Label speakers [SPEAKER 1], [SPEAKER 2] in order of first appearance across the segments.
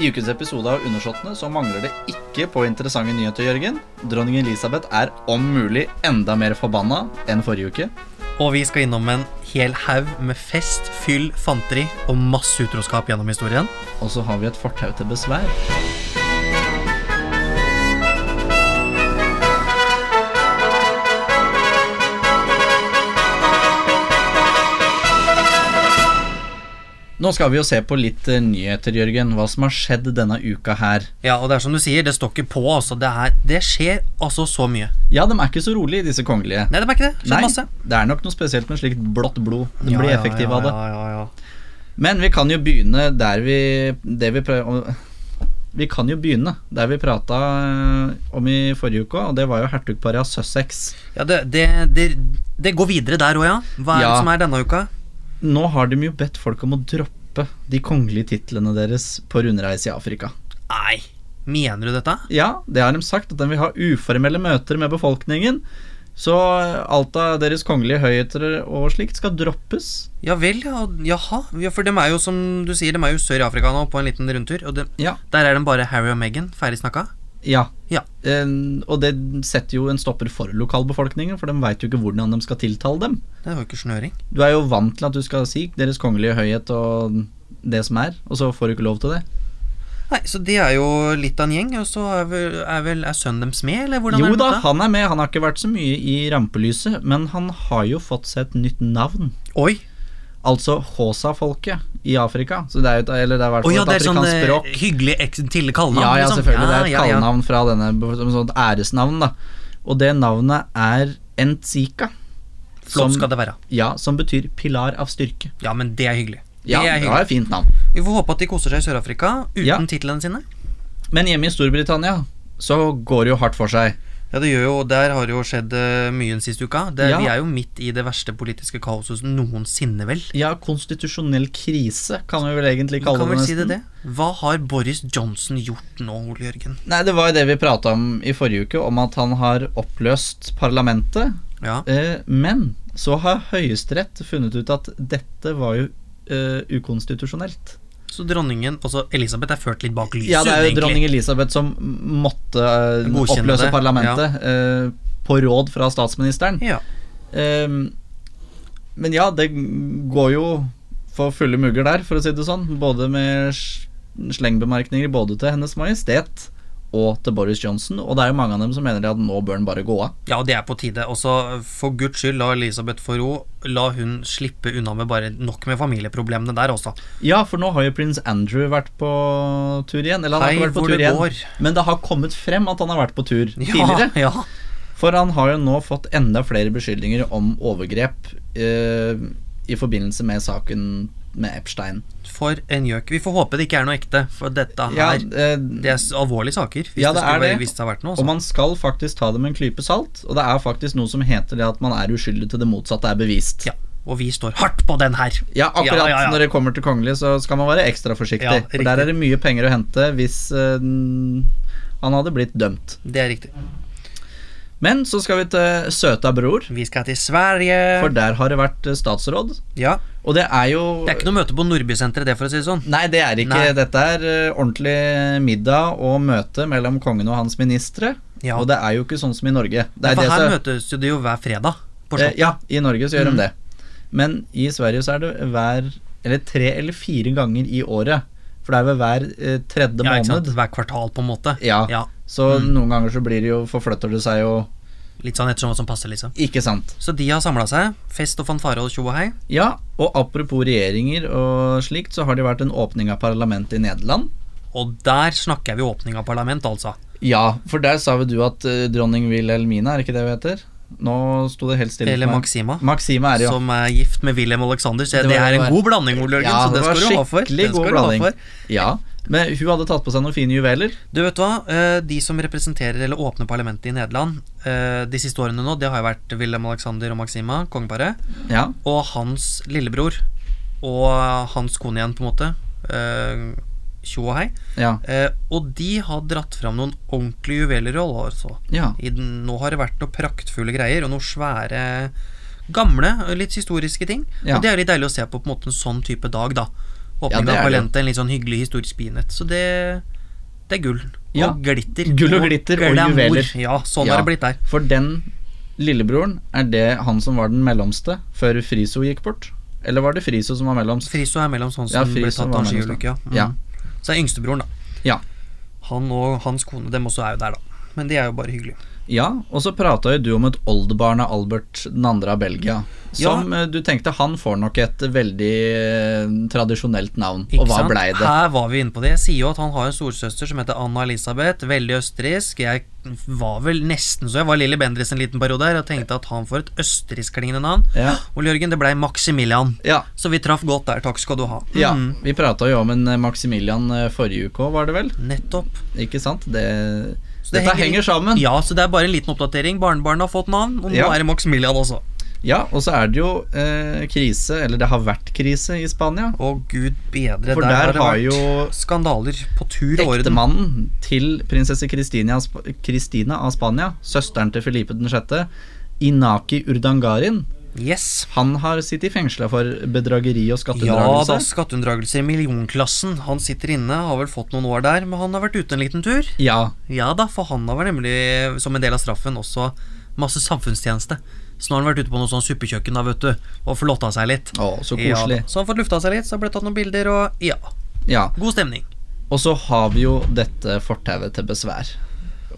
[SPEAKER 1] I ukens episode av Undersåttene så mangler det ikke på interessante nyheter, Jørgen. Dronning Elisabeth er om mulig enda mer forbanna enn forrige uke.
[SPEAKER 2] Og vi skal innom en hel haug med fest, fyll, fanteri og masse utroskap gjennom historien.
[SPEAKER 1] Og så har vi et fortau til besvær. Nå skal vi jo se på litt eh, nyheter, Jørgen. Hva som har skjedd denne uka her.
[SPEAKER 2] Ja, og det er som du sier, det står ikke på, altså. Det, er, det skjer altså så mye.
[SPEAKER 1] Ja, de er ikke så rolige, disse kongelige.
[SPEAKER 2] Nei, det er ikke det. Skjer
[SPEAKER 1] Nei,
[SPEAKER 2] masse.
[SPEAKER 1] det er nok noe spesielt med slikt blått blod. De blir effektive av det.
[SPEAKER 2] Ja, ja, ja,
[SPEAKER 1] Men vi kan jo begynne der vi Det vi prøver Vi kan jo begynne der vi prata eh, om i forrige uke, og det var jo hertugparet av Sussex.
[SPEAKER 2] ja. ja det, det, det, det går videre der òg, ja. Hva er
[SPEAKER 1] Ja.
[SPEAKER 2] det som er denne uka?
[SPEAKER 1] Nå har de jo bedt folk om å droppe de kongelige titlene deres på rundreise i Afrika.
[SPEAKER 2] Nei, mener du dette?
[SPEAKER 1] Ja, det har de sagt, at de vil ha uformelle møter med befolkningen. Så eh, alt av deres kongelige høyheter og slikt skal droppes.
[SPEAKER 2] Ja vel, ja. Jaha. Ja, for de er jo, som du sier, de er jo sør i Afrika nå på en liten rundtur. Og de,
[SPEAKER 1] Ja.
[SPEAKER 2] der er de bare Harry og Meghan, ferdig snakka.
[SPEAKER 1] Ja.
[SPEAKER 2] Ja.
[SPEAKER 1] Eh, og det setter jo en stopper for lokalbefolkningen, for de veit jo ikke hvordan de skal tiltale dem.
[SPEAKER 2] Det var jo ikke snøring.
[SPEAKER 1] Du er jo vant til at du skal si Deres kongelige høyhet og det som er, og så får du ikke lov til det.
[SPEAKER 2] Nei, så de er jo litt av en gjeng, og så er vel, er, vel, er sønnen deres med, eller hvordan
[SPEAKER 1] Jo
[SPEAKER 2] er det
[SPEAKER 1] da,
[SPEAKER 2] med
[SPEAKER 1] han er med. Han har ikke vært så mye i rampelyset, men han har jo fått seg et nytt navn.
[SPEAKER 2] dette? Oi,
[SPEAKER 1] Altså Hosa-folket i Afrika. Så det er jo et, eller det er i hvert
[SPEAKER 2] Å
[SPEAKER 1] fall
[SPEAKER 2] ja,
[SPEAKER 1] et
[SPEAKER 2] det er sånn
[SPEAKER 1] afrikansk
[SPEAKER 2] eh,
[SPEAKER 1] språk.
[SPEAKER 2] hyggelig eks- tidlig kallenavn?
[SPEAKER 1] Ja, ja,
[SPEAKER 2] liksom.
[SPEAKER 1] selvfølgelig. Det er et
[SPEAKER 2] Ja, ja, ja.
[SPEAKER 1] kallenavn fra denne som sånt æresnavn, da. Og det navnet er Ntsika.
[SPEAKER 2] Flott skal det være.
[SPEAKER 1] Ja, som betyr pilar av styrke.
[SPEAKER 2] Ja, men det er hyggelig.
[SPEAKER 1] Ja,
[SPEAKER 2] det er
[SPEAKER 1] det
[SPEAKER 2] hyggelig.
[SPEAKER 1] var et fint navn.
[SPEAKER 2] Vi får håpe at de koser seg i Sør-Afrika uten
[SPEAKER 1] Ja.
[SPEAKER 2] titlene sine.
[SPEAKER 1] Men hjemme i Storbritannia så går det jo hardt for seg.
[SPEAKER 2] Ja, det gjør jo, Der har det jo skjedd eh, mye den siste uka. Det,
[SPEAKER 1] Ja.
[SPEAKER 2] Vi er jo midt i det verste politiske kaoset noensinne, vel.
[SPEAKER 1] Ja, konstitusjonell krise kan vi vel egentlig
[SPEAKER 2] Vi
[SPEAKER 1] kalle
[SPEAKER 2] kan
[SPEAKER 1] det.
[SPEAKER 2] vel si det
[SPEAKER 1] nesten.
[SPEAKER 2] det. Hva har Boris Johnson gjort nå, Ole Jørgen?
[SPEAKER 1] Nei, det var jo det vi prata om i forrige uke, om at han har oppløst parlamentet.
[SPEAKER 2] Ja,
[SPEAKER 1] Eh, men så har Høyesterett funnet ut at dette var jo eh, ukonstitusjonelt.
[SPEAKER 2] Så dronningen, altså Elisabeth, er ført litt bak lyset,
[SPEAKER 1] Ja, det er jo
[SPEAKER 2] egentlig.
[SPEAKER 1] dronning Elisabeth som måtte eh,
[SPEAKER 2] Godkjenne
[SPEAKER 1] oppløse
[SPEAKER 2] det,
[SPEAKER 1] parlamentet eh, på råd fra statsministeren.
[SPEAKER 2] Ja.
[SPEAKER 1] Ehm, men ja, det går jo for fulle mugger der, for å si det sånn. Både med s- slengbemerkninger både til Hennes Majestet og til Boris Johnson. Og det er jo mange av dem som mener at nå bør han bare gå av.
[SPEAKER 2] Ja, det er på tide. Også for guds skyld, la Elisabeth få ro. La hun slippe unna med bare nok med familieproblemene der også.
[SPEAKER 1] Ja, for nå har jo prins Andrew vært på tur igjen. Eller han har
[SPEAKER 2] Hei,
[SPEAKER 1] ikke vært på
[SPEAKER 2] hvor
[SPEAKER 1] tur
[SPEAKER 2] det
[SPEAKER 1] igjen,
[SPEAKER 2] går.
[SPEAKER 1] men det har kommet frem at han har vært på tur tidligere.
[SPEAKER 2] Ja, ja.
[SPEAKER 1] For han har jo nå fått enda flere beskyldninger om overgrep eh, i forbindelse med saken med Epstein.
[SPEAKER 2] For en gjøk. Vi får håpe det ikke er noe ekte, for dette her
[SPEAKER 1] Ja, eh,
[SPEAKER 2] Det er s- alvorlige saker. Hvis
[SPEAKER 1] Ja,
[SPEAKER 2] det,
[SPEAKER 1] det er
[SPEAKER 2] skulle,
[SPEAKER 1] det.
[SPEAKER 2] være- Hvis det har vært noe.
[SPEAKER 1] Og
[SPEAKER 2] Altså.
[SPEAKER 1] man skal faktisk ta det med en klype salt, og det er faktisk noe som heter det at man er uskyldig til det motsatte er bevist.
[SPEAKER 2] Ja, og vi står hardt på den her.
[SPEAKER 1] Ja, akkurat
[SPEAKER 2] Ja, ja, ja.
[SPEAKER 1] når det kommer til kongelig, så skal man være ekstra forsiktig.
[SPEAKER 2] Ja,
[SPEAKER 1] for der
[SPEAKER 2] riktig.
[SPEAKER 1] er det mye penger å hente hvis eh, han hadde blitt dømt.
[SPEAKER 2] Det er riktig.
[SPEAKER 1] Men så skal vi til søta bror,
[SPEAKER 2] Vi skal til Sverige.
[SPEAKER 1] for der har det vært eh, statsråd.
[SPEAKER 2] ja.
[SPEAKER 1] Og det er jo
[SPEAKER 2] Det er ikke noe møte på Nordbysenteret, det, for å si det sånn.
[SPEAKER 1] Nei, det er ikke.
[SPEAKER 2] Nei.
[SPEAKER 1] Dette er eh, ordentlig middag og møte mellom kongen og hans ministre.
[SPEAKER 2] Ja.
[SPEAKER 1] Og det er jo ikke sånn som i Norge. Det er
[SPEAKER 2] for
[SPEAKER 1] det
[SPEAKER 2] her
[SPEAKER 1] som-
[SPEAKER 2] møtes jo det jo hver fredag. På
[SPEAKER 1] Eh,
[SPEAKER 2] Slottet.
[SPEAKER 1] ja, i Norge så
[SPEAKER 2] Mm.
[SPEAKER 1] gjør de det. Men i Sverige så er det hver Eller tre eller fire ganger i året. For det er ved hver eh, tredje
[SPEAKER 2] ja, ikke sant?
[SPEAKER 1] måned.
[SPEAKER 2] Hver kvartal, på en måte.
[SPEAKER 1] Ja.
[SPEAKER 2] ja. Mm.
[SPEAKER 1] Så noen ganger så blir det jo forflytter det seg jo
[SPEAKER 2] Litt sånn ettersom hva som passer, liksom.
[SPEAKER 1] Ikke sant.
[SPEAKER 2] Så de har samla seg. Fest og fanfare og tjo og hei.
[SPEAKER 1] Ja, og apropos regjeringer og slikt, så har det vært en åpning av parlamentet i Nederland.
[SPEAKER 2] Og der snakker vi åpning av parlament, altså.
[SPEAKER 1] Ja, for der sa vel du at eh, dronning Wilhelmina, er det ikke det hun heter? Nå sto det helt stille. for
[SPEAKER 2] Eller
[SPEAKER 1] meg.
[SPEAKER 2] Maxima,
[SPEAKER 1] Maxima er det, jo.
[SPEAKER 2] som er gift med Wilhelm Alexander. Så
[SPEAKER 1] Det
[SPEAKER 2] det,
[SPEAKER 1] var-
[SPEAKER 2] er
[SPEAKER 1] det var-
[SPEAKER 2] en god blanding, Ole Jørgen.
[SPEAKER 1] Ja,
[SPEAKER 2] så
[SPEAKER 1] det
[SPEAKER 2] den
[SPEAKER 1] var
[SPEAKER 2] skal du ha for.
[SPEAKER 1] skikkelig
[SPEAKER 2] Den
[SPEAKER 1] god
[SPEAKER 2] skal du ha
[SPEAKER 1] blanding.
[SPEAKER 2] for.
[SPEAKER 1] Ja, men hun hadde tatt på seg noen fine juveler.
[SPEAKER 2] Du vet hva, eh, de som representerer eller åpner parlamentet i Nederland eh, de siste årene nå, det har jo vært Wilhelm Alexander og Maxima, kongeparet,
[SPEAKER 1] Ja,
[SPEAKER 2] og hans lillebror og hans kone igjen, på en måte. Eh, Tjo og hei.
[SPEAKER 1] ja,
[SPEAKER 2] Eh, og de har dratt fram noen ordentlige juveler i år, altså.
[SPEAKER 1] ja.
[SPEAKER 2] I den, nå har det vært noen praktfulle greier, og noen svære gamle, litt historiske ting.
[SPEAKER 1] Ja.
[SPEAKER 2] Og det er litt deilig å se på på en måte en sånn type dag, da.
[SPEAKER 1] Ja, det
[SPEAKER 2] Åpningen
[SPEAKER 1] er
[SPEAKER 2] av
[SPEAKER 1] det.
[SPEAKER 2] Palente, en litt sånn hyggelig historisk binett. Så det, det er gull.
[SPEAKER 1] Ja.
[SPEAKER 2] Og glitter.
[SPEAKER 1] Gull og glitter og
[SPEAKER 2] glamour.
[SPEAKER 1] juveler.
[SPEAKER 2] Ja, sånn
[SPEAKER 1] Ja.
[SPEAKER 2] har det blitt der.
[SPEAKER 1] For den lillebroren, er det han som var den mellomste før Friso gikk bort? Eller var det Friso som var mellomst?
[SPEAKER 2] Friso er mellom sånn
[SPEAKER 1] Ja,
[SPEAKER 2] som ble
[SPEAKER 1] Friso
[SPEAKER 2] tatt
[SPEAKER 1] var
[SPEAKER 2] av
[SPEAKER 1] mellom sånn.
[SPEAKER 2] skiulykka. Mm.
[SPEAKER 1] Ja.
[SPEAKER 2] Så er yngstebroren, da.
[SPEAKER 1] Ja.
[SPEAKER 2] Han og hans kone, dem også er jo der, da. Men de er jo bare hyggelige.
[SPEAKER 1] Ja, og så prata jo du om et oldebarn av Albert den andre av Belgia. Som eh, du tenkte han får nok et veldig eh, tradisjonelt navn.
[SPEAKER 2] Ikke
[SPEAKER 1] og hva
[SPEAKER 2] sant?
[SPEAKER 1] blei det?
[SPEAKER 2] Her var vi inne på det. Jeg sier jo at han har en storsøster som heter Anna Elisabeth, veldig østerriksk. Jeg var vel nesten så jeg var Lilly Bendriss en liten periode her og tenkte at han får et østerrikskklingende navn.
[SPEAKER 1] Ja.
[SPEAKER 2] Ole Jørgen, det blei Maximilian.
[SPEAKER 1] Ja,
[SPEAKER 2] Så vi traff godt der, takk skal du ha.
[SPEAKER 1] ja.
[SPEAKER 2] Mm,
[SPEAKER 1] Vi prata jo om en eh, Maximilian eh, forrige uke òg, var det vel?
[SPEAKER 2] nettopp.
[SPEAKER 1] Ikke sant? Det,
[SPEAKER 2] Så det
[SPEAKER 1] dette
[SPEAKER 2] henger
[SPEAKER 1] henger sammen. Ja.
[SPEAKER 2] Ja, så det er bare en liten oppdatering. Barnebarnet har fått navn, og nå
[SPEAKER 1] Ja.
[SPEAKER 2] er det Maximilian også.
[SPEAKER 1] og så er det jo eh, krise, eller det har vært krise i Spania.
[SPEAKER 2] Å gud bedre,
[SPEAKER 1] For
[SPEAKER 2] der,
[SPEAKER 1] der har
[SPEAKER 2] det vært
[SPEAKER 1] jo
[SPEAKER 2] skandaler på tur og orden.
[SPEAKER 1] Ektemannen til prinsesse Kristina av Sp- Kristina av Spania, søsteren til Felipe 6., Inaki Urdangarin,
[SPEAKER 2] Yes.
[SPEAKER 1] han har sittet fengsla for bedrageri og
[SPEAKER 2] Ja da,
[SPEAKER 1] skatteunndragelse.
[SPEAKER 2] skatteunndragelser i millionklassen. Han sitter inne, har vel fått noen år der, men han har vært ute en liten tur.
[SPEAKER 1] Ja,
[SPEAKER 2] Ja da, for han har nemlig, som en del av straffen, også masse samfunnstjeneste. Så nå har han vært ute på noe sånn suppekjøkken da, vet du, og flotta seg litt.
[SPEAKER 1] Å, så
[SPEAKER 2] Ja da,
[SPEAKER 1] koselig.
[SPEAKER 2] så han har fått lufta seg litt, så har det blitt tatt noen bilder, og ja.
[SPEAKER 1] Ja.
[SPEAKER 2] God stemning.
[SPEAKER 1] Og så har vi jo dette fortauet til besvær.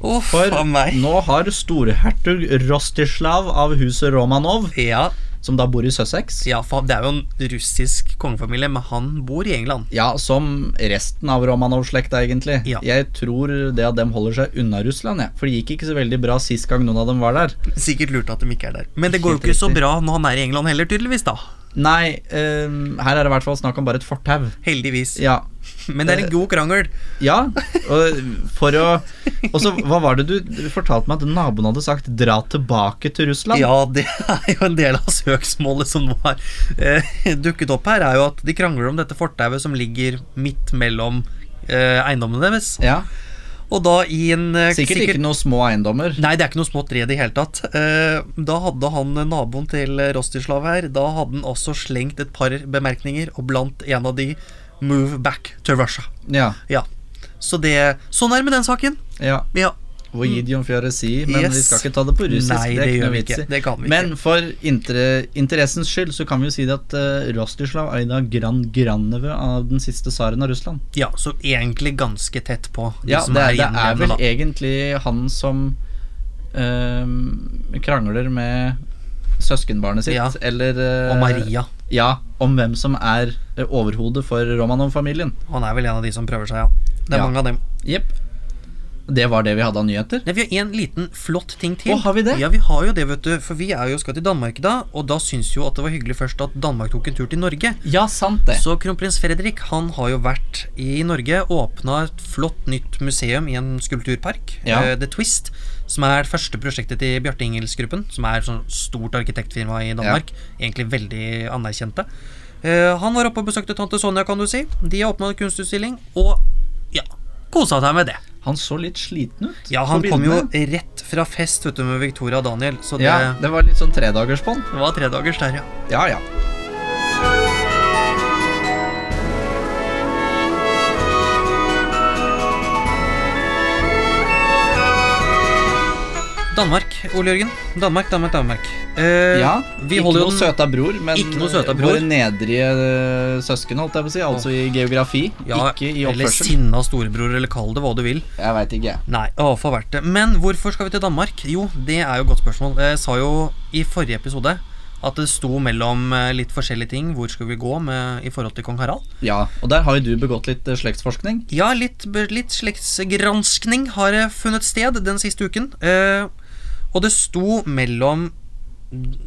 [SPEAKER 2] Uff
[SPEAKER 1] For
[SPEAKER 2] a meg.
[SPEAKER 1] nå har storhertug Rostislav av huset Romanov,
[SPEAKER 2] Ja,
[SPEAKER 1] som da bor i Sussex
[SPEAKER 2] ja, for det er jo en russisk kongefamilie, men han bor i England.
[SPEAKER 1] Ja, som resten av Romanov-slekta, egentlig.
[SPEAKER 2] Ja.
[SPEAKER 1] Jeg tror det at dem holder seg unna Russland, jeg. For det gikk ikke så veldig bra sist gang noen av dem var der.
[SPEAKER 2] Sikkert lurt at de ikke er der. Men det går jo
[SPEAKER 1] Helt
[SPEAKER 2] ikke så
[SPEAKER 1] riktig.
[SPEAKER 2] bra når han er i England heller, tydeligvis, da.
[SPEAKER 1] Nei, eh, her er det i hvert fall snakk om bare et fortau.
[SPEAKER 2] Heldigvis.
[SPEAKER 1] Ja.
[SPEAKER 2] Men det er en god krangel.
[SPEAKER 1] ja og for å Og så, hva var det du fortalte meg at naboen hadde sagt 'dra tilbake til Russland'?
[SPEAKER 2] Ja, det er jo en del av søksmålet som nå har eh, dukket opp her, er jo at de krangler om dette fortauet som ligger midt mellom eh, eiendommene deres.
[SPEAKER 1] Ja,
[SPEAKER 2] Og da i en eh,
[SPEAKER 1] Sikkert ikke noen små eiendommer.
[SPEAKER 2] Nei, det er ikke noe smått i det hele tatt. Eh, da hadde han eh, naboen til eh, Rostislav her, da hadde han også slengt et par bemerkninger, og blant en av de 'Move back to Russia'.
[SPEAKER 1] Ja,
[SPEAKER 2] Ja. Så det Sånn er det med den saken.
[SPEAKER 1] ja.
[SPEAKER 2] Ja.
[SPEAKER 1] Hvor Gideon Fjøre sier, men vi
[SPEAKER 2] Mm. Yes.
[SPEAKER 1] skal ikke ta det på russisk.
[SPEAKER 2] Nei,
[SPEAKER 1] det er
[SPEAKER 2] det
[SPEAKER 1] ikke
[SPEAKER 2] gjør
[SPEAKER 1] noe
[SPEAKER 2] vi
[SPEAKER 1] vits i.
[SPEAKER 2] ikke. Det kan vi
[SPEAKER 1] Men for inter interessens skyld så kan vi jo si det at eh, Rostislav er i dag grand grandnevø av den siste tsaren av Russland.
[SPEAKER 2] Ja, så egentlig ganske tett på de
[SPEAKER 1] Ja,
[SPEAKER 2] som
[SPEAKER 1] det er,
[SPEAKER 2] er
[SPEAKER 1] det er vel
[SPEAKER 2] gjenlevende, da.
[SPEAKER 1] egentlig han som ehm, krangler med søskenbarnet sitt,
[SPEAKER 2] Ja.
[SPEAKER 1] eller eh,
[SPEAKER 2] Og Maria.
[SPEAKER 1] Ja, om hvem som er eh, overhodet for Romanov-familien.
[SPEAKER 2] Han er vel en av de som prøver seg, ja. Det er
[SPEAKER 1] Ja.
[SPEAKER 2] mange av dem.
[SPEAKER 1] Jepp. Det var det vi hadde av nyheter.
[SPEAKER 2] Nei, vi har en liten flott ting til.
[SPEAKER 1] Å, har vi det?
[SPEAKER 2] Ja, vi har jo det, vet du. For vi er jo skal til Danmark i dag, og da syns jo at det var hyggelig først at Danmark tok en tur til Norge.
[SPEAKER 1] Ja, sant det.
[SPEAKER 2] Så kronprins Fredrik han har jo vært i Norge og åpna et flott nytt museum i en skulpturpark,
[SPEAKER 1] Ja.
[SPEAKER 2] eh, The Twist, som er første prosjektet til Bjarte Ingels-gruppen, som er et sånt stort arkitektfirma i Danmark. Egentlig veldig anerkjente. Eh, han var oppe og besøkte tante Sonja, kan du si. De har åpna en kunstutstilling, og ja, kosa seg med det.
[SPEAKER 1] Han så litt sliten ut.
[SPEAKER 2] Ja,
[SPEAKER 1] på
[SPEAKER 2] han kom jo
[SPEAKER 1] bildene.
[SPEAKER 2] rett fra fest vet du, med Victoria og Daniel, så det,
[SPEAKER 1] Ja, det var litt sånn tredagerspånd.
[SPEAKER 2] det var tredagers der, ja.
[SPEAKER 1] Ja, ja.
[SPEAKER 2] Danmark, Ole Jørgen. Danmark, Danmark, Danmark. Eh,
[SPEAKER 1] ja
[SPEAKER 2] vi
[SPEAKER 1] ikke
[SPEAKER 2] holder jo
[SPEAKER 1] noe
[SPEAKER 2] den-
[SPEAKER 1] søta bror, men
[SPEAKER 2] Ikke noe søta bror.
[SPEAKER 1] våre nedrige eh, søsken, holdt jeg på å si. Altså i geografi, ikke i
[SPEAKER 2] Eller
[SPEAKER 1] oppførsel.
[SPEAKER 2] sinna storebror, eller kall det hva du vil.
[SPEAKER 1] Jeg veit ikke, jeg.
[SPEAKER 2] Nei, å, for verdt det. Men hvorfor skal vi til Danmark? Jo, det er jo et godt spørsmål. Jeg sa jo i forrige episode at det sto mellom eh, litt forskjellige ting. Hvor skal vi gå med, i forhold til kong Harald?
[SPEAKER 1] Ja, og der har jo du begått litt eh, slektsforskning.
[SPEAKER 2] Ja, litt, b- litt slektsgranskning har eh, funnet sted den siste uken. Eh, og det sto mellom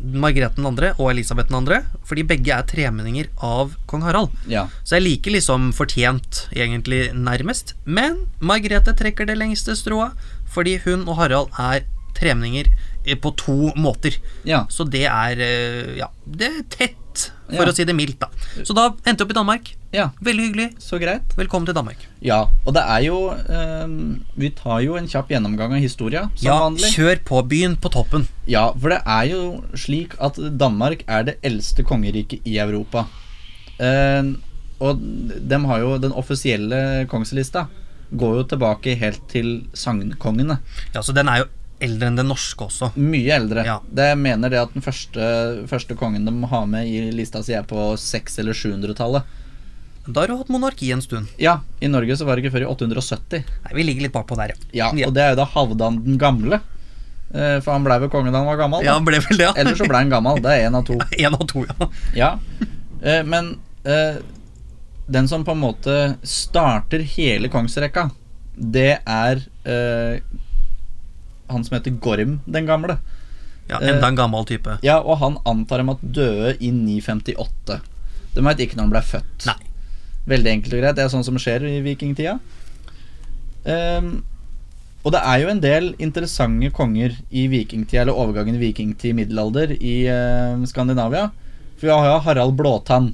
[SPEAKER 2] Margrethe 2. og Elisabeth 2., fordi begge er tremenninger av kong Harald.
[SPEAKER 1] Ja.
[SPEAKER 2] Så jeg liker liksom fortjent, egentlig, nærmest. Men Margrethe trekker det lengste strået, fordi hun og Harald er tremninger eh, på to måter.
[SPEAKER 1] ja.
[SPEAKER 2] Så det er eh, Ja, det er tett, for
[SPEAKER 1] Ja.
[SPEAKER 2] å si det mildt, da. Så da endte jeg opp i Danmark.
[SPEAKER 1] Ja,
[SPEAKER 2] Veldig hyggelig.
[SPEAKER 1] så greit.
[SPEAKER 2] Velkommen til Danmark.
[SPEAKER 1] Ja, og det er jo eh, Vi tar jo en kjapp gjennomgang av historia, som
[SPEAKER 2] Ja,
[SPEAKER 1] vanlig.
[SPEAKER 2] kjør på byen på toppen.
[SPEAKER 1] Ja, for det er jo slik at Danmark er det eldste kongeriket i Europa. Eh, Og dem har jo den offisielle kongslista går jo tilbake helt til sagnkongene.
[SPEAKER 2] Ja, så den er jo eldre enn den norske også.
[SPEAKER 1] Mye eldre.
[SPEAKER 2] Ja.
[SPEAKER 1] Det mener det at den første, første kongen de har med i lista si, er på 600- eller 700-tallet.
[SPEAKER 2] Da har du hatt monarki en stund.
[SPEAKER 1] Ja, i Norge så var det ikke før i 870.
[SPEAKER 2] Nei, Vi ligger litt bakpå der, ja.
[SPEAKER 1] Ja,
[SPEAKER 2] Ja.
[SPEAKER 1] Og det er jo da Havdan den gamle. Eh, For han blei vel konge da han var gammel.
[SPEAKER 2] Ja,
[SPEAKER 1] da.
[SPEAKER 2] ble vel det, ja.
[SPEAKER 1] Eller så blei han gammel. Det er én av to.
[SPEAKER 2] Én av to, ja.
[SPEAKER 1] Ja. Eh, Men eh, den som på en måte starter hele kongsrekka, det er eh, han som heter Gorm den gamle.
[SPEAKER 2] ja
[SPEAKER 1] Eh.
[SPEAKER 2] enda en gammel type.
[SPEAKER 1] Ja, og han antar dem at døde i 958. De veit ikke når han ble født.
[SPEAKER 2] Nei.
[SPEAKER 1] Veldig enkelt og greit. Det er sånn som skjer i vikingtida. Ehm, og det er jo en del interessante konger i vikingtida, eller overgangen vikingtid-middelalder i eh, Skandinavia. For vi har jo Harald Blåtann,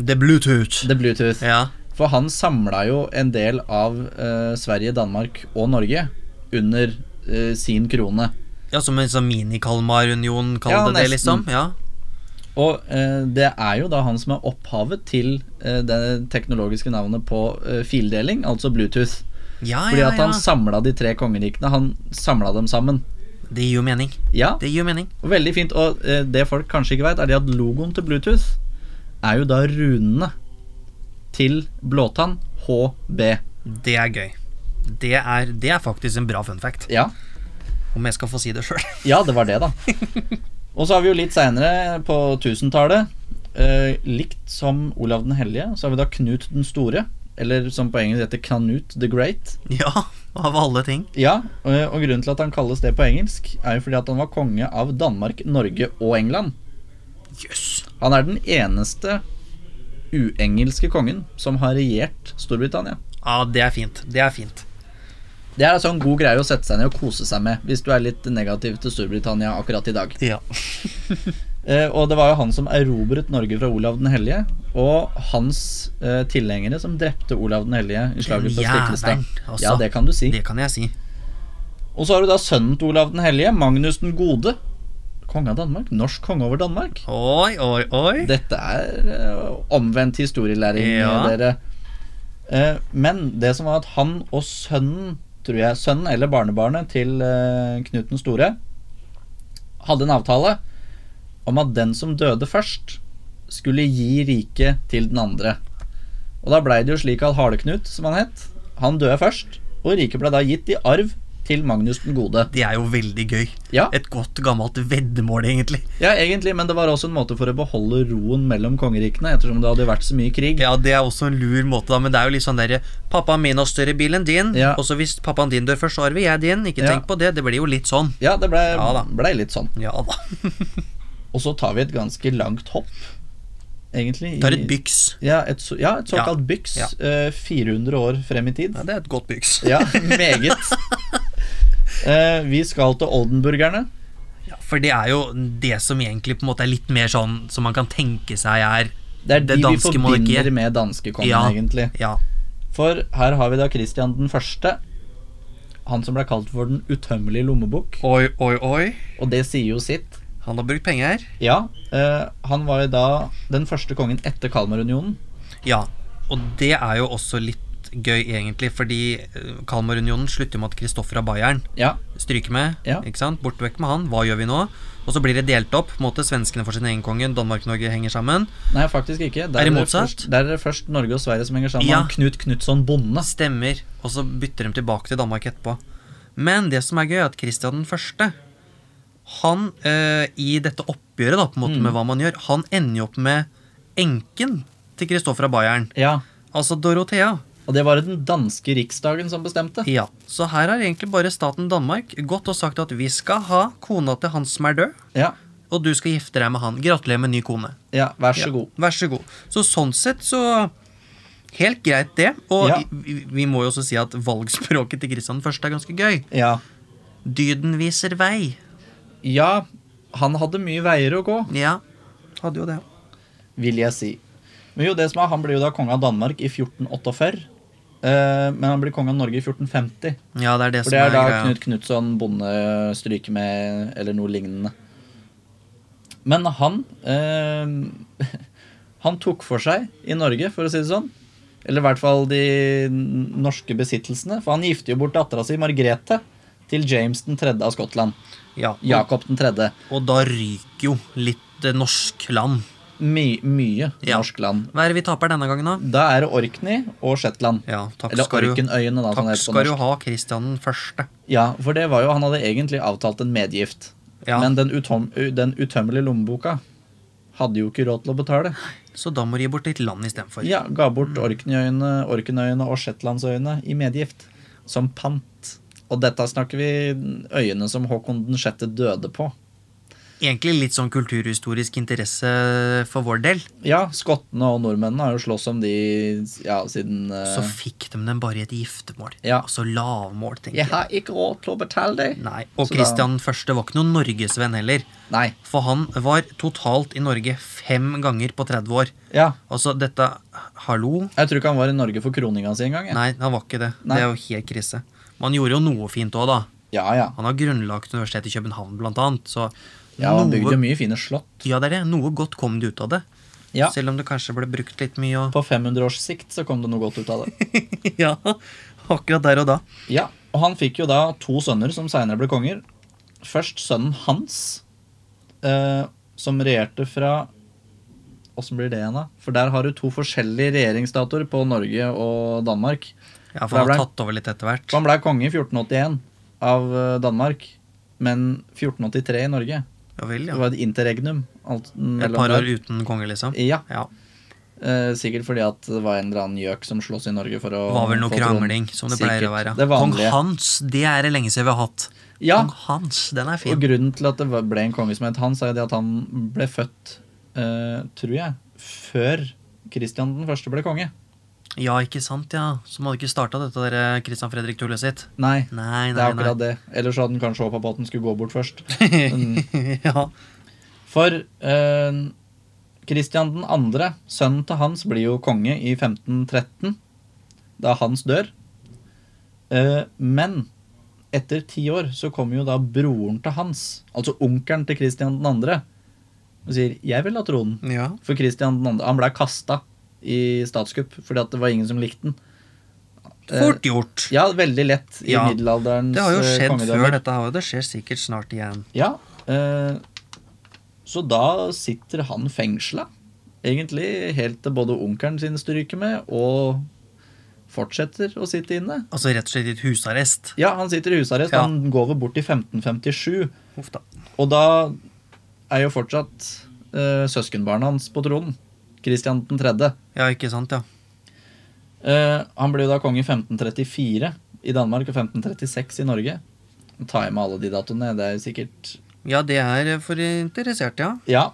[SPEAKER 2] The Bluetooth.
[SPEAKER 1] The Bluetooth.
[SPEAKER 2] Ja.
[SPEAKER 1] For han samla jo en del av eh, Sverige, Danmark og Norge under eh, sin krone.
[SPEAKER 2] ja, som en sånn mini-Kalmar-union, kall
[SPEAKER 1] Ja,
[SPEAKER 2] det det,
[SPEAKER 1] nesten.
[SPEAKER 2] liksom. Ja.
[SPEAKER 1] Og eh, det er jo da han som er opphavet til eh, det teknologiske navnet på eh, fildeling, altså Bluetooth.
[SPEAKER 2] Ja,
[SPEAKER 1] Fordi
[SPEAKER 2] Ah, ja,
[SPEAKER 1] at
[SPEAKER 2] ja.
[SPEAKER 1] han samla de tre kongerikene. Han samla dem sammen.
[SPEAKER 2] Det gir jo mening.
[SPEAKER 1] Ja,
[SPEAKER 2] Det gir jo mening.
[SPEAKER 1] og veldig fint. Og eh, det folk kanskje ikke veit, er det at logoen til Bluetooth er jo da runene til blåtann HB.
[SPEAKER 2] Det er gøy. Det er, det er faktisk en bra fun fact,
[SPEAKER 1] Ja,
[SPEAKER 2] om jeg skal få si det sjøl.
[SPEAKER 1] ja det var det, da. Og så har vi jo litt seinere, på 1000-tallet, eh, likt som Olav den hellige, så har vi da Knut den store. Eller som på engelsk heter Knut the Great.
[SPEAKER 2] Ja, av alle ting.
[SPEAKER 1] Ja, og og grunnen til at han kalles det på engelsk, er jo fordi at han var konge av Danmark, Norge og England.
[SPEAKER 2] Jøss.
[SPEAKER 1] Han er den eneste uengelske kongen som har regjert Storbritannia.
[SPEAKER 2] Ja, det er fint. Det er fint.
[SPEAKER 1] Det er altså en god greie å sette seg ned og kose seg med hvis du er litt negativ til Storbritannia akkurat i dag.
[SPEAKER 2] Ja.
[SPEAKER 1] Eh, og det var jo han som erobret Norge fra Olav den hellige, og hans eh, tilhengere som drepte Olav den hellige i slaget på
[SPEAKER 2] Jævelen,
[SPEAKER 1] Stiklestad.
[SPEAKER 2] altså.
[SPEAKER 1] Ja, det kan du si.
[SPEAKER 2] Det kan jeg si.
[SPEAKER 1] Og så har du da sønnen til Olav den hellige, Magnus den gode. Konge av Danmark. Norsk konge over Danmark.
[SPEAKER 2] Oi, oi, oi.
[SPEAKER 1] Dette er eh, omvendt historielæring,
[SPEAKER 2] Ja.
[SPEAKER 1] dere. Eh, men det som var at han og sønnen, tror jeg, sønnen eller barnebarnet til eh, Knut den store, hadde en avtale om at den som døde først, skulle gi riket til den andre. Og da blei det jo slik at Harleknut, som han het, han døde først, og riket ble da gitt i arv til Magnus den gode.
[SPEAKER 2] Det er jo veldig gøy.
[SPEAKER 1] Ja.
[SPEAKER 2] Et godt, gammelt veddemål, egentlig.
[SPEAKER 1] Ja, egentlig, men det var også en måte for å beholde roen mellom kongerikene, ettersom det hadde jo vært så mye krig.
[SPEAKER 2] Ja, det er også en lur måte, da, men det er jo litt sånn derre Pappaen min har større bil enn din,
[SPEAKER 1] Ja.
[SPEAKER 2] og så hvis pappaen din dør først, så arver jeg din. Ikke
[SPEAKER 1] Ja.
[SPEAKER 2] tenk på det. Det blir jo litt sånn.
[SPEAKER 1] Ja, det blei
[SPEAKER 2] Ja da.
[SPEAKER 1] ble litt sånn.
[SPEAKER 2] Ja da.
[SPEAKER 1] Og så tar vi et ganske langt hopp, egentlig. i-
[SPEAKER 2] Det er et byks.
[SPEAKER 1] Ja, et, så- ja, et såkalt byks.
[SPEAKER 2] Ja.
[SPEAKER 1] eh, 400 år frem i tid.
[SPEAKER 2] Ja, det er et godt byks.
[SPEAKER 1] Ja, meget. Eh, vi skal til oldenburgerne.
[SPEAKER 2] Ja, for det er jo det som egentlig på en måte er litt mer sånn som man kan tenke seg er
[SPEAKER 1] Det er de
[SPEAKER 2] Det
[SPEAKER 1] vi
[SPEAKER 2] danske
[SPEAKER 1] forbinder
[SPEAKER 2] monarkiet.
[SPEAKER 1] med danskekongen,
[SPEAKER 2] Ja.
[SPEAKER 1] egentlig.
[SPEAKER 2] Ja.
[SPEAKER 1] For her har vi da Kristian den første. Han som ble kalt for Den utømmelige lommebok.
[SPEAKER 2] Oi, oi, oi.
[SPEAKER 1] Og det sier jo sitt.
[SPEAKER 2] Han har brukt penger.
[SPEAKER 1] Ja, eh, han var jo da den første kongen etter Kalmarunionen.
[SPEAKER 2] Ja, og det er jo også litt gøy, egentlig, fordi eh, Kalmarunionen slutter jo med at Kristoffer av Bayern
[SPEAKER 1] Ja,
[SPEAKER 2] stryker med.
[SPEAKER 1] Ja.
[SPEAKER 2] ikke sant? Bort vekk med han. Hva gjør vi nå? Og så blir det delt opp. på en måte Svenskene får sin egen konge, Danmark-Norge henger sammen.
[SPEAKER 1] Nei, faktisk ikke. Der
[SPEAKER 2] Er det
[SPEAKER 1] først-
[SPEAKER 2] motsatt?
[SPEAKER 1] Der er det først Norge og Sverige som henger sammen.
[SPEAKER 2] Ja.
[SPEAKER 1] og Knut Knutson Bonde.
[SPEAKER 2] Stemmer. Og så bytter de tilbake til Danmark etterpå. Men det som er gøy, er at Kristian den første, han eh, i dette oppgjøret da, på en måte med hva man gjør, han ender jo opp med enken til Kristoffer av Bayern,
[SPEAKER 1] Ja,
[SPEAKER 2] altså Dorothea.
[SPEAKER 1] Og det var det den danske riksdagen som bestemte.
[SPEAKER 2] Ja, Så her har egentlig bare staten Danmark gått og sagt at vi skal ha kona til han som er død,
[SPEAKER 1] Ja,
[SPEAKER 2] og du skal gifte deg med han. Gratulerer med ny kone.
[SPEAKER 1] ja vær så
[SPEAKER 2] Ja,
[SPEAKER 1] god.
[SPEAKER 2] Vær så god. Så sånn sett så Helt greit, det. Og
[SPEAKER 1] Ja.
[SPEAKER 2] vi, vi må jo også si at valgspråket til Kristian 1. er ganske gøy.
[SPEAKER 1] Ja.
[SPEAKER 2] Dyden viser vei.
[SPEAKER 1] ja, han hadde mye veier å gå,
[SPEAKER 2] Ja, hadde jo det.
[SPEAKER 1] vil jeg si. Men jo, det som er, Han blir jo da konge av Danmark i 1448. eh, men han blir konge av Norge i 1450.
[SPEAKER 2] Ja, det er det
[SPEAKER 1] For
[SPEAKER 2] som
[SPEAKER 1] det er
[SPEAKER 2] er,
[SPEAKER 1] da
[SPEAKER 2] greia.
[SPEAKER 1] Knut Knutson bonde stryker med, eller noe lignende. Men han eh, han tok for seg i Norge, for å si det sånn. Eller i hvert fall de n- norske besittelsene. For han gifter jo bort dattera si, Margrethe, til James den tredje av Skottland.
[SPEAKER 2] Ja, og,
[SPEAKER 1] Jakob den tredje.
[SPEAKER 2] og da ryker jo litt eh, norsk land.
[SPEAKER 1] My, mye
[SPEAKER 2] Ja.
[SPEAKER 1] norsk land.
[SPEAKER 2] Hva er det vi taper denne gangen, da?
[SPEAKER 1] Da er det Orkney og Shetland.
[SPEAKER 2] Ja, takk
[SPEAKER 1] Eller
[SPEAKER 2] skal du,
[SPEAKER 1] Orkenøyene, da. som
[SPEAKER 2] takk
[SPEAKER 1] det heter på
[SPEAKER 2] skal du
[SPEAKER 1] norsk.
[SPEAKER 2] ha, Kristian den første.
[SPEAKER 1] Ja, for det var jo Han hadde egentlig avtalt en medgift.
[SPEAKER 2] Ja,
[SPEAKER 1] Men den, utom, u- den utømmelige lommeboka hadde jo ikke råd til å betale.
[SPEAKER 2] Så da må du gi bort litt land istedenfor.
[SPEAKER 1] Ja, Ga bort Orkneyøyene, Orkenøyene og Shetlandsøyene i medgift. Som pant. Og dette snakker vi øyene som Håkon den sjette døde på.
[SPEAKER 2] Egentlig litt sånn kulturhistorisk interesse for vår del.
[SPEAKER 1] Ja, skottene og nordmennene har jo slåss om de ja, siden eh,
[SPEAKER 2] Så fikk de den bare i et giftermål.
[SPEAKER 1] Ja.
[SPEAKER 2] Altså lavmål, tenker
[SPEAKER 1] Jeg
[SPEAKER 2] jeg.
[SPEAKER 1] har ikke råd til å betale deg.
[SPEAKER 2] Nei,
[SPEAKER 1] Så
[SPEAKER 2] Og
[SPEAKER 1] da-
[SPEAKER 2] Kristian den første var ikke noen norgesvenn heller.
[SPEAKER 1] Nei.
[SPEAKER 2] For han var totalt i Norge fem ganger på 30 år.
[SPEAKER 1] Ja,
[SPEAKER 2] Altså, dette Hallo?
[SPEAKER 1] jeg tror ikke han var i Norge for kroninga si engang. jeg.
[SPEAKER 2] Nei, han var ikke det.
[SPEAKER 1] Nei.
[SPEAKER 2] Det er jo helt krise. Men han gjorde jo noe fint òg, da.
[SPEAKER 1] Ja, ja.
[SPEAKER 2] Han har grunnlagt Universitetet i København, blant annet. Så
[SPEAKER 1] ja han bygde jo
[SPEAKER 2] noe,
[SPEAKER 1] mye fine slott.
[SPEAKER 2] ja, det er det. noe godt kom det ut av det.
[SPEAKER 1] Ja.
[SPEAKER 2] Selv om det kanskje ble brukt litt mye og
[SPEAKER 1] På 500 års sikt så kom det noe godt ut av det.
[SPEAKER 2] Ja, akkurat der og da.
[SPEAKER 1] Ja, og han fikk jo da to sønner som senere ble konger. Først sønnen hans, eh, som regjerte fra Åssen blir det igjen, da? For der har du to forskjellige regjeringsdatoer på Norge og Danmark.
[SPEAKER 2] Ja,
[SPEAKER 1] For
[SPEAKER 2] for han
[SPEAKER 1] det
[SPEAKER 2] har
[SPEAKER 1] ble-
[SPEAKER 2] tatt over litt etter hvert.
[SPEAKER 1] Så han ble konge i 1481 av eh, Danmark, men 1483 i Norge.
[SPEAKER 2] Ja vel,
[SPEAKER 1] Det
[SPEAKER 2] ja.
[SPEAKER 1] var et interregnum. Alt
[SPEAKER 2] Et
[SPEAKER 1] mellom
[SPEAKER 2] par år
[SPEAKER 1] der.
[SPEAKER 2] uten konge, liksom.
[SPEAKER 1] Ja,
[SPEAKER 2] Ja.
[SPEAKER 1] eh, Sikkert fordi at det var en eller annen gjøk som sloss i Norge for å
[SPEAKER 2] Det var vel noe
[SPEAKER 1] få tronen.
[SPEAKER 2] krangling, som det pleier å være.
[SPEAKER 1] Sikkert. Det
[SPEAKER 2] Kong
[SPEAKER 1] vanlige.
[SPEAKER 2] Hans, det er det lenge siden vi har hatt.
[SPEAKER 1] Ja,
[SPEAKER 2] Kong Hans, den er
[SPEAKER 1] Og
[SPEAKER 2] fin.
[SPEAKER 1] grunnen til at det var- ble en konge som het Hans, er jo det at han ble født, eh, tror jeg, før Kristian den første ble konge.
[SPEAKER 2] Ja, ikke sant, ja. Som hadde ikke starta dette der eh, Christian Fredrik-tullet sitt.
[SPEAKER 1] Nei,
[SPEAKER 2] Nei,
[SPEAKER 1] det er
[SPEAKER 2] nei,
[SPEAKER 1] akkurat det. Ellers hadde han kanskje håpa på at han skulle gå bort først.
[SPEAKER 2] nei.
[SPEAKER 1] Mm.
[SPEAKER 2] ja.
[SPEAKER 1] For eh, Kristian den andre, sønnen til Hans, blir jo konge i 1513, da Hans dør. Eh, men etter ti år så kommer jo da broren til Hans, altså onkelen til Kristian den andre, og sier 'jeg vil ha tronen'.
[SPEAKER 2] ja.
[SPEAKER 1] For Kristian 2. Han ble kasta i statskupp fordi at det var ingen som likte den.
[SPEAKER 2] Fort gjort.
[SPEAKER 1] Ja, veldig lett i
[SPEAKER 2] Ja,
[SPEAKER 1] middelalderens
[SPEAKER 2] Det har jo
[SPEAKER 1] eh,
[SPEAKER 2] skjedd
[SPEAKER 1] kongedømmer.
[SPEAKER 2] før dette her, og det skjer sikkert snart igjen.
[SPEAKER 1] Ja, eh, så da sitter han fengsla, egentlig, helt til både onkelen sin stryker med, og fortsetter å sitte inne.
[SPEAKER 2] Altså rett og slett i et husarrest.
[SPEAKER 1] Ja, han sitter i husarrest.
[SPEAKER 2] Ja.
[SPEAKER 1] Han går vel bort i 1557,
[SPEAKER 2] Uff da.
[SPEAKER 1] og da er jo fortsatt eh, søskenbarnet hans på tronen. Kristian 3.
[SPEAKER 2] Ja, ikke sant, ja.
[SPEAKER 1] Eh, han ble jo da konge i 1534 i Danmark og 1536 i Norge. Nå tar jeg med alle de datoene, det er jo sikkert
[SPEAKER 2] Ja, det er for interessert, ja.
[SPEAKER 1] Ja,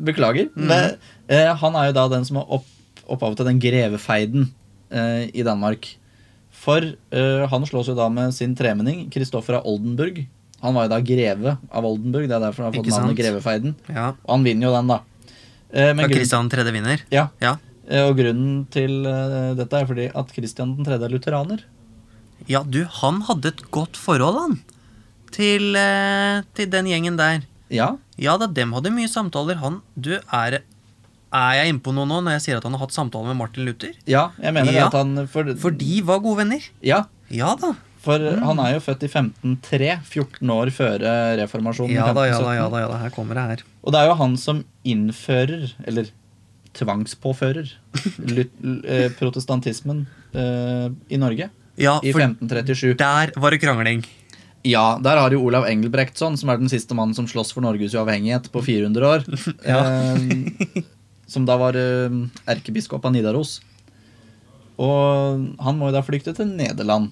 [SPEAKER 1] beklager.
[SPEAKER 2] Mhm.
[SPEAKER 1] Men, eh, han er jo da den som har opp, opphavet til den grevefeiden eh, i Danmark. For eh, han slås jo da med sin tremenning, Kristoffer av Oldenburg. Han var jo da greve av Oldenburg, det er derfor han har fått
[SPEAKER 2] Ikke
[SPEAKER 1] navnet
[SPEAKER 2] sant?
[SPEAKER 1] Grevefeiden.
[SPEAKER 2] Ja,
[SPEAKER 1] Og han vinner jo den, da. Eh,
[SPEAKER 2] ja
[SPEAKER 1] men grunnen,
[SPEAKER 2] Kristian 3. vinner.
[SPEAKER 1] ja,
[SPEAKER 2] Ja.
[SPEAKER 1] eh, og grunnen til eh, dette er fordi at Kristian 3. er lutheraner.
[SPEAKER 2] ja, du, han hadde et godt forhold, han. Til, eh, til den gjengen der.
[SPEAKER 1] Ja,
[SPEAKER 2] Ja da, dem hadde mye samtaler. Han, du, er, er jeg inne på noe nå når jeg sier at han har hatt samtaler med Martin Luther?
[SPEAKER 1] Ja, jeg mener
[SPEAKER 2] Ja.
[SPEAKER 1] at han for,
[SPEAKER 2] For de var gode venner.
[SPEAKER 1] Ja,
[SPEAKER 2] Ja da.
[SPEAKER 1] for han er jo født i 1503, 14 år før eh, reformasjonen. i
[SPEAKER 2] Ja da, ja da,
[SPEAKER 1] 1517.
[SPEAKER 2] ja da, ja da. Her kommer det her.
[SPEAKER 1] Og det er jo han som innfører, eller tvangspåfører, lut, l- eh, protestantismen eh, i Norge
[SPEAKER 2] Ja,
[SPEAKER 1] i
[SPEAKER 2] for
[SPEAKER 1] 1537.
[SPEAKER 2] der var det krangling.
[SPEAKER 1] Ja, der har jo Olav Engelbrektsson, som er den siste mannen som slåss for Norges uavhengighet på 400 år, eh, som da var eh, erkebiskop av Nidaros. Og han må jo da flykte til Nederland.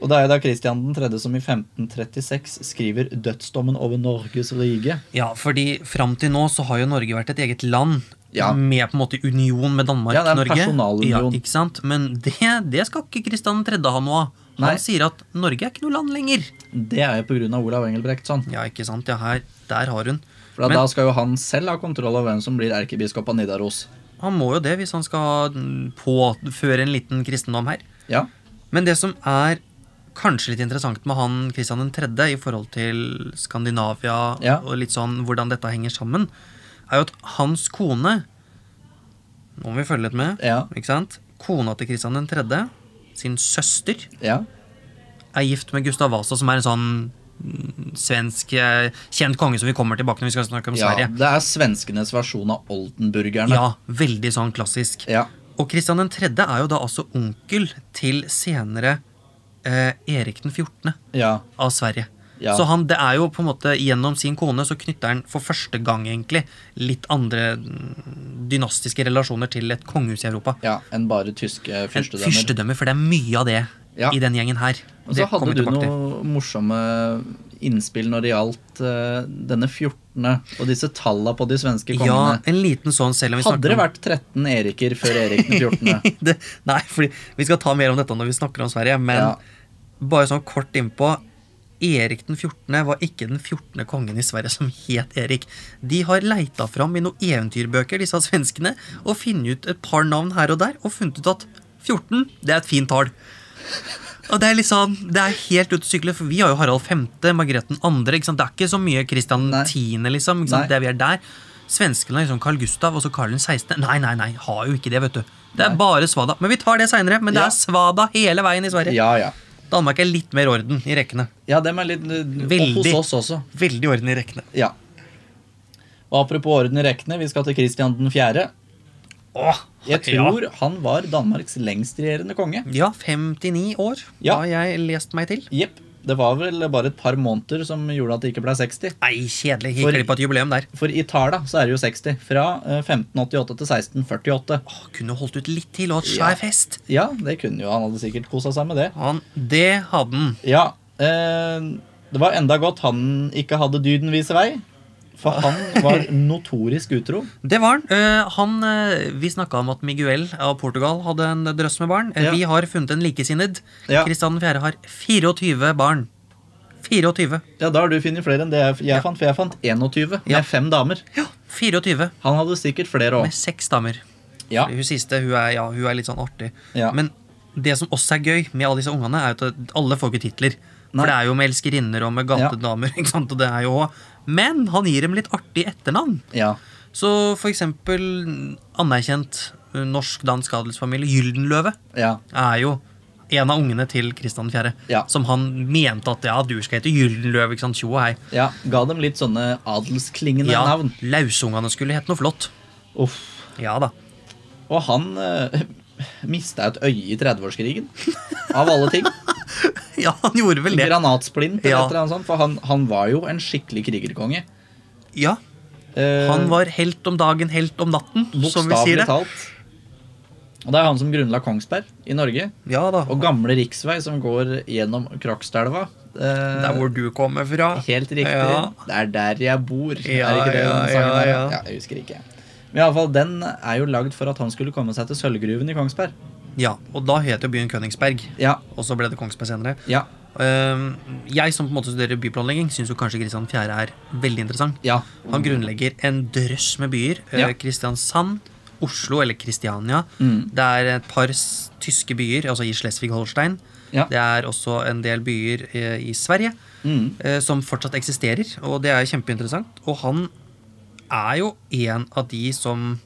[SPEAKER 1] Og det er jo da Kristian 3. som i 1536 skriver dødsdommen over Norges rike.
[SPEAKER 2] Ja, fordi fram til nå så har jo Norge vært et eget land.
[SPEAKER 1] Ja.
[SPEAKER 2] Med på en måte union med Danmark.
[SPEAKER 1] Ja, det er en
[SPEAKER 2] Norge.
[SPEAKER 1] personalunion.
[SPEAKER 2] Ja, ikke sant? Men det, det skal ikke Kristian 3. ha noe av.
[SPEAKER 1] Nei.
[SPEAKER 2] Han sier at Norge er ikke noe land lenger.
[SPEAKER 1] Det er jo pga. Olav Engelbrektsson.
[SPEAKER 2] Ja, ikke sant? Ja, her, der har hun.
[SPEAKER 1] For
[SPEAKER 2] Men-
[SPEAKER 1] da skal jo han selv ha kontroll over hvem som blir erkebiskop av Nidaros.
[SPEAKER 2] Han må jo det hvis han skal mm, påføre en liten kristendom her.
[SPEAKER 1] Ja,
[SPEAKER 2] Men det som er kanskje litt interessant med han Kristian 3. i forhold til Skandinavia
[SPEAKER 1] Ja.
[SPEAKER 2] og litt sånn hvordan dette henger sammen, er jo at hans kone Nå må vi følge litt med.
[SPEAKER 1] Ja,
[SPEAKER 2] Ikke sant? Kona til Kristian den tredje, sin søster,
[SPEAKER 1] ja.
[SPEAKER 2] er gift med Gustav Vasa, som er en sånn mm, svensk eh, kjent konge som vi kommer tilbake når vi skal snakke om
[SPEAKER 1] ja.
[SPEAKER 2] Sverige.
[SPEAKER 1] Det er svenskenes versjon av oldenburgerne.
[SPEAKER 2] Ja, veldig sånn klassisk.
[SPEAKER 1] Ja.
[SPEAKER 2] Og Kristian 3. er jo da altså onkel til senere eh, Erik den 14.
[SPEAKER 1] ja.
[SPEAKER 2] av Sverige.
[SPEAKER 1] Ja.
[SPEAKER 2] Så han, det er jo på en måte gjennom sin kone så knytter han for første gang egentlig litt andre mm, dynastiske relasjoner til et kongehus i Europa.
[SPEAKER 1] ja. Enn bare tyske
[SPEAKER 2] En
[SPEAKER 1] fyrstedømmer.
[SPEAKER 2] fyrstedømmer, for det er mye av det
[SPEAKER 1] Ja.
[SPEAKER 2] i den gjengen her.
[SPEAKER 1] Og så
[SPEAKER 2] Det kommer
[SPEAKER 1] hadde
[SPEAKER 2] vi
[SPEAKER 1] du
[SPEAKER 2] tilbake til.
[SPEAKER 1] noe morsomme innspill når det gjaldt eh, denne 14. og disse talla på de svenske
[SPEAKER 2] Ja,
[SPEAKER 1] kongene.
[SPEAKER 2] en liten sånn, selv om vi
[SPEAKER 1] hadde
[SPEAKER 2] snakker
[SPEAKER 1] det
[SPEAKER 2] om
[SPEAKER 1] vært 13 Eriker før Erik den 14.?
[SPEAKER 2] det, Nei, fordi vi skal ta mer om dette når vi snakker om Sverige, men
[SPEAKER 1] Ja.
[SPEAKER 2] bare sånn kort innpå. Erik den 14. var ikke den 14. kongen i Sverige som het Erik. De har leita fram i noen eventyrbøker, disse svenskene, og funnet ut et par navn her og der, og funnet ut at 14, det er et fint tall. Og det er litt sånn, det er helt ute å sykle, for vi har jo Harald 5., Margrethe 2., ikke sant? det er ikke så mye Kristian
[SPEAKER 1] Nei.
[SPEAKER 2] 10., liksom, ikke sant?
[SPEAKER 1] Nei.
[SPEAKER 2] det vi er der. Svenskene er liksom Carl Gustav og så Karl 16. Nei, nei, nei, har jo ikke det, vet du. Det er bare svada. Men vi tar det seinere, men det
[SPEAKER 1] Ja.
[SPEAKER 2] er svada hele veien i Sverige.
[SPEAKER 1] Ja, ja.
[SPEAKER 2] Danmark er litt mer orden i rekkene.
[SPEAKER 1] Ja, dem er litt Veldig.
[SPEAKER 2] Veldig.
[SPEAKER 1] Hos oss også.
[SPEAKER 2] Veldig orden i rekkene.
[SPEAKER 1] Ja. Og apropos orden i rekkene, vi skal til Kristian den 4.
[SPEAKER 2] Åh,
[SPEAKER 1] Jeg tror han var Danmarks lengstregjerende konge.
[SPEAKER 2] Ja, ja 59 år
[SPEAKER 1] Ja.
[SPEAKER 2] har jeg lest meg til.
[SPEAKER 1] Jepp. Det var vel bare et par måneder som gjorde at det ikke ble 60.
[SPEAKER 2] Nei, kjedelig.
[SPEAKER 1] For-
[SPEAKER 2] Gikk glipp av et jubileum der.
[SPEAKER 1] For i Tala så er det jo 60. Fra eh, 1588 til 1648.
[SPEAKER 2] Åh, kunne holdt ut litt til og hatt
[SPEAKER 1] Ja.
[SPEAKER 2] svær fest.
[SPEAKER 1] Ja, det kunne jo han. hadde sikkert kosa seg med det.
[SPEAKER 2] Han, det hadde han.
[SPEAKER 1] Ja, eh, det var enda godt han ikke hadde dyden vise vei. For han var notorisk utro.
[SPEAKER 2] Det var han. Eh, han eh, vi snakka om at Miguel av Portugal hadde en drøss med barn. Eh,
[SPEAKER 1] Ja.
[SPEAKER 2] Vi har funnet en likesinnet.
[SPEAKER 1] Ja.
[SPEAKER 2] Kristian 4. har 24 barn. 24.
[SPEAKER 1] Ja, Da har du funnet flere enn det jeg, jeg fant, for jeg fant 21
[SPEAKER 2] Ja.
[SPEAKER 1] med fem damer.
[SPEAKER 2] Ja, 24
[SPEAKER 1] Han hadde sikkert flere
[SPEAKER 2] med
[SPEAKER 1] òg.
[SPEAKER 2] seks damer.
[SPEAKER 1] Ja.
[SPEAKER 2] Hun siste hun er, ja, hun er litt sånn artig.
[SPEAKER 1] Ja.
[SPEAKER 2] Men det som også er gøy med alle disse ungene, er jo at alle får ikke titler.
[SPEAKER 1] Nei.
[SPEAKER 2] For det er jo med elskerinner og med gatedamer. Ikke sant? Og det er jo, men han gir dem litt artig etternavn.
[SPEAKER 1] Ja.
[SPEAKER 2] Så for eksempel anerkjent eh, norsk-dansk adelsfamilie Gyldenløve.
[SPEAKER 1] ja.
[SPEAKER 2] er jo en av ungene til Kristian 4.,
[SPEAKER 1] Ja.
[SPEAKER 2] som han mente at ja, du skal hete Gyldenløv. ikke sant, tjo og hei.
[SPEAKER 1] ja. Ga dem litt sånne adelsklingende
[SPEAKER 2] Ja,
[SPEAKER 1] navn.
[SPEAKER 2] Lausungene skulle hete noe flott.
[SPEAKER 1] Uff.
[SPEAKER 2] Ja da.
[SPEAKER 1] Og han eh, mista et øye i 30-årskrigen. Av alle ting.
[SPEAKER 2] Ja, han gjorde vel det.
[SPEAKER 1] Granatsplint eller
[SPEAKER 2] Ja.
[SPEAKER 1] et eller annet sånt. For han, han var jo en skikkelig krigerkonge.
[SPEAKER 2] Ja,
[SPEAKER 1] Eh,
[SPEAKER 2] Han var helt om dagen, helt om natten, som vi
[SPEAKER 1] Bokstavelig
[SPEAKER 2] sier det.
[SPEAKER 1] talt. Og det er han som grunnla Kongsberg i Norge.
[SPEAKER 2] Ja da.
[SPEAKER 1] Og gamle riksvei som går gjennom Krokstadelva. Eh,
[SPEAKER 2] Der hvor du kommer fra.
[SPEAKER 1] Helt riktig.
[SPEAKER 2] Ja.
[SPEAKER 1] Det er der jeg bor.
[SPEAKER 2] Ja,
[SPEAKER 1] er ikke det
[SPEAKER 2] ja,
[SPEAKER 1] den sangen
[SPEAKER 2] ja,
[SPEAKER 1] er?
[SPEAKER 2] ja.
[SPEAKER 1] ja, jeg husker ikke. Men i alle fall, den er jo lagd for at han skulle komme seg til sølvgruven i Kongsberg.
[SPEAKER 2] Ja, Og da het jo byen Königsberg.
[SPEAKER 1] Ja,
[SPEAKER 2] Og så ble det Kongsberg senere.
[SPEAKER 1] ja,
[SPEAKER 2] Ehm, Jeg som på en måte studerer byplanlegging, syns jo kanskje Kristian 4. er veldig interessant.
[SPEAKER 1] ja.
[SPEAKER 2] Han grunnlegger en drøss med byer. Eh,
[SPEAKER 1] Ja.
[SPEAKER 2] Kristiansand, Oslo eller Kristiania.
[SPEAKER 1] Mm.
[SPEAKER 2] Det er et par s- tyske byer, altså i Slesvig-Holstein.
[SPEAKER 1] Ja.
[SPEAKER 2] Det er også en del byer eh, i Sverige
[SPEAKER 1] Mm.
[SPEAKER 2] eh, som fortsatt eksisterer, og det er kjempeinteressant. Og han er jo en av de som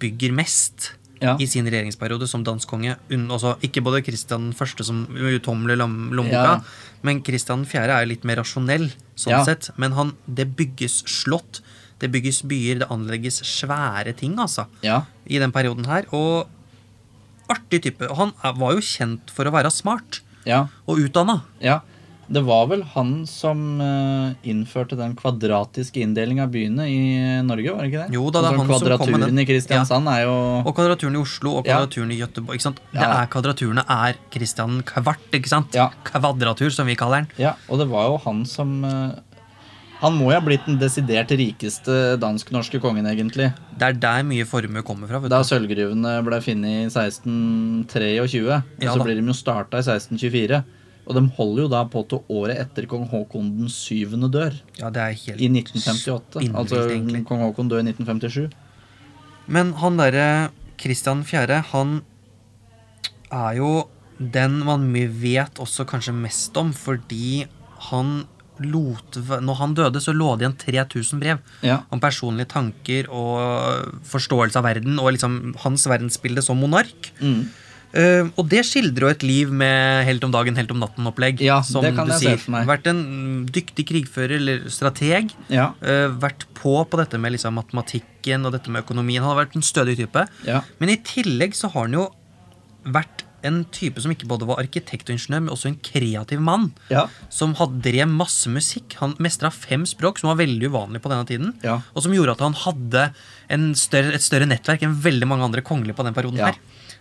[SPEAKER 2] bygger mest
[SPEAKER 1] Ja.
[SPEAKER 2] i sin regjeringsperiode som dansk konge. Unn- altså, ikke både Kristian 1. som uuthommelig lam- lommeboka,
[SPEAKER 1] Ja.
[SPEAKER 2] men Kristian 4. er jo litt mer rasjonell, sånn
[SPEAKER 1] Ja.
[SPEAKER 2] sett. Men han, det bygges slott, det bygges byer, det anlegges svære ting, altså,
[SPEAKER 1] ja.
[SPEAKER 2] i den perioden her. Og artig type. Og Han er- var jo kjent for å være smart
[SPEAKER 1] ja,
[SPEAKER 2] og utdanna.
[SPEAKER 1] ja. Det var vel han som eh, innførte den kvadratiske inndeling av byene i Norge, var det ikke det?
[SPEAKER 2] Jo da, det er
[SPEAKER 1] Sånn
[SPEAKER 2] han som kom med den.
[SPEAKER 1] Kvadraturen i Kristiansand er jo
[SPEAKER 2] Og kvadraturen i Oslo og
[SPEAKER 1] Ja.
[SPEAKER 2] kvadraturen i Gøteborg. Ikke sant? Det
[SPEAKER 1] Ja.
[SPEAKER 2] er Kvadraturene er Kristian Kvart, ikke sant?
[SPEAKER 1] Ja.
[SPEAKER 2] Kvadratur, som vi kaller den.
[SPEAKER 1] Ja, og det var jo han som eh, Han må jo ha blitt den desidert rikeste dansk-norske kongen, egentlig.
[SPEAKER 2] Det er der mye formue kommer fra. vet
[SPEAKER 1] Da
[SPEAKER 2] du.
[SPEAKER 1] sølvgruvene ble funnet i 1623, og
[SPEAKER 2] Ja
[SPEAKER 1] så
[SPEAKER 2] da.
[SPEAKER 1] blir de jo starta i 1624. Og de holder jo da på til året etter kong Haakon den syvende dør,
[SPEAKER 2] Ja, det er helt
[SPEAKER 1] i 1958.
[SPEAKER 2] spinnvilt,
[SPEAKER 1] Altså
[SPEAKER 2] egentlig.
[SPEAKER 1] kong Haakon dør i 1957.
[SPEAKER 2] Men han derre Kristian 4., han er jo den man mye vet også kanskje mest om, fordi han lot, når han døde, så lå det igjen 3000 brev
[SPEAKER 1] Ja.
[SPEAKER 2] om personlige tanker og forståelse av verden og liksom hans verdensbilde som monark.
[SPEAKER 1] Mm.
[SPEAKER 2] Eh, og det skildrer jo et liv med helt om dagen, helt om natten-opplegg.
[SPEAKER 1] Ja, det kan jeg se for meg.
[SPEAKER 2] Vært en dyktig krigfører eller strateg.
[SPEAKER 1] Ja.
[SPEAKER 2] eh, vært på på dette med liksom matematikken og dette med økonomien. Han har vært en stødig type.
[SPEAKER 1] Ja.
[SPEAKER 2] Men i tillegg så har han jo vært en type som ikke både var arkitekt og ingeniør, men også en kreativ mann.
[SPEAKER 1] Ja.
[SPEAKER 2] Som hadde drev masse musikk. Han mestra fem språk, som var veldig uvanlig på denne tiden.
[SPEAKER 1] Ja.
[SPEAKER 2] Og som gjorde at han hadde en større, et større nettverk enn veldig mange andre kongelige på den perioden.
[SPEAKER 1] Ja.
[SPEAKER 2] her.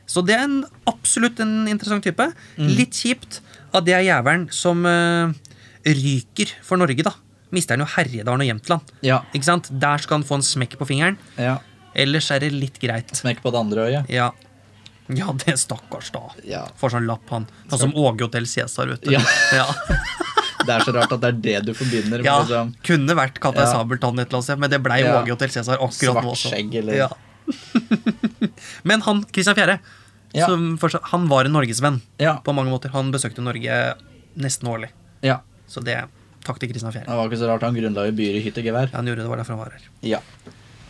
[SPEAKER 2] Så det er en, absolutt en interessant type.
[SPEAKER 1] Mm.
[SPEAKER 2] Litt kjipt at det er jævelen som eh, ryker for Norge, da. Mister han jo Herjedalen og Jämtland.
[SPEAKER 1] Ja.
[SPEAKER 2] Ikke sant? Der skal han få en smekk på fingeren.
[SPEAKER 1] ja.
[SPEAKER 2] Ellers er det litt greit.
[SPEAKER 1] Smekk på det andre øyet.
[SPEAKER 2] Ja. Ja, det er stakkars, da.
[SPEAKER 1] Ja.
[SPEAKER 2] Får sånn lapp, han. Sånn som Åge Hotell Cæsar, vet du.
[SPEAKER 1] Ja.
[SPEAKER 2] ja.
[SPEAKER 1] Det er så rart at det er det du forbinder med
[SPEAKER 2] Ja,
[SPEAKER 1] liksom,
[SPEAKER 2] Kunne vært Kaptein
[SPEAKER 1] Ja.
[SPEAKER 2] Sabeltann et eller annet sted, men det blei
[SPEAKER 1] Ja.
[SPEAKER 2] Åge Hotell Cæsar akkurat
[SPEAKER 1] svart
[SPEAKER 2] nå også.
[SPEAKER 1] skjegg eller
[SPEAKER 2] Ja. men han Christian 4.,
[SPEAKER 1] Ja.
[SPEAKER 2] som fortsatt, han var en norgesvenn
[SPEAKER 1] Ja.
[SPEAKER 2] på mange måter. Han besøkte Norge nesten årlig.
[SPEAKER 1] ja.
[SPEAKER 2] Så det Takk til Christian 4.
[SPEAKER 1] Det var ikke så rart han grunnla jo byer i hytt og gevær.
[SPEAKER 2] Han gjorde det, det var derfor han var her.
[SPEAKER 1] Ja.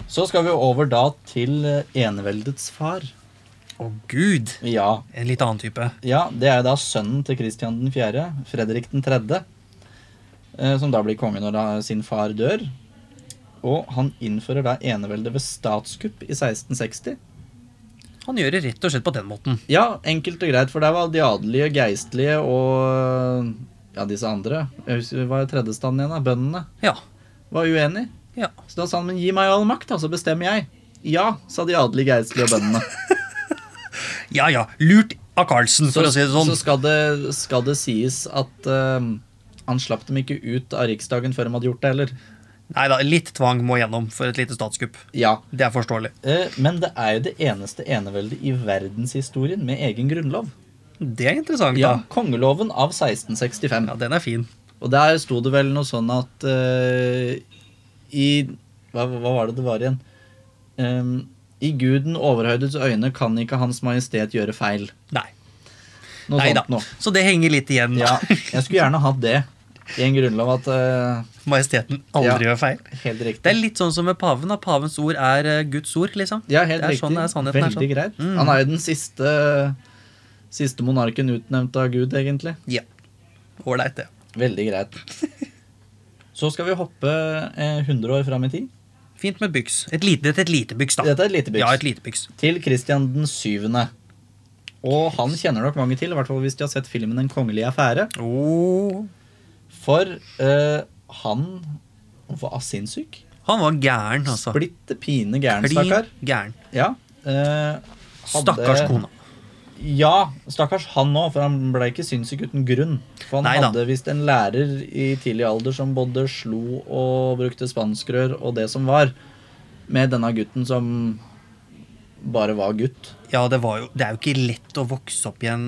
[SPEAKER 1] Så skal vi over da til eh, eneveldets far.
[SPEAKER 2] Å, gud!
[SPEAKER 1] Ja.
[SPEAKER 2] En litt annen type.
[SPEAKER 1] ja. Det er da sønnen til Kristian 4., Fredrik 3., som da blir konge når da sin far dør. Og han innfører da eneveldet ved statskupp i 1660.
[SPEAKER 2] Han gjør det rett og slett på den måten.
[SPEAKER 1] Ja, enkelt og greit, for der var de adelige, geistlige og eh, ja, disse andre. Jeg husker, Hva er tredjestanden igjen, da? Bøndene.
[SPEAKER 2] Ja.
[SPEAKER 1] Var uenig.
[SPEAKER 2] ja.
[SPEAKER 1] Så da sa han men gi meg all makt, da, så bestemmer jeg. Ja, sa de adelige, geistlige og bøndene.
[SPEAKER 2] Ja ja, lurt av Carlsen, for å si det sånn.
[SPEAKER 1] så skal, det, skal det sies at ehm, han slapp dem ikke ut av Riksdagen før de hadde gjort det heller.
[SPEAKER 2] Nei da, litt tvang må gjennom for et lite statskupp.
[SPEAKER 1] Ja,
[SPEAKER 2] Det er forståelig.
[SPEAKER 1] eh, Men det er jo det eneste eneveldet i verdenshistorien med egen grunnlov.
[SPEAKER 2] Det er interessant,
[SPEAKER 1] Ja,
[SPEAKER 2] da.
[SPEAKER 1] Kongeloven av 1665.
[SPEAKER 2] Ja, den er fin.
[SPEAKER 1] Og der sto det vel noe sånn at eh, I hva, hva var det det var igjen? Ehm, I Guden overhøydes øyne kan ikke Hans Majestet gjøre feil.
[SPEAKER 2] Nei.
[SPEAKER 1] Noe
[SPEAKER 2] Nei da.
[SPEAKER 1] sånt noe.
[SPEAKER 2] Så det henger litt igjen.
[SPEAKER 1] Ja,
[SPEAKER 2] da.
[SPEAKER 1] jeg skulle gjerne hatt det i en grunnlov at eh,
[SPEAKER 2] Majesteten aldri
[SPEAKER 1] Ja.
[SPEAKER 2] gjør feil.
[SPEAKER 1] Helt
[SPEAKER 2] Det
[SPEAKER 1] riktig.
[SPEAKER 2] er litt sånn som med paven. da. Pavens ord er eh, Guds ord, liksom.
[SPEAKER 1] Ja, helt
[SPEAKER 2] det er
[SPEAKER 1] riktig.
[SPEAKER 2] sånn det er, sannheten er
[SPEAKER 1] Veldig
[SPEAKER 2] sånn.
[SPEAKER 1] greit.
[SPEAKER 2] Mm.
[SPEAKER 1] Han er jo den siste, siste monarken utnevnt av Gud, egentlig.
[SPEAKER 2] Ja. Ålreit, det.
[SPEAKER 1] Veldig greit. Så skal vi hoppe eh, 100 år fram i tid.
[SPEAKER 2] Fint med byks. Et lite, et lite byks, da.
[SPEAKER 1] Dette er et lite byks.
[SPEAKER 2] Ja, et lite byks.
[SPEAKER 1] Til Kristian den syvende. Og han kjenner nok mange til, i hvert fall hvis de har sett filmen En kongelig affære.
[SPEAKER 2] Oh.
[SPEAKER 1] For eh, han var sinnssyk.
[SPEAKER 2] Han var gæren, altså.
[SPEAKER 1] Splitte pine gæren,
[SPEAKER 2] Klin
[SPEAKER 1] stakkar.
[SPEAKER 2] gæren.
[SPEAKER 1] Ja, eh, hadde-
[SPEAKER 2] Stakkars kona.
[SPEAKER 1] Ja, stakkars han òg, for han ble ikke sinnssyk uten grunn. For han
[SPEAKER 2] Neida.
[SPEAKER 1] hadde visst en lærer i tidlig alder som både slo og brukte spanskrør og det som var, med denne gutten som bare var gutt.
[SPEAKER 2] Ja, det, var jo, det er jo ikke lett å vokse opp i en,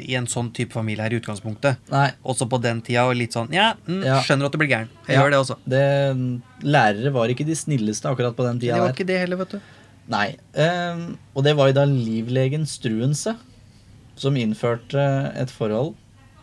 [SPEAKER 2] i en sånn type familie her i utgangspunktet.
[SPEAKER 1] Nei,
[SPEAKER 2] Også på den tida og litt sånn Ja, mm,
[SPEAKER 1] Ja.
[SPEAKER 2] skjønner at du blir gæren. Jeg
[SPEAKER 1] Ja.
[SPEAKER 2] gjør det også.
[SPEAKER 1] det, lærere var ikke de snilleste akkurat på den
[SPEAKER 2] Det
[SPEAKER 1] tida
[SPEAKER 2] var
[SPEAKER 1] der.
[SPEAKER 2] ikke det heller, vet du.
[SPEAKER 1] Nei, ehm, Og det var jo da livlegen Struense som innførte et forhold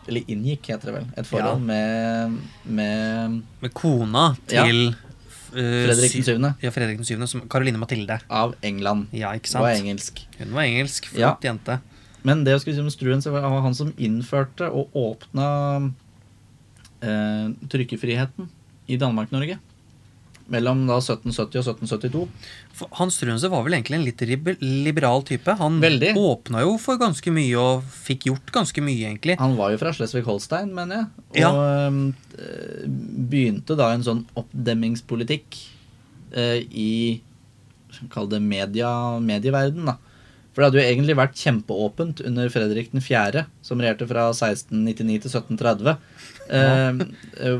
[SPEAKER 1] Eller inngikk, heter det vel. Et forhold med, med
[SPEAKER 2] Med kona til f- eh,
[SPEAKER 1] Fredrik
[SPEAKER 2] sy-
[SPEAKER 1] den syvende.
[SPEAKER 2] Ja, Fredrik den syvende, som Karoline Mathilde.
[SPEAKER 1] av England.
[SPEAKER 2] Ja, ikke
[SPEAKER 1] var
[SPEAKER 2] sant?
[SPEAKER 1] engelsk.
[SPEAKER 2] Hun var engelsk. Flott jente.
[SPEAKER 1] Men det jeg skulle si om Struen, så var han han som innførte og åpna eh, trykkefriheten i Danmark-Norge. Mellom da 1770 og 1772.
[SPEAKER 2] For Hans Strunse var vel egentlig en litt ribe- liberal type. Han
[SPEAKER 1] Veldig.
[SPEAKER 2] åpna jo for ganske mye og fikk gjort ganske mye, egentlig.
[SPEAKER 1] Han var jo fra Slesvig-Holstein, mener jeg. Og
[SPEAKER 2] Ja.
[SPEAKER 1] eh, begynte da en sånn oppdemmingspolitikk eh, i Kall det media, medieverden, da. For det hadde jo egentlig vært kjempeåpent under Fredrik 4., som regjerte fra 1699 til 1730. Eh,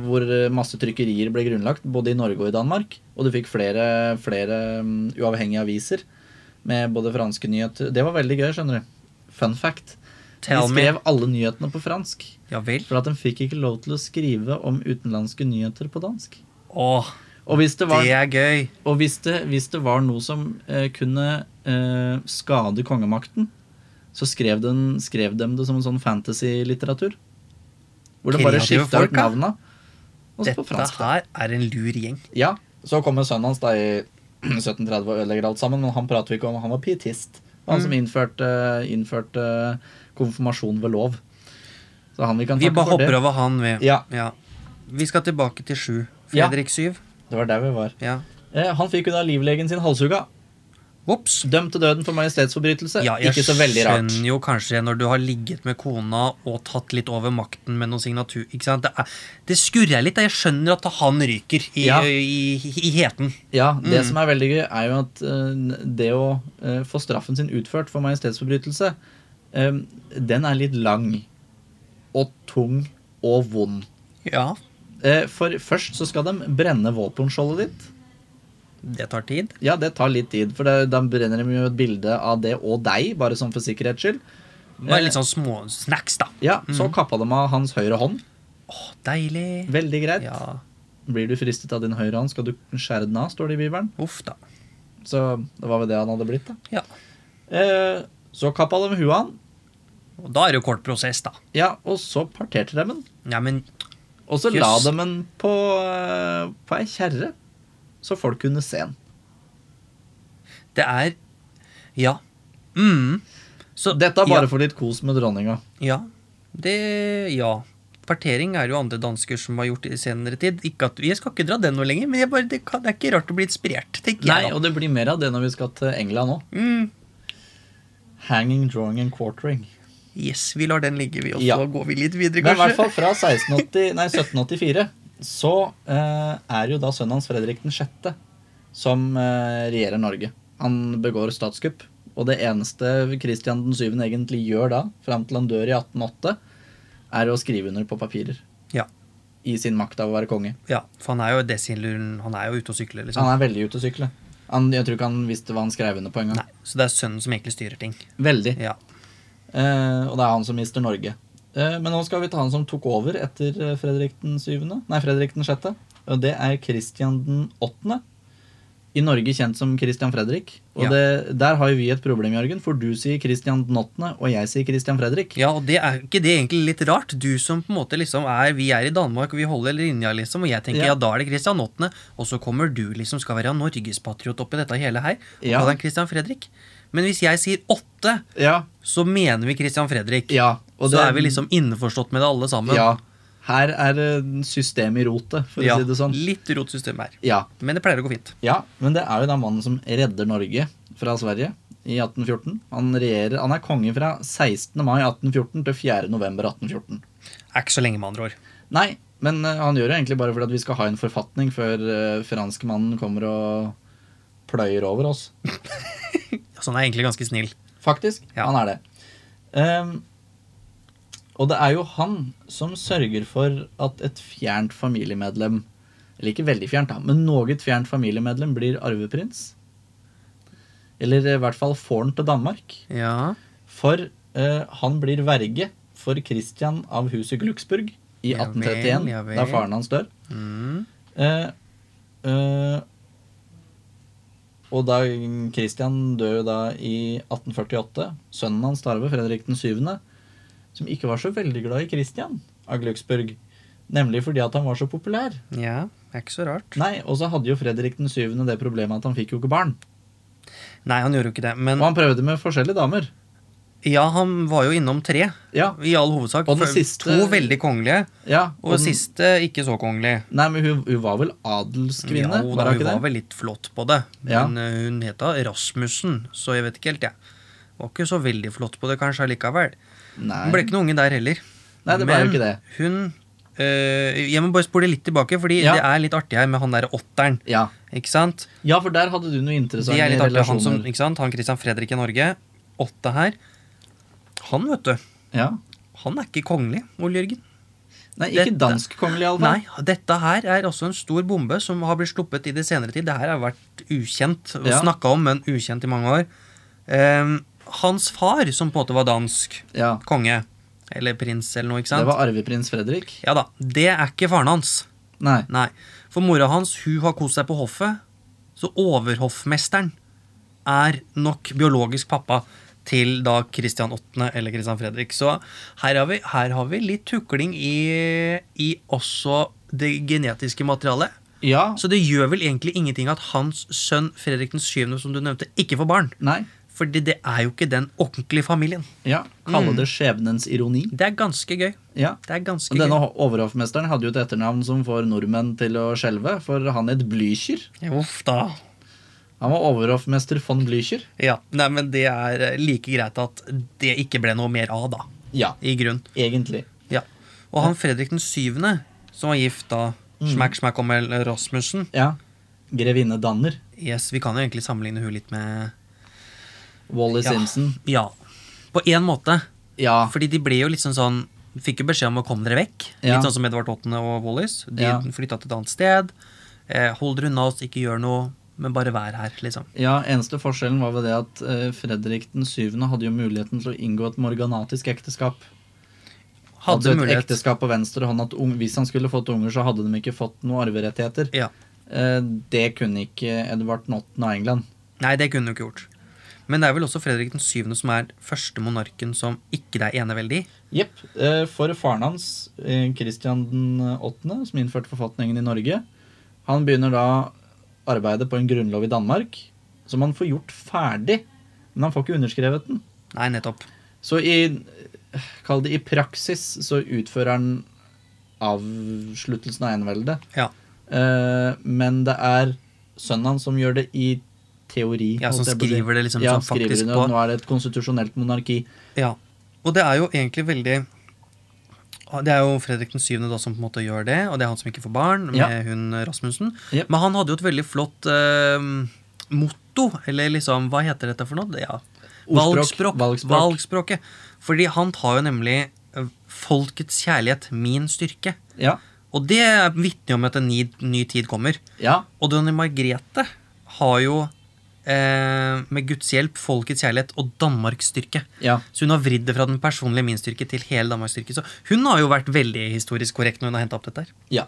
[SPEAKER 1] hvor masse trykkerier ble grunnlagt, både i Norge og i Danmark. Og du fikk flere, flere mm, uavhengige aviser med både franske nyheter Det var veldig gøy, skjønner du. Fun fact. De
[SPEAKER 2] Tell me.
[SPEAKER 1] skrev alle nyhetene på fransk.
[SPEAKER 2] Ja vel.
[SPEAKER 1] For at de fikk ikke lov til å skrive om utenlandske nyheter på dansk.
[SPEAKER 2] Åh,
[SPEAKER 1] Og hvis det var,
[SPEAKER 2] det er gøy.
[SPEAKER 1] og hvis det, hvis det var noe som eh, kunne eh, skade kongemakten, så skrev, den, skrev de det som en sånn fantasy-litteratur. Hvor de bare
[SPEAKER 2] Kreative
[SPEAKER 1] skifta
[SPEAKER 2] folk,
[SPEAKER 1] ut
[SPEAKER 2] ja.
[SPEAKER 1] navna. også på
[SPEAKER 2] Dette
[SPEAKER 1] fransk. da.
[SPEAKER 2] her er en lur gjeng.
[SPEAKER 1] Ja, så kommer sønnen hans da i 1730 og ødelegger alt sammen, men han prater vi ikke om. Han var pietist. Det var Han
[SPEAKER 2] Mm.
[SPEAKER 1] som innførte, innførte eh, konfirmasjon ved lov. Så han vi kan
[SPEAKER 2] Vi
[SPEAKER 1] takke
[SPEAKER 2] bare
[SPEAKER 1] for
[SPEAKER 2] hopper
[SPEAKER 1] det.
[SPEAKER 2] over han, vi.
[SPEAKER 1] Ja.
[SPEAKER 2] Vi skal tilbake til sju.
[SPEAKER 1] Ja.
[SPEAKER 2] Fredrik syv.
[SPEAKER 1] Det var der vi var.
[SPEAKER 2] Ja.
[SPEAKER 1] Eh, han fikk jo da livlegen sin halshugga.
[SPEAKER 2] Vops.
[SPEAKER 1] Dømt til døden for majestetsforbrytelse.
[SPEAKER 2] Ja, jeg
[SPEAKER 1] ikke så veldig rart.
[SPEAKER 2] skjønner jo kanskje når du har ligget med kona og tatt litt over makten med noen signatur ikke sant? Det, er, det skurrer litt. da. Jeg skjønner at han ryker i,
[SPEAKER 1] Ja.
[SPEAKER 2] i, i, i heten.
[SPEAKER 1] Ja, Det
[SPEAKER 2] Mm.
[SPEAKER 1] som er veldig gøy, er jo at eh, det å eh, få straffen sin utført for majestetsforbrytelse, eh, den er litt lang og tung og vond.
[SPEAKER 2] Ja,
[SPEAKER 1] Eh, For først så skal de brenne våpenskjoldet ditt.
[SPEAKER 2] det tar tid.
[SPEAKER 1] Ja, det tar litt tid, for det, da brenner de jo et bilde av det og deg, bare sånn for sikkerhets skyld.
[SPEAKER 2] Bare litt sånn småsnacks, da.
[SPEAKER 1] Ja, Så
[SPEAKER 2] Mm.
[SPEAKER 1] kappa de av hans høyre hånd.
[SPEAKER 2] Å, deilig.
[SPEAKER 1] Veldig greit.
[SPEAKER 2] Ja,
[SPEAKER 1] Blir du fristet av din høyre hånd, skal du skjære den av, står det i Bibelen.
[SPEAKER 2] uff da.
[SPEAKER 1] Så det var vel det han hadde blitt, da.
[SPEAKER 2] Ja.
[SPEAKER 1] Eh, så kappa de huet av han,
[SPEAKER 2] Og da er det jo kort prosess, da.
[SPEAKER 1] ja, og så parterte de den.
[SPEAKER 2] Ja, men
[SPEAKER 1] Og så
[SPEAKER 2] Jøss.
[SPEAKER 1] la de den på, eh, på ei kjerre, så folk kunne se den.
[SPEAKER 2] det er Ja. Mm. Så
[SPEAKER 1] Dette er
[SPEAKER 2] ja.
[SPEAKER 1] bare for litt kos med dronninga.
[SPEAKER 2] Ja. Det Ja. Partering er jo andre dansker som har gjort i senere tid. Ikke at, jeg skal ikke dra den noe lenger, men jeg bare, det, kan, det er ikke rart å bli inspirert, tenker
[SPEAKER 1] Nei,
[SPEAKER 2] jeg. da.
[SPEAKER 1] og det blir mer av det når vi skal til England òg.
[SPEAKER 2] Mm.
[SPEAKER 1] Hanging, drawing and quartering.
[SPEAKER 2] Yes, vi lar den ligge, vi, og
[SPEAKER 1] Ja.
[SPEAKER 2] så går vi litt videre,
[SPEAKER 1] Men i hvert
[SPEAKER 2] kanskje.
[SPEAKER 1] fall fra 1680, nei, 1784 så eh, er jo da sønnen hans Fredrik den 6. som eh, regjerer Norge. Han begår statskupp. Og det eneste Kristian den 7. egentlig gjør da, fram til han dør i 1808, er å skrive under på papirer.
[SPEAKER 2] Ja.
[SPEAKER 1] I sin makt av å være konge.
[SPEAKER 2] Ja, for han er jo desilluren, han er jo ute og sykler, liksom.
[SPEAKER 1] Han er veldig ute å sykle. Han, jeg tror ikke han visste hva han skrev under på engang.
[SPEAKER 2] Nei, så det er sønnen som egentlig styrer ting.
[SPEAKER 1] Veldig.
[SPEAKER 2] Ja.
[SPEAKER 1] Eh, og det er han som mister Norge. Eh, men nå skal vi ta han som tok over etter eh, Fredrik den 7. Nei, Fredrik den 6. Og det er Kristian den 8. I Norge kjent som Kristian Fredrik. Og
[SPEAKER 2] Ja.
[SPEAKER 1] det, der har jo vi et problem, Jørgen, for du sier Kristian den 8., og jeg sier Kristian Fredrik.
[SPEAKER 2] ja, og det er ikke det egentlig litt rart? Du som på en måte liksom er Vi er i Danmark, og vi holder linja, liksom, og jeg tenker
[SPEAKER 1] Ja.
[SPEAKER 2] ja, da er det Christian 8., og så kommer du liksom skal være norgespatriot oppi dette hele her, og
[SPEAKER 1] Ja.
[SPEAKER 2] kaller han Christian Fredrik. Men hvis jeg sier 8,
[SPEAKER 1] Ja,
[SPEAKER 2] så mener vi Christian Fredrik.
[SPEAKER 1] ja og
[SPEAKER 2] så
[SPEAKER 1] det-
[SPEAKER 2] er vi liksom innforstått med det alle sammen.
[SPEAKER 1] Ja. Her er eh, systemet i rotet, for
[SPEAKER 2] Ja,
[SPEAKER 1] å si det sånn.
[SPEAKER 2] Litt rotsystem her.
[SPEAKER 1] Ja.
[SPEAKER 2] Men det pleier å gå fint.
[SPEAKER 1] ja, men det er jo da mannen som redder Norge fra Sverige i 1814. Han regjerer, han er konge fra 16. mai 1814 til 4. november 1814.
[SPEAKER 2] Er ikke så lenge, med andre ord.
[SPEAKER 1] Nei, men eh, han gjør det egentlig bare fordi at vi skal ha en forfatning før eh, franskmannen kommer og pløyer over oss.
[SPEAKER 2] Så han sånn er egentlig ganske snill.
[SPEAKER 1] Faktisk.
[SPEAKER 2] Ja.
[SPEAKER 1] Han er det. Ehm, og det er jo han som sørger for at et fjernt familiemedlem Eller ikke veldig fjernt, da, men noe fjernt familiemedlem blir arveprins. Eller i hvert fall får han til Danmark.
[SPEAKER 2] Ja.
[SPEAKER 1] For eh, han blir verge for Christian av huset Glucksburg i
[SPEAKER 2] Ja vel,
[SPEAKER 1] 1831,
[SPEAKER 2] ja vel.
[SPEAKER 1] da faren hans dør.
[SPEAKER 2] Mm.
[SPEAKER 1] Eh, eh, og da Christian dør jo da i 1848. Sønnen hans tar over, Fredrik den 7., som ikke var så veldig glad i Christian av Glucksburg. Nemlig fordi at han var så populær.
[SPEAKER 2] ja. Er ikke så rart.
[SPEAKER 1] Nei, Og så hadde jo Fredrik den 7. det problemet at han fikk jo ikke barn.
[SPEAKER 2] Nei, han gjorde jo ikke det. Men
[SPEAKER 1] Og han prøvde med forskjellige damer.
[SPEAKER 2] ja, han var jo innom tre.
[SPEAKER 1] Ja,
[SPEAKER 2] I all hovedsak.
[SPEAKER 1] Og den
[SPEAKER 2] For-
[SPEAKER 1] siste-
[SPEAKER 2] To veldig kongelige,
[SPEAKER 1] ja.
[SPEAKER 2] og,
[SPEAKER 1] den-
[SPEAKER 2] siste ikke så kongelig.
[SPEAKER 1] Nei, men hun, hun var vel adelskvinne?
[SPEAKER 2] Jo,
[SPEAKER 1] var hun
[SPEAKER 2] da, hun
[SPEAKER 1] ikke
[SPEAKER 2] var
[SPEAKER 1] det?
[SPEAKER 2] vel litt flott på det.
[SPEAKER 1] Ja.
[SPEAKER 2] Men eh, hun het da Rasmussen, så jeg vet ikke helt, jeg. Var ikke så veldig flott på det kanskje allikevel.
[SPEAKER 1] Nei.
[SPEAKER 2] Hun ble ikke noen unge der heller.
[SPEAKER 1] Nei, det ble jo ikke det.
[SPEAKER 2] hun øh, Jeg må bare spole litt tilbake, fordi
[SPEAKER 1] Ja.
[SPEAKER 2] det er litt artig her med han derre åtteren.
[SPEAKER 1] Ja.
[SPEAKER 2] Ikke sant?
[SPEAKER 1] ja, for der hadde du noe
[SPEAKER 2] Det
[SPEAKER 1] interessant
[SPEAKER 2] er
[SPEAKER 1] i
[SPEAKER 2] litt artig, han som
[SPEAKER 1] relasjoner.
[SPEAKER 2] ikke sant? Han Christian Fredrik i Norge. Åtte her. Han, vet du.
[SPEAKER 1] Ja.
[SPEAKER 2] Han er ikke kongelig, Ole Jørgen.
[SPEAKER 1] Nei, ikke
[SPEAKER 2] Dette-
[SPEAKER 1] dansk kongelig, iallfall.
[SPEAKER 2] Nei, dette her er også en stor bombe som har blitt sluppet i det senere tid. Det her har vært ukjent og
[SPEAKER 1] Ja.
[SPEAKER 2] snakka om, men ukjent i mange år. Ehm, hans far, som på en måte var dansk
[SPEAKER 1] Ja.
[SPEAKER 2] konge, eller prins eller noe,
[SPEAKER 1] Det
[SPEAKER 2] ikke sant?
[SPEAKER 1] var arveprins Fredrik.
[SPEAKER 2] Ja da, Det er ikke faren hans.
[SPEAKER 1] Nei.
[SPEAKER 2] Nei, for mora hans hun har kost seg på hoffet, så overhoffmesteren er nok biologisk pappa til da Kristian 8. eller Kristian Fredrik. Så her har vi, her har vi litt tukling i, i også det genetiske materialet.
[SPEAKER 1] Ja.
[SPEAKER 2] Så det gjør vel egentlig ingenting at hans sønn Fredrik 7., som du nevnte, ikke får barn.
[SPEAKER 1] Nei.
[SPEAKER 2] Fordi det er jo ikke den ordentlige familien.
[SPEAKER 1] Ja. Kalle det skjebnens ironi.
[SPEAKER 2] Det er ganske gøy.
[SPEAKER 1] Mm. Ja.
[SPEAKER 2] Det er ganske
[SPEAKER 1] Og denne
[SPEAKER 2] gøy.
[SPEAKER 1] overhoffmesteren hadde jo et etternavn som får nordmenn til å skjelve, for han het Blücher.
[SPEAKER 2] Ja, Uff da.
[SPEAKER 1] Han var overhoffmester von Blücher.
[SPEAKER 2] Ja, nei, men det er eh, like greit at det ikke ble noe mer av, da.
[SPEAKER 1] Ja, e-
[SPEAKER 2] I grunn.
[SPEAKER 1] egentlig.
[SPEAKER 2] Ja. Og han Fredrik 7., som var gift da
[SPEAKER 1] Mm.
[SPEAKER 2] Smack Smack om eh, Rasmussen
[SPEAKER 1] Ja. Grevinne Danner.
[SPEAKER 2] Yes, vi kan jo egentlig sammenligne hun litt med
[SPEAKER 1] Wally
[SPEAKER 2] Ja.
[SPEAKER 1] Simpson.
[SPEAKER 2] Ja. På én måte.
[SPEAKER 1] Ja.
[SPEAKER 2] Fordi de ble jo litt sånn sånn Fikk jo beskjed om å komme dere vekk.
[SPEAKER 1] Ja.
[SPEAKER 2] Litt sånn som Edvard Åttende og Wallis. De
[SPEAKER 1] Ja.
[SPEAKER 2] flytta til et annet sted. Eh, hold dere unna oss, ikke gjør noe, men bare vær her, liksom.
[SPEAKER 1] ja, Eneste forskjellen var vel det at eh, Fredrik den syvende hadde jo muligheten til å inngå et morganatisk ekteskap.
[SPEAKER 2] Hadde
[SPEAKER 1] altså et
[SPEAKER 2] mulighet.
[SPEAKER 1] ekteskap på venstre hånd at ung- hvis han skulle fått unger, så hadde de ikke fått noen arverettigheter.
[SPEAKER 2] Ja.
[SPEAKER 1] Eh, det kunne ikke Edvard Notten av England.
[SPEAKER 2] Nei, det kunne hun ikke gjort. Men det er vel også Fredrik 7. som er første monarken som ikke det er eneveldig i.
[SPEAKER 1] Jepp. eh, For faren hans, eh, Christian den åttende, som innførte forfatningen i Norge, han begynner da arbeidet på en grunnlov i Danmark, som han får gjort ferdig, men han får ikke underskrevet den.
[SPEAKER 2] Nei, nettopp.
[SPEAKER 1] Så i Kall det i praksis, så utfører han avsluttelsen av eneveldet.
[SPEAKER 2] Ja.
[SPEAKER 1] Eh, men det er sønnen hans som gjør det i teori.
[SPEAKER 2] Ja, som
[SPEAKER 1] holdt jeg på å si.
[SPEAKER 2] skriver det liksom
[SPEAKER 1] ja,
[SPEAKER 2] sånn
[SPEAKER 1] skriver
[SPEAKER 2] faktisk
[SPEAKER 1] det,
[SPEAKER 2] på.
[SPEAKER 1] og Nå er det et konstitusjonelt monarki.
[SPEAKER 2] Ja. Og det er jo egentlig veldig Det er jo Fredrik 7. Da, som på en måte gjør det, og det er han som ikke får barn, med
[SPEAKER 1] Ja.
[SPEAKER 2] hun Rasmussen.
[SPEAKER 1] Jep.
[SPEAKER 2] Men han hadde jo et veldig flott eh, motto, eller liksom Hva heter dette for noe? Det- Ja.
[SPEAKER 1] Ordspråk,
[SPEAKER 2] Valgspråk.
[SPEAKER 1] valgspråk.
[SPEAKER 2] Valgspråket. Fordi han tar jo nemlig eh, 'Folkets kjærlighet, min styrke'.
[SPEAKER 1] Ja.
[SPEAKER 2] Og det vitner jo om at en ny, ny tid kommer.
[SPEAKER 1] ja.
[SPEAKER 2] Og dronning Margrethe har jo eh, med Guds hjelp folkets kjærlighet og Danmarks styrke.
[SPEAKER 1] Ja.
[SPEAKER 2] Så hun har vridd det fra den personlige min styrke til hele Danmarks styrke. Så hun har jo vært veldig historisk korrekt når hun har henta opp dette her.
[SPEAKER 1] Ja.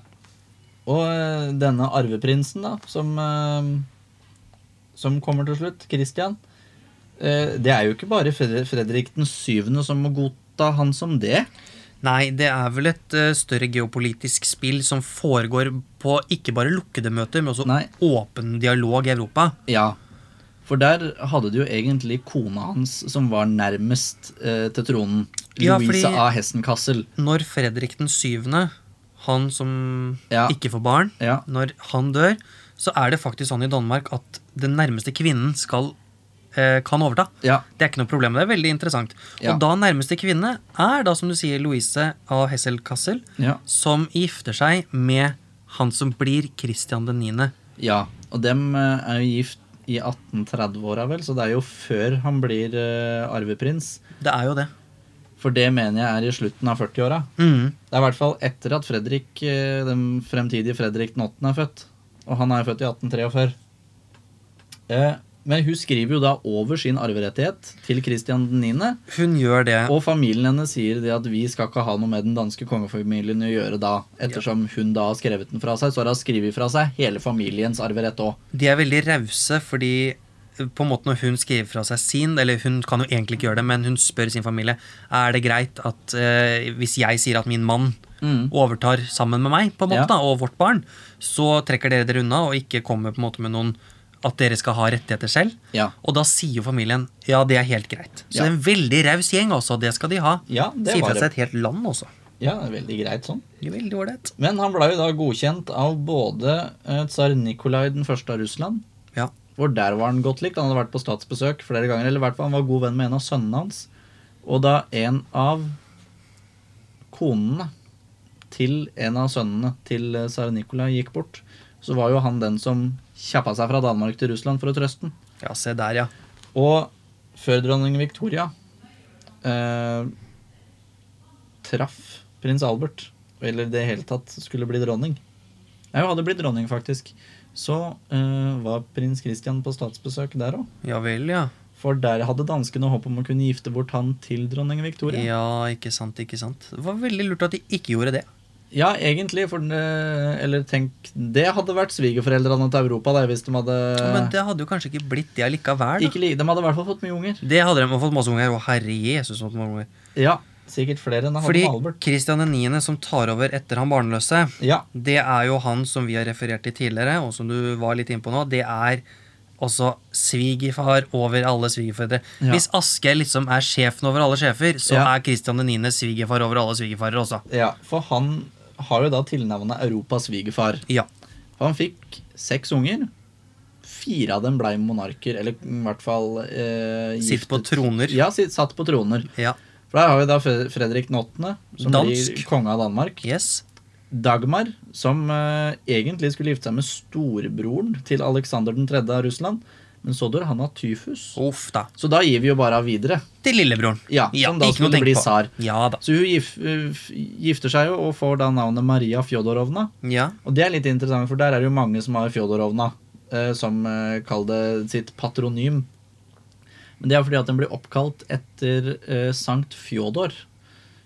[SPEAKER 1] Og eh, denne arveprinsen, da, som, eh, som kommer til slutt, Christian eh, Det er jo ikke bare Fred- Fredrik den syvende som må godta han som det.
[SPEAKER 2] Nei, det er vel et eh, større geopolitisk spill som foregår på ikke bare lukkede møter, men også
[SPEAKER 1] Nei.
[SPEAKER 2] åpen dialog i Europa.
[SPEAKER 1] Ja. For der hadde du jo egentlig kona hans som var nærmest eh, til tronen.
[SPEAKER 2] Ja,
[SPEAKER 1] Louise
[SPEAKER 2] fordi-
[SPEAKER 1] A. Hessenkassel.
[SPEAKER 2] Når Fredrik den syvende, han som
[SPEAKER 1] Ja.
[SPEAKER 2] ikke får barn,
[SPEAKER 1] Ja.
[SPEAKER 2] når han dør, så er det faktisk sånn i Danmark at den nærmeste kvinnen skal, eh, kan overta.
[SPEAKER 1] Ja.
[SPEAKER 2] Det er ikke noe problem, det er veldig interessant.
[SPEAKER 1] Ja.
[SPEAKER 2] Og da nærmeste kvinne er da, som du sier, Louise av Hessel-Kassel,
[SPEAKER 1] Ja.
[SPEAKER 2] som gifter seg med han som blir Christian den 9.
[SPEAKER 1] ja. Og dem eh, er jo gift i 1830-åra, vel, så det er jo før han blir eh, arveprins.
[SPEAKER 2] Det er jo det.
[SPEAKER 1] For det mener jeg er i slutten av 40-åra.
[SPEAKER 2] Mhm.
[SPEAKER 1] Det er i hvert fall etter at Fredrik, eh, den fremtidige Fredrik den 8. er født. Og han er jo født i 1843. Eh, Men hun skriver jo da over sin arverettighet til Kristian 9.
[SPEAKER 2] Hun gjør det.
[SPEAKER 1] Og familien hennes sier det at vi skal ikke ha noe med den danske kongefamilien å gjøre da. Ettersom hun da har skrevet den fra seg, så har hun skrevet fra seg hele familiens arverett òg.
[SPEAKER 2] De er veldig rause, fordi eh, på en måte når hun skriver fra seg sin, eller hun kan jo egentlig ikke gjøre det, men hun spør sin familie er det greit at eh, hvis jeg sier at min mann overtar sammen med meg, på en måte,
[SPEAKER 1] Mm. Ja.
[SPEAKER 2] da, og vårt barn, så trekker dere dere unna og ikke kommer på en måte med noen at dere skal ha rettigheter selv.
[SPEAKER 1] Ja.
[SPEAKER 2] Og da sier jo familien ja, det er helt greit. Så
[SPEAKER 1] Ja.
[SPEAKER 2] det er en veldig raus gjeng, altså. Det skal de ha.
[SPEAKER 1] Ja, det
[SPEAKER 2] sier
[SPEAKER 1] var
[SPEAKER 2] fra
[SPEAKER 1] det.
[SPEAKER 2] seg et helt land også.
[SPEAKER 1] Ja, det er veldig greit sånn.
[SPEAKER 2] Det er Veldig ålreit.
[SPEAKER 1] Men han ble jo da godkjent av både eh, tsar Nikolai den første av Russland,
[SPEAKER 2] Ja.
[SPEAKER 1] hvor der var han godt likt. Han hadde vært på statsbesøk flere ganger, eller i hvert fall han var god venn med en av sønnene hans. Og da en av konene til en av sønnene til eh, tsar Nikolai gikk bort, så var jo han den som kjappa seg fra Danmark til Russland for å trøste den.
[SPEAKER 2] ja, se der, ja.
[SPEAKER 1] Og før dronning Victoria eh, traff prins Albert, eller i det hele tatt skulle bli dronning Nei, hun hadde blitt dronning, faktisk. Så eh, var prins Christian på statsbesøk der òg.
[SPEAKER 2] Ja vel, ja.
[SPEAKER 1] For der hadde danskene håp om å kunne gifte bort han til dronning Victoria.
[SPEAKER 2] Ja, ikke sant, ikke sant. Det var veldig lurt at de ikke gjorde det.
[SPEAKER 1] Ja, egentlig, for eh, Eller tenk Det hadde vært svigerforeldrene til Europa, det, hvis de hadde
[SPEAKER 2] Men det hadde jo kanskje ikke blitt det allikevel. Da.
[SPEAKER 1] ikke, li- De hadde i hvert fall fått mye unger.
[SPEAKER 2] Det hadde de fått masse unger. Å, herre Jesus, så mange unger.
[SPEAKER 1] Ja, Sikkert flere enn han
[SPEAKER 2] Fordi
[SPEAKER 1] hadde med Albert.
[SPEAKER 2] Kristian 9., som tar over etter han barnløse,
[SPEAKER 1] Ja,
[SPEAKER 2] det er jo han som vi har referert til tidligere, og som du var litt innpå nå. Det er også svigerfar over alle svigerforeldre.
[SPEAKER 1] Ja.
[SPEAKER 2] Hvis Aske liksom er sjefen over alle sjefer, så
[SPEAKER 1] Ja.
[SPEAKER 2] er Kristian 9. svigerfar over alle svigerfarer også.
[SPEAKER 1] ja, for han har jo da tilnavnet Europas svigerfar.
[SPEAKER 2] Ja.
[SPEAKER 1] For han fikk seks unger. Fire av dem blei monarker, eller i hvert fall eh,
[SPEAKER 2] Sitt på
[SPEAKER 1] giftet-
[SPEAKER 2] troner.
[SPEAKER 1] Ja, sitt, satt på troner.
[SPEAKER 2] Ja.
[SPEAKER 1] For der har vi da Fre- Fredrik den 8., som
[SPEAKER 2] Dansk.
[SPEAKER 1] blir konge av Danmark.
[SPEAKER 2] Yes.
[SPEAKER 1] Dagmar, som eh, egentlig skulle gifte seg med storebroren til Aleksander 3. av Russland, men så dør han av tyfus.
[SPEAKER 2] Uff da.
[SPEAKER 1] Så da gir vi jo bare av videre.
[SPEAKER 2] Til lillebroren.
[SPEAKER 1] Ja, som da
[SPEAKER 2] ikke noe å
[SPEAKER 1] skulle
[SPEAKER 2] tenke
[SPEAKER 1] bli
[SPEAKER 2] på.
[SPEAKER 1] tsar.
[SPEAKER 2] Ja da.
[SPEAKER 1] Så hun gif, eh, f- gifter seg jo og får da navnet Maria Fjodorovna.
[SPEAKER 2] Ja.
[SPEAKER 1] Og det er litt interessant, for der er det jo mange som har Fjodorovna eh, som eh, kaller det sitt patronym. Men det er fordi at den blir oppkalt etter eh, Sankt Fjodor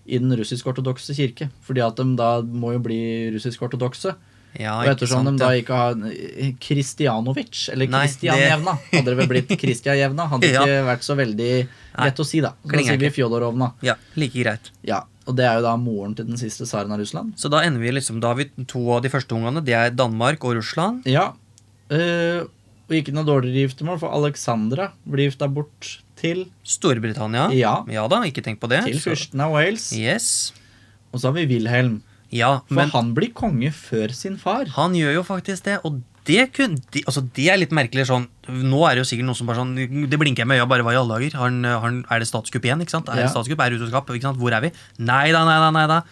[SPEAKER 1] i den russisk-ortodokse kirke. Fordi at de da må jo bli russisk-ortodokse.
[SPEAKER 2] ja
[SPEAKER 1] og
[SPEAKER 2] Ah, ikke
[SPEAKER 1] ettersom
[SPEAKER 2] sant,
[SPEAKER 1] de da
[SPEAKER 2] ja.
[SPEAKER 1] ikke har eh, Kristianovic, eller
[SPEAKER 2] Nei,
[SPEAKER 1] Kristianjevna, hadde det vel blitt Kristianjevna. Hadde
[SPEAKER 2] Ja.
[SPEAKER 1] ikke vært så veldig lett å si, da. Så da
[SPEAKER 2] Klinger
[SPEAKER 1] sier vi
[SPEAKER 2] ikke.
[SPEAKER 1] Fjodorovna.
[SPEAKER 2] ja, like greit.
[SPEAKER 1] Ja, Og det er jo da moren til den siste tsaren av Russland.
[SPEAKER 2] Så da ender vi liksom Da har vi to av de første ungene. Det er Danmark og Russland.
[SPEAKER 1] Ja. eh, og ikke noe dårligere giftermål, for Alexandra blir gifta bort til
[SPEAKER 2] Storbritannia.
[SPEAKER 1] Ja.
[SPEAKER 2] da, ikke tenk på det.
[SPEAKER 1] Til
[SPEAKER 2] Så-
[SPEAKER 1] fyrsten av Wales.
[SPEAKER 2] Yes.
[SPEAKER 1] Og så har vi Wilhelm.
[SPEAKER 2] Ja,
[SPEAKER 1] For
[SPEAKER 2] men han,
[SPEAKER 1] han blir konge før sin far.
[SPEAKER 2] gjør jo faktisk det, og det kun, de, altså det er litt merkelig sånn Nå er det jo sikkert noen som bare sånn Det blinker jeg med øya, bare hva i alle dager? Har han- har han- er det statskupp igjen? ikke sant? Er
[SPEAKER 1] Ja.
[SPEAKER 2] det statskupp? Er det utroskap? Ikke sant? Hvor er vi? Nei da, nei da, nei da.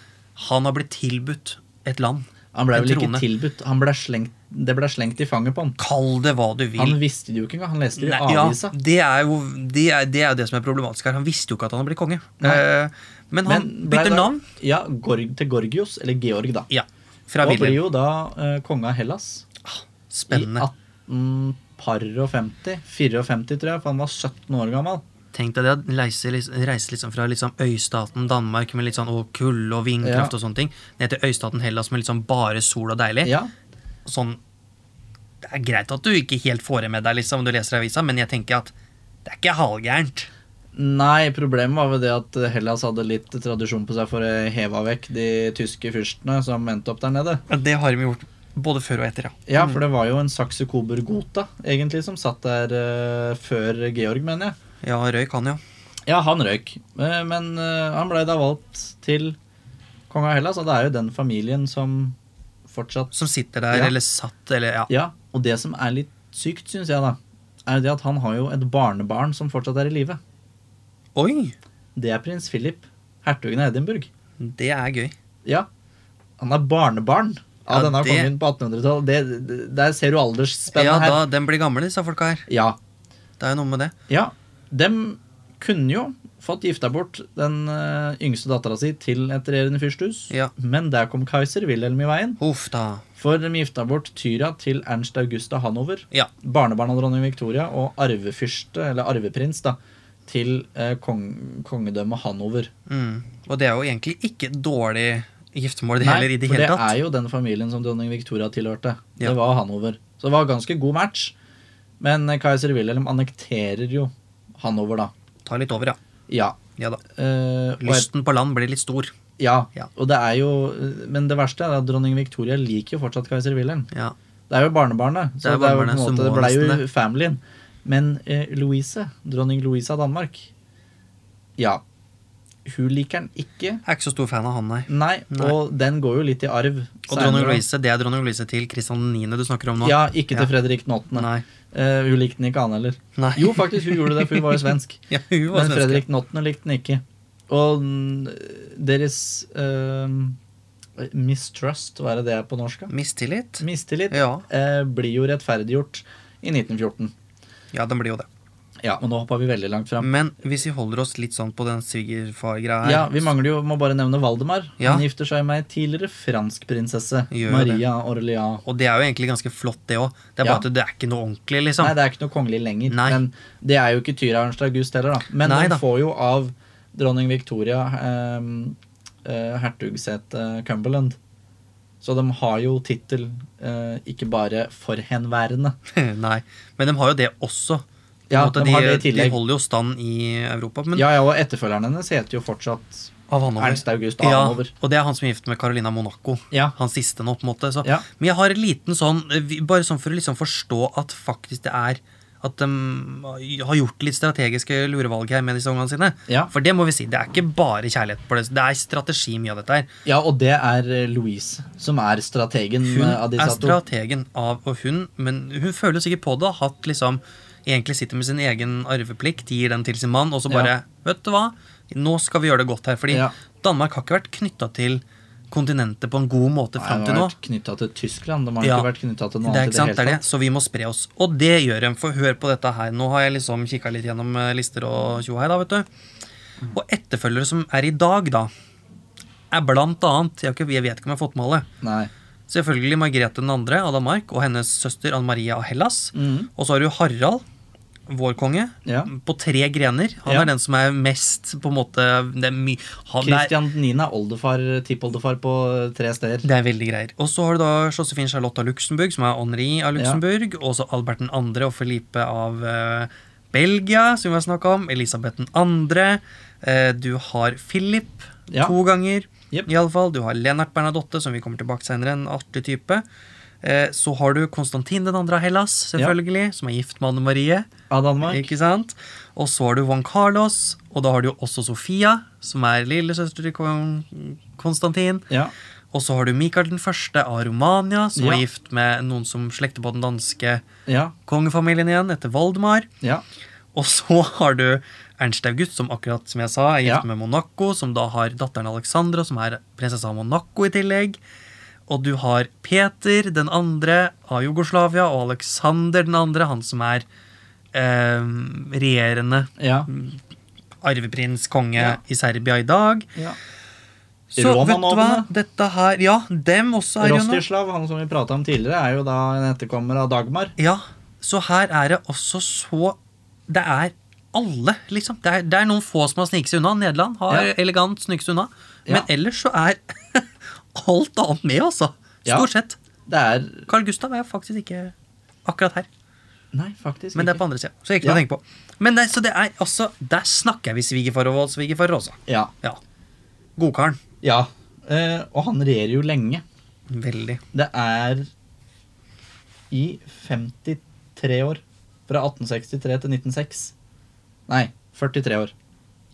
[SPEAKER 2] Han har blitt tilbudt et land.
[SPEAKER 1] Han ble
[SPEAKER 2] en
[SPEAKER 1] vel ikke
[SPEAKER 2] trone.
[SPEAKER 1] tilbudt. Han ble slengt, det ble slengt i fanget på han.
[SPEAKER 2] Kall det hva du vil.
[SPEAKER 1] Han visste det jo ikke engang. Han leste det
[SPEAKER 2] Nei,
[SPEAKER 1] i
[SPEAKER 2] ja,
[SPEAKER 1] avisa.
[SPEAKER 2] det er, jo, det, er, det er jo det som er problematisk her. Han visste jo ikke at han hadde blitt konge. Eh, men han
[SPEAKER 1] Men ble
[SPEAKER 2] bytter
[SPEAKER 1] da-
[SPEAKER 2] navn.
[SPEAKER 1] Ja, Gorg, til Gorgios, eller Georg, da.
[SPEAKER 2] Ja, fra
[SPEAKER 1] og blir
[SPEAKER 2] Wilhelm.
[SPEAKER 1] jo da eh, konge av Hellas
[SPEAKER 2] Spennende.
[SPEAKER 1] i 1854, 54, tror jeg, for han var 17 år gammel.
[SPEAKER 2] Tenk deg det å reise, litt- reise liksom fra liksom øystaten Danmark med litt sånn å, kulde og vindkraft
[SPEAKER 1] Ja.
[SPEAKER 2] og sånne ting, ned til øystaten Hellas med litt sånn bare sol og deilig.
[SPEAKER 1] Ja,
[SPEAKER 2] Sånn, det er greit at du ikke helt får det med deg liksom, om du leser avisa, men jeg tenker at det er ikke halvgærent.
[SPEAKER 1] Nei, problemet var vel det at Hellas hadde litt tradisjon på seg for å heve vekk de tyske fyrstene som endte opp der nede.
[SPEAKER 2] Det har de gjort både før og etter, ja.
[SPEAKER 1] Ja, for det var jo en Sakse-Kober-Gota egentlig som satt der eh, før Georg, mener jeg.
[SPEAKER 2] Ja, røyk han, ja.
[SPEAKER 1] Ja, han røyk, Eh, men eh, han ble da valgt til konge av Hellas, og det er jo den familien som fortsatt
[SPEAKER 2] Som sitter der,
[SPEAKER 1] Ja.
[SPEAKER 2] eller satt, eller ja.
[SPEAKER 1] Ja, og det som er litt sykt, syns jeg, da, er jo det at han har jo et barnebarn som fortsatt er i live.
[SPEAKER 2] Oi!
[SPEAKER 1] Det er prins Philip, hertugen av Edinburgh.
[SPEAKER 2] Det er gøy.
[SPEAKER 1] Ja. Han er barnebarn av
[SPEAKER 2] Ja,
[SPEAKER 1] denne
[SPEAKER 2] det-
[SPEAKER 1] kongen på 1800-tallet. Det- det- Der ser du aldersspennet
[SPEAKER 2] ja,
[SPEAKER 1] her.
[SPEAKER 2] da, den blir gamle, disse folka her.
[SPEAKER 1] Ja.
[SPEAKER 2] Det er jo noe med det.
[SPEAKER 1] ja. Dem kunne jo fått gifta bort den eh, yngste dattera si til et regjerende fyrsthus,
[SPEAKER 2] Ja.
[SPEAKER 1] men der kom keiser Wilhelm i veien.
[SPEAKER 2] Huff da.
[SPEAKER 1] For de gifta bort Tyra til Ernst August av Hanover,
[SPEAKER 2] Ja.
[SPEAKER 1] barnebarn av dronning Victoria, og arvefyrste, eller arveprins, da, til eh, kong kongedømmet Hanover.
[SPEAKER 2] Mm. Og det er jo egentlig ikke dårlig giftermål det
[SPEAKER 1] Nei,
[SPEAKER 2] heller i det
[SPEAKER 1] for
[SPEAKER 2] hele
[SPEAKER 1] det
[SPEAKER 2] tatt.
[SPEAKER 1] er jo den familien som dronning Victoria tilhørte.
[SPEAKER 2] Ja.
[SPEAKER 1] Det var Hanover. Så det var ganske god match. Men Kaiser Wilhelm annekterer jo Hanover, da.
[SPEAKER 2] Ta litt over, ja.
[SPEAKER 1] Ja.
[SPEAKER 2] ja da.
[SPEAKER 1] eh, og et,
[SPEAKER 2] Lysten på land blir litt stor.
[SPEAKER 1] ja.
[SPEAKER 2] Ja.
[SPEAKER 1] Og det er jo Men det verste er at dronning Victoria liker jo fortsatt Kaiser Wilhelm.
[SPEAKER 2] Ja.
[SPEAKER 1] Det er jo barnebarnet, så det, er
[SPEAKER 2] Det er
[SPEAKER 1] jo på
[SPEAKER 2] barnebarnet,
[SPEAKER 1] en
[SPEAKER 2] så
[SPEAKER 1] måte,
[SPEAKER 2] må
[SPEAKER 1] det ble jo
[SPEAKER 2] nesten det.
[SPEAKER 1] familien. Men eh, Louise, dronning Louise av Danmark Ja. Hun liker han ikke.
[SPEAKER 2] Jeg er ikke så stor fan av han, nei.
[SPEAKER 1] Nei,
[SPEAKER 2] Nei.
[SPEAKER 1] og den går jo litt i arv.
[SPEAKER 2] Og dronning
[SPEAKER 1] senere.
[SPEAKER 2] Louise, det er dronning Louise til Kristian 9. du snakker om nå.
[SPEAKER 1] Ja, ikke til
[SPEAKER 2] Ja.
[SPEAKER 1] Fredrik den åttende.
[SPEAKER 2] Nei.
[SPEAKER 1] Eh, hun likte den ikke, han heller.
[SPEAKER 2] nei.
[SPEAKER 1] Jo, faktisk, hun gjorde det, for hun var jo svensk.
[SPEAKER 2] Ja, hun var
[SPEAKER 1] Men
[SPEAKER 2] svenske.
[SPEAKER 1] Fredrik den åttende likte den ikke. Og mm, deres eh, mistrust, hva er det det er på norsk? da?
[SPEAKER 2] Mistillit?
[SPEAKER 1] Mistillit
[SPEAKER 2] Ja.
[SPEAKER 1] eh, blir jo rettferdiggjort i 1914.
[SPEAKER 2] ja, den blir jo det.
[SPEAKER 1] Ja, men nå hoppa vi veldig langt fram.
[SPEAKER 2] Men hvis vi holder oss litt sånn på den svigerfar-greia her
[SPEAKER 1] Ja, vi mangler jo, må bare nevne Valdemar.
[SPEAKER 2] Ja.
[SPEAKER 1] Han gifter seg med ei tidligere fransk prinsesse.
[SPEAKER 2] Gjør det.
[SPEAKER 1] Maria Orléans.
[SPEAKER 2] Og det er jo egentlig ganske flott, det òg. Det er bare
[SPEAKER 1] Ja.
[SPEAKER 2] at det er ikke noe ordentlig,
[SPEAKER 1] Nei,
[SPEAKER 2] liksom.
[SPEAKER 1] det er ikke noe kongelig lenger.
[SPEAKER 2] Nei.
[SPEAKER 1] Men det er jo ikke Tyra Ernst August heller, da. Men
[SPEAKER 2] Nei
[SPEAKER 1] den
[SPEAKER 2] da.
[SPEAKER 1] får jo av dronning Victoria eh, eh, hertugsetet Cumberland. Så de har jo tittel eh, ikke bare forhenværende.
[SPEAKER 2] Nei. Men de har jo det også. På en
[SPEAKER 1] Ja,
[SPEAKER 2] måte,
[SPEAKER 1] de har det i
[SPEAKER 2] de
[SPEAKER 1] tillegg.
[SPEAKER 2] holder jo stand i Europa. Men
[SPEAKER 1] ja, ja, og etterfølgeren hennes heter jo fortsatt
[SPEAKER 2] av Hanover.
[SPEAKER 1] Ernst August
[SPEAKER 2] ja,
[SPEAKER 1] Hanover.
[SPEAKER 2] og det er han som er gift med Carolina Monaco.
[SPEAKER 1] Ja.
[SPEAKER 2] Han siste nå, på en måte. Så.
[SPEAKER 1] Ja.
[SPEAKER 2] Men jeg har en liten sånn eh, vi- Bare sånn for å liksom forstå at faktisk det er At de har gjort litt strategiske lurevalg her med disse ungene sine.
[SPEAKER 1] Ja.
[SPEAKER 2] For det må vi si, det er ikke bare kjærlighet på det. Det er strategi mye av dette her.
[SPEAKER 1] Ja, og det er eh, Louise som er strategen eh,
[SPEAKER 2] Hun
[SPEAKER 1] av
[SPEAKER 2] er
[SPEAKER 1] disse to.
[SPEAKER 2] strategen av og hun, men hun føler jo sikkert på det. har Hatt liksom Egentlig sitter med sin egen arveplikt, gir den til sin mann, og så bare
[SPEAKER 1] Ja.
[SPEAKER 2] Vet du hva, nå skal vi gjøre det godt her. Fordi
[SPEAKER 1] Ja.
[SPEAKER 2] Danmark har ikke vært knytta til kontinentet på en god måte
[SPEAKER 1] Nei,
[SPEAKER 2] fram
[SPEAKER 1] De
[SPEAKER 2] til
[SPEAKER 1] har
[SPEAKER 2] nå.
[SPEAKER 1] vært knytta til Tyskland. De har
[SPEAKER 2] Ja.
[SPEAKER 1] ikke vært knytta til noe
[SPEAKER 2] Det er
[SPEAKER 1] annet
[SPEAKER 2] ikke sant,
[SPEAKER 1] i
[SPEAKER 2] det er
[SPEAKER 1] det
[SPEAKER 2] det.
[SPEAKER 1] hele tatt.
[SPEAKER 2] Så vi må spre oss. Og det gjør de. For hør på dette her. Nå har jeg liksom kikka litt gjennom eh, lister og tjohei, da, vet du.
[SPEAKER 1] Mm.
[SPEAKER 2] Og etterfølgere som er i dag, da, er blant annet Jeg, har ikke, jeg vet ikke om jeg har fått med alle.
[SPEAKER 1] Nei.
[SPEAKER 2] Selvfølgelig Margrethe 2. av Danmark og hennes søster Anne Maria av Hellas.
[SPEAKER 1] Mhm.
[SPEAKER 2] Og så har du Harald, vår konge,
[SPEAKER 1] Ja.
[SPEAKER 2] på tre grener. Han
[SPEAKER 1] Ja.
[SPEAKER 2] er den som er mest på en måte det er my, han, det er-
[SPEAKER 1] Christian 9. er oldefar, tippoldefar på eh, tre steder.
[SPEAKER 2] Det er veldig greier. Og så har du da Josephine Charlotte av Luxembourg, som er Henri av Luxembourg. Og så Albert 2. og Felipe av eh, Belgia, som vi har snakka om. Elisabeth 2. Eh, du har Philip
[SPEAKER 1] Ja.
[SPEAKER 2] to ganger,
[SPEAKER 1] Jep.
[SPEAKER 2] i alle fall. Du har Lennart Bernadotte, som vi kommer tilbake til senere. En artig type. Eh, så har du Konstantin 2. av Hellas, selvfølgelig, som er gift med Anne Marie.
[SPEAKER 1] Av Danmark.
[SPEAKER 2] Ikke sant? Og så har du Juan Carlos, og da har du jo også Sofia, som er lillesøster til kong Konstantin.
[SPEAKER 1] Ja.
[SPEAKER 2] Og så har du Mikael den første av Romania, som var
[SPEAKER 1] Ja.
[SPEAKER 2] gift med noen som slekter på den danske
[SPEAKER 1] Ja.
[SPEAKER 2] kongefamilien igjen, etter Valdemar.
[SPEAKER 1] Ja.
[SPEAKER 2] Og så har du Ernst August, som akkurat som jeg sa, er gift
[SPEAKER 1] Ja.
[SPEAKER 2] med Monaco, som da har datteren Alexandra, som er prinsesse av Monaco i tillegg. Og du har Peter den andre av Jugoslavia, og Alexander den andre, han som er eh, regjerende
[SPEAKER 1] ja.
[SPEAKER 2] Mm. arveprins, konge
[SPEAKER 1] Ja.
[SPEAKER 2] i Serbia i dag.
[SPEAKER 1] ja.
[SPEAKER 2] Så vet du hva,
[SPEAKER 1] Romanovene.
[SPEAKER 2] dette her Ja, dem også er jo nå.
[SPEAKER 1] Rostislav, han som vi prata om tidligere, er jo da en etterkommer av Dagmar.
[SPEAKER 2] Ja, så her er det også så Det er alle, liksom. Det er, det er noen få som har sniket seg unna. Nederland har
[SPEAKER 1] Ja.
[SPEAKER 2] elegant sniket seg unna. Men
[SPEAKER 1] Ja.
[SPEAKER 2] ellers så er alt annet med, altså.
[SPEAKER 1] Ja.
[SPEAKER 2] Stort sett.
[SPEAKER 1] Det er
[SPEAKER 2] Carl Gustav er faktisk ikke akkurat her,
[SPEAKER 1] Nei, faktisk
[SPEAKER 2] men det er
[SPEAKER 1] ikke.
[SPEAKER 2] på andre sida. Så ikke noe
[SPEAKER 1] Ja.
[SPEAKER 2] å tenke på. Men det, så det er altså Der snakker vi svigerfar og svigerfar også.
[SPEAKER 1] Ja.
[SPEAKER 2] Ja. Godkaren.
[SPEAKER 1] ja. Eh, og han regjerer jo lenge.
[SPEAKER 2] Veldig.
[SPEAKER 1] Det er i 53 år. Fra 1863 til 1906. Nei, 43 år.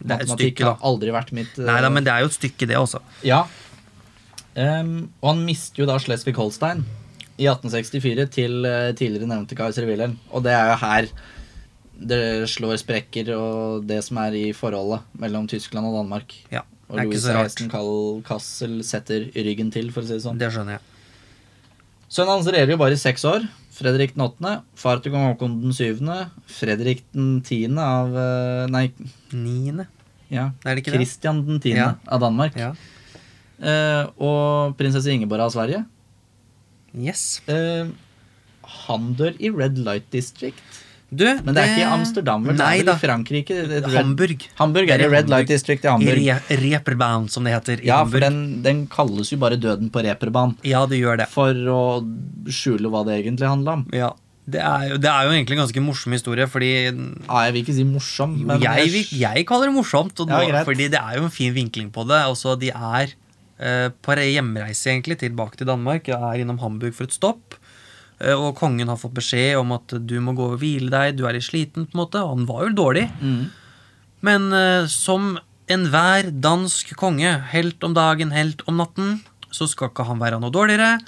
[SPEAKER 2] Det er et
[SPEAKER 1] Matematikk
[SPEAKER 2] stykke, da.
[SPEAKER 1] har aldri vært mitt eh,
[SPEAKER 2] Nei da, men det er jo et stykke, det også.
[SPEAKER 1] Ja. Ehm, og han mister jo da Schleswig-Holstein i 1864 til eh, tidligere nevnte keiser Wilhelm. Og det er jo her det slår sprekker, og det som er i forholdet mellom Tyskland og Danmark.
[SPEAKER 2] Ja,
[SPEAKER 1] Og
[SPEAKER 2] det er ikke
[SPEAKER 1] Louis
[SPEAKER 2] så rart.
[SPEAKER 1] Reisen Kassel setter ryggen til, for å si det sånn.
[SPEAKER 2] Det skjønner jeg.
[SPEAKER 1] Sønnen hans regjerer jo bare i seks år. Fredrik den 8., far til kong Haakon den 7., Fredrik den 10. av eh, Nei,
[SPEAKER 2] Niende,
[SPEAKER 1] ja,
[SPEAKER 2] er det ikke det?
[SPEAKER 1] Christian den 10.
[SPEAKER 2] Ja.
[SPEAKER 1] av Danmark.
[SPEAKER 2] Ja.
[SPEAKER 1] Eh, og prinsesse Ingeborg av Sverige.
[SPEAKER 2] Yes.
[SPEAKER 1] Eh, han dør i Red Light District.
[SPEAKER 2] Du,
[SPEAKER 1] Men det er ikke i Amsterdam, vel? Det
[SPEAKER 2] Nei
[SPEAKER 1] er vel
[SPEAKER 2] da.
[SPEAKER 1] i Frankrike? Det- det- Red-
[SPEAKER 2] Hamburg.
[SPEAKER 1] Hamburg er i Red Light District i
[SPEAKER 2] I
[SPEAKER 1] Hamburg.
[SPEAKER 2] Re Reeperbahn, som det heter. I
[SPEAKER 1] Ja, for
[SPEAKER 2] Hamburg.
[SPEAKER 1] den, den kalles jo bare Døden på reperbanen.
[SPEAKER 2] Ja, det gjør det.
[SPEAKER 1] For å skjule hva det egentlig handla om.
[SPEAKER 2] Ja. Det, er jo, det er jo egentlig en ganske morsom historie, fordi
[SPEAKER 1] Ja, Ah, jeg vil ikke si morsom, men
[SPEAKER 2] jeg, vil- jeg kaller det morsomt. Og
[SPEAKER 1] Ja,
[SPEAKER 2] nå-
[SPEAKER 1] greit.
[SPEAKER 2] fordi det er jo en fin vinkling på det. Også, de er eh, på re- hjemreise egentlig tilbake til Danmark, er innom Hamburg for et stopp. eh, og kongen har fått beskjed om at du må gå og hvile deg, du er litt sliten. på en måte, Og han var jo dårlig.
[SPEAKER 1] Mm.
[SPEAKER 2] Men eh, som enhver dansk konge, helt om dagen, helt om natten, så skal ikke han være noe dårligere.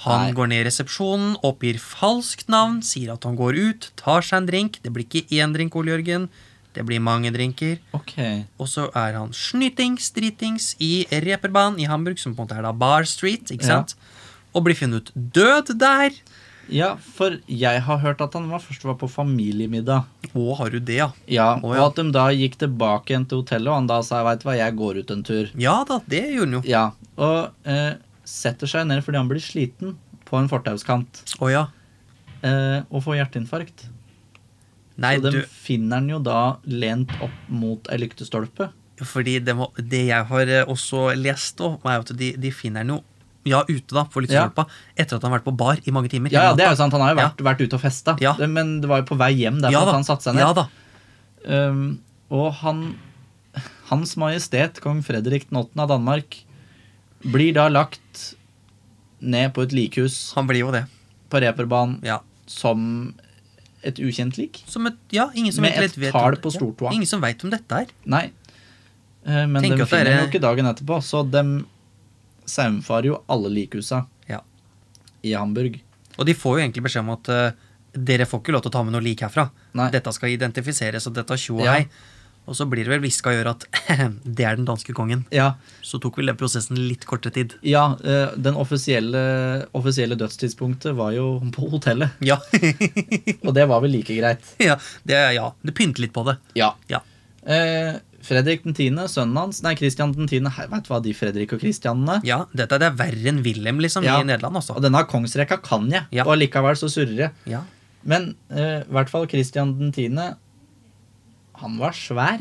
[SPEAKER 2] Han
[SPEAKER 1] Nei.
[SPEAKER 2] går ned i resepsjonen, oppgir falskt navn, sier at han går ut, tar seg en drink. Det blir ikke én drink, Ole Jørgen. Det blir mange drinker.
[SPEAKER 1] Ok.
[SPEAKER 2] Og så er han snytings, dritings i Reeperbahn i Hamburg, som på en måte er da Bar Street, ikke
[SPEAKER 1] Ja.
[SPEAKER 2] sant? Og blir funnet død der.
[SPEAKER 1] Ja, for jeg har hørt at han var først var på familiemiddag.
[SPEAKER 2] Å, har du det, ja?
[SPEAKER 1] Ja,
[SPEAKER 2] Å,
[SPEAKER 1] Og
[SPEAKER 2] ja.
[SPEAKER 1] at de da gikk tilbake igjen til hotellet, og han da sa 'veit du hva, jeg går ut en tur'.
[SPEAKER 2] Ja da, det gjorde han jo.
[SPEAKER 1] Ja, og eh, setter seg ned fordi han blir sliten på en fortauskant
[SPEAKER 2] Å ja.
[SPEAKER 1] eh, og får hjerteinfarkt.
[SPEAKER 2] Nei,
[SPEAKER 1] og den
[SPEAKER 2] du
[SPEAKER 1] finner han jo da lent opp mot ei lyktestolpe.
[SPEAKER 2] Fordi det, må, det jeg har eh, også lest, om, er jo at de, de finner han jo ja, ute da, på lyktestolpa etter at han har vært på bar i mange timer.
[SPEAKER 1] Ja, ja,
[SPEAKER 2] hele
[SPEAKER 1] det er
[SPEAKER 2] natta.
[SPEAKER 1] jo sant, han har jo
[SPEAKER 2] Ja.
[SPEAKER 1] vært, vært ute og festa,
[SPEAKER 2] Ja.
[SPEAKER 1] Det- men det var jo på vei hjem derfor
[SPEAKER 2] da.
[SPEAKER 1] at Ehm, han satte seg ned.
[SPEAKER 2] Ja da.
[SPEAKER 1] Um, og han Hans Majestet Kong Fredrik 8. av Danmark blir da lagt ned på et likhus
[SPEAKER 2] Han blir jo det.
[SPEAKER 1] på reperbanen
[SPEAKER 2] Ja.
[SPEAKER 1] som et ukjent lik.
[SPEAKER 2] Som et, ja, ingen som
[SPEAKER 1] Med
[SPEAKER 2] egentlig
[SPEAKER 1] et
[SPEAKER 2] vet
[SPEAKER 1] tall
[SPEAKER 2] om-
[SPEAKER 1] på stortåa.
[SPEAKER 2] Ja, ingen som veit om dette her.
[SPEAKER 1] Nei. Eh, Men
[SPEAKER 2] Tenker
[SPEAKER 1] de
[SPEAKER 2] at det er-
[SPEAKER 1] finner jo ikke dagen etterpå, så de saumfarer jo alle likhusa
[SPEAKER 2] Ja.
[SPEAKER 1] i Hamburg.
[SPEAKER 2] Og de får jo egentlig beskjed om at eh, dere får ikke lov til å ta med noe lik herfra.
[SPEAKER 1] Nei.
[SPEAKER 2] Dette skal identifiseres, og dette er tjo og
[SPEAKER 1] Ja.
[SPEAKER 2] hei. Og så blir det vel hviska i øret at det er den danske kongen.
[SPEAKER 1] Ja,
[SPEAKER 2] Så tok vel den prosessen litt kortere tid.
[SPEAKER 1] ja eh, den offisielle, offisielle dødstidspunktet var jo på hotellet,
[SPEAKER 2] Ja.
[SPEAKER 1] og det var vel like greit.
[SPEAKER 2] ja, det, ja. det pynter litt på det.
[SPEAKER 1] Ja.
[SPEAKER 2] Ja.
[SPEAKER 1] Eh, Fredrik den 10., sønnen hans Nei, Kristian den 10. Her, vet du hva de Fredrik og Kristianene
[SPEAKER 2] Ja, dette det er verre enn Wilhelm liksom,
[SPEAKER 1] Ja.
[SPEAKER 2] i Nederland.
[SPEAKER 1] Og
[SPEAKER 2] Også.
[SPEAKER 1] denne kongsrekka kan jeg,
[SPEAKER 2] Ja.
[SPEAKER 1] og allikevel så surrer jeg.
[SPEAKER 2] Ja.
[SPEAKER 1] Men eh, i hvert fall Kristian den 10. Han var svær.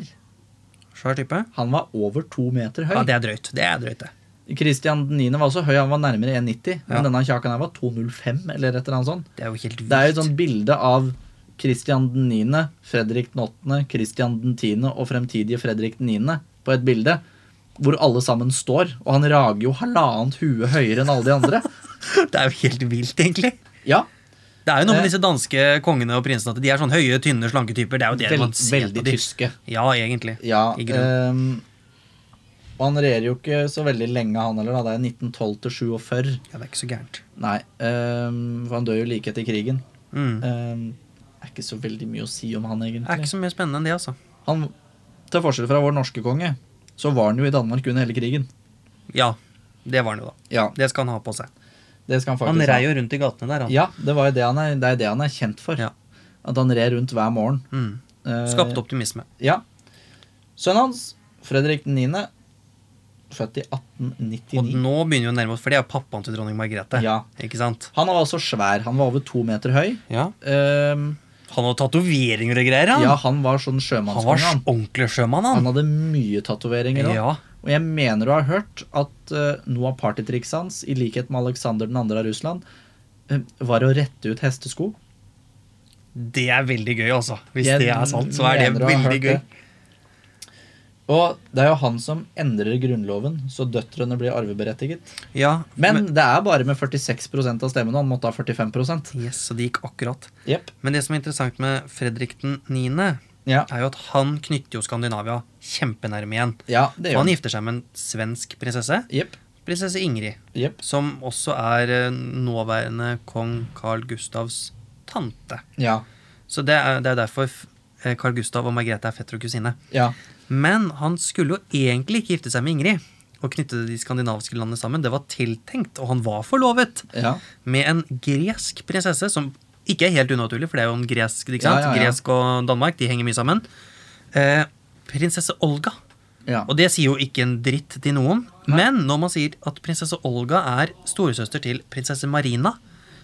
[SPEAKER 2] Svær type.
[SPEAKER 1] Han var over to meter høy.
[SPEAKER 2] Ja, det er drøyt. Det er drøyt, det.
[SPEAKER 1] Kristian den 9. var også høy, han var nærmere 1,90.
[SPEAKER 2] Ja.
[SPEAKER 1] Men denne kjakan her var 2,05 eller et eller annet sånt.
[SPEAKER 2] Det er jo helt vilt.
[SPEAKER 1] Det er jo et sånt bilde av Kristian den 9., Fredrik den 8., Kristian den 10. og fremtidige Fredrik den 9. på et bilde hvor alle sammen står, og han rager jo halvannet hue høyere enn alle de andre. sånn-
[SPEAKER 2] det er jo helt vilt, egentlig.
[SPEAKER 1] Ja,
[SPEAKER 2] Det er jo noe
[SPEAKER 1] Eh.
[SPEAKER 2] med disse danske kongene og prinsene at de er sånn høye, tynne, slanke typer. Det er jo det
[SPEAKER 1] vel-
[SPEAKER 2] man ser
[SPEAKER 1] veldig
[SPEAKER 2] på de.
[SPEAKER 1] tyske.
[SPEAKER 2] Ja, egentlig.
[SPEAKER 1] Ja,
[SPEAKER 2] I
[SPEAKER 1] ehm, og han regjerer jo ikke så veldig lenge, han heller. da. Det er 1912 til 47.
[SPEAKER 2] Ja, det er ikke så gærent.
[SPEAKER 1] Nei, ehm, for han dør jo like etter krigen.
[SPEAKER 2] Mm.
[SPEAKER 1] Ehm, er ikke så veldig mye å si om han,
[SPEAKER 2] Det er
[SPEAKER 1] egentlig.
[SPEAKER 2] ikke så mye spennende enn det, altså.
[SPEAKER 1] Han, til forskjell fra vår norske konge, så var han jo i Danmark under hele krigen.
[SPEAKER 2] Ja, det var han jo, da.
[SPEAKER 1] Ja,
[SPEAKER 2] Det skal han ha på seg.
[SPEAKER 1] det skal han faktisk
[SPEAKER 2] Han
[SPEAKER 1] ha.
[SPEAKER 2] rei jo rundt i gatene der, han.
[SPEAKER 1] Ja, det, var jo det, han er, det er det han er kjent for.
[SPEAKER 2] Ja.
[SPEAKER 1] At han red rundt hver morgen.
[SPEAKER 2] Mm.
[SPEAKER 1] Eh,
[SPEAKER 2] Skapte optimisme.
[SPEAKER 1] Ja. Sønnen hans, Fredrik 9., født i
[SPEAKER 2] Og
[SPEAKER 1] 1899.
[SPEAKER 2] nå begynner vi å nærme oss, for det er jo pappaen til dronning Margrethe.
[SPEAKER 1] Ja.
[SPEAKER 2] Ikke sant?
[SPEAKER 1] Han var altså svær. Han var over to meter høy.
[SPEAKER 2] Ja.
[SPEAKER 1] Ehm,
[SPEAKER 2] Han hadde tatoveringer og greier, han.
[SPEAKER 1] ja, han var sånn
[SPEAKER 2] han var
[SPEAKER 1] sjømannskonge.
[SPEAKER 2] s-
[SPEAKER 1] Han.
[SPEAKER 2] ordentlig sjømann,
[SPEAKER 1] han
[SPEAKER 2] han.
[SPEAKER 1] hadde mye tatoveringer òg.
[SPEAKER 2] Ja.
[SPEAKER 1] Og jeg mener å ha hørt at eh, noe av partytrikset hans, i likhet med Aleksander 2. av Russland, eh, var å rette ut hestesko.
[SPEAKER 2] Det er veldig gøy, altså. Hvis
[SPEAKER 1] Jeg
[SPEAKER 2] det er sant, så er det
[SPEAKER 1] mener å ha
[SPEAKER 2] veldig
[SPEAKER 1] hørt
[SPEAKER 2] gøy.
[SPEAKER 1] det. Og det er jo han som endrer grunnloven, så døtrene blir arveberettiget.
[SPEAKER 2] Ja,
[SPEAKER 1] Men, det er bare med 46 av stemmene. Han måtte ha 45
[SPEAKER 2] Yes, så det gikk akkurat.
[SPEAKER 1] Jepp.
[SPEAKER 2] Men det som er interessant med Fredrik den 9.,
[SPEAKER 1] Ja,
[SPEAKER 2] er jo at han knytter jo Skandinavia kjempenærme igjen.
[SPEAKER 1] ja, det gjør
[SPEAKER 2] Og han
[SPEAKER 1] han.
[SPEAKER 2] gifter seg med en svensk prinsesse,
[SPEAKER 1] Jepp.
[SPEAKER 2] prinsesse Ingrid,
[SPEAKER 1] Jepp.
[SPEAKER 2] som også er eh, nåværende kong Carl Gustavs tante.
[SPEAKER 1] Ja.
[SPEAKER 2] Så det er, det er derfor eh, Carl Gustav og Margrethe er fetter og kusine.
[SPEAKER 1] Ja.
[SPEAKER 2] Men han skulle jo egentlig ikke gifte seg med Ingrid og knytte de skandinaviske landene sammen. Det var tiltenkt, og han var forlovet
[SPEAKER 1] Ja.
[SPEAKER 2] med en gresk prinsesse, som ikke er helt unaturlig, for det er jo en gresk, ikke
[SPEAKER 1] Ja, ja,
[SPEAKER 2] sant?
[SPEAKER 1] ja.
[SPEAKER 2] Gresk og Danmark, de henger mye sammen. Eh, prinsesse Olga.
[SPEAKER 1] ja.
[SPEAKER 2] Og det sier jo ikke en dritt til noen. Men når man sier at prinsesse Olga er storesøster til prinsesse Marina,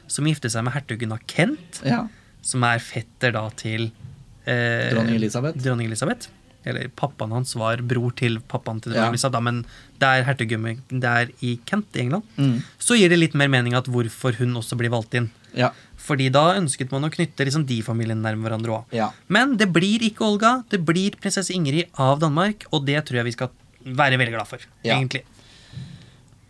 [SPEAKER 2] som gifter seg med hertugen av Kent,
[SPEAKER 1] ja.
[SPEAKER 2] som er fetter da til eh,
[SPEAKER 1] Dronning Elisabeth.
[SPEAKER 2] dronning Elisabeth. Eller pappaen hans var bror til pappaen til dronning
[SPEAKER 1] Ja.
[SPEAKER 2] Elisabeth, da, men det er hertugdømmet der i Kent i England.
[SPEAKER 1] Mm.
[SPEAKER 2] Så gir det litt mer mening at hvorfor hun også blir valgt inn.
[SPEAKER 1] Ja.
[SPEAKER 2] Fordi da ønsket man å knytte liksom de familiene nærmere hverandre òg.
[SPEAKER 1] Ja.
[SPEAKER 2] Men det blir ikke Olga, det blir prinsesse Ingrid av Danmark, og det tror jeg vi skal være veldig glad for,
[SPEAKER 1] Ja.
[SPEAKER 2] egentlig.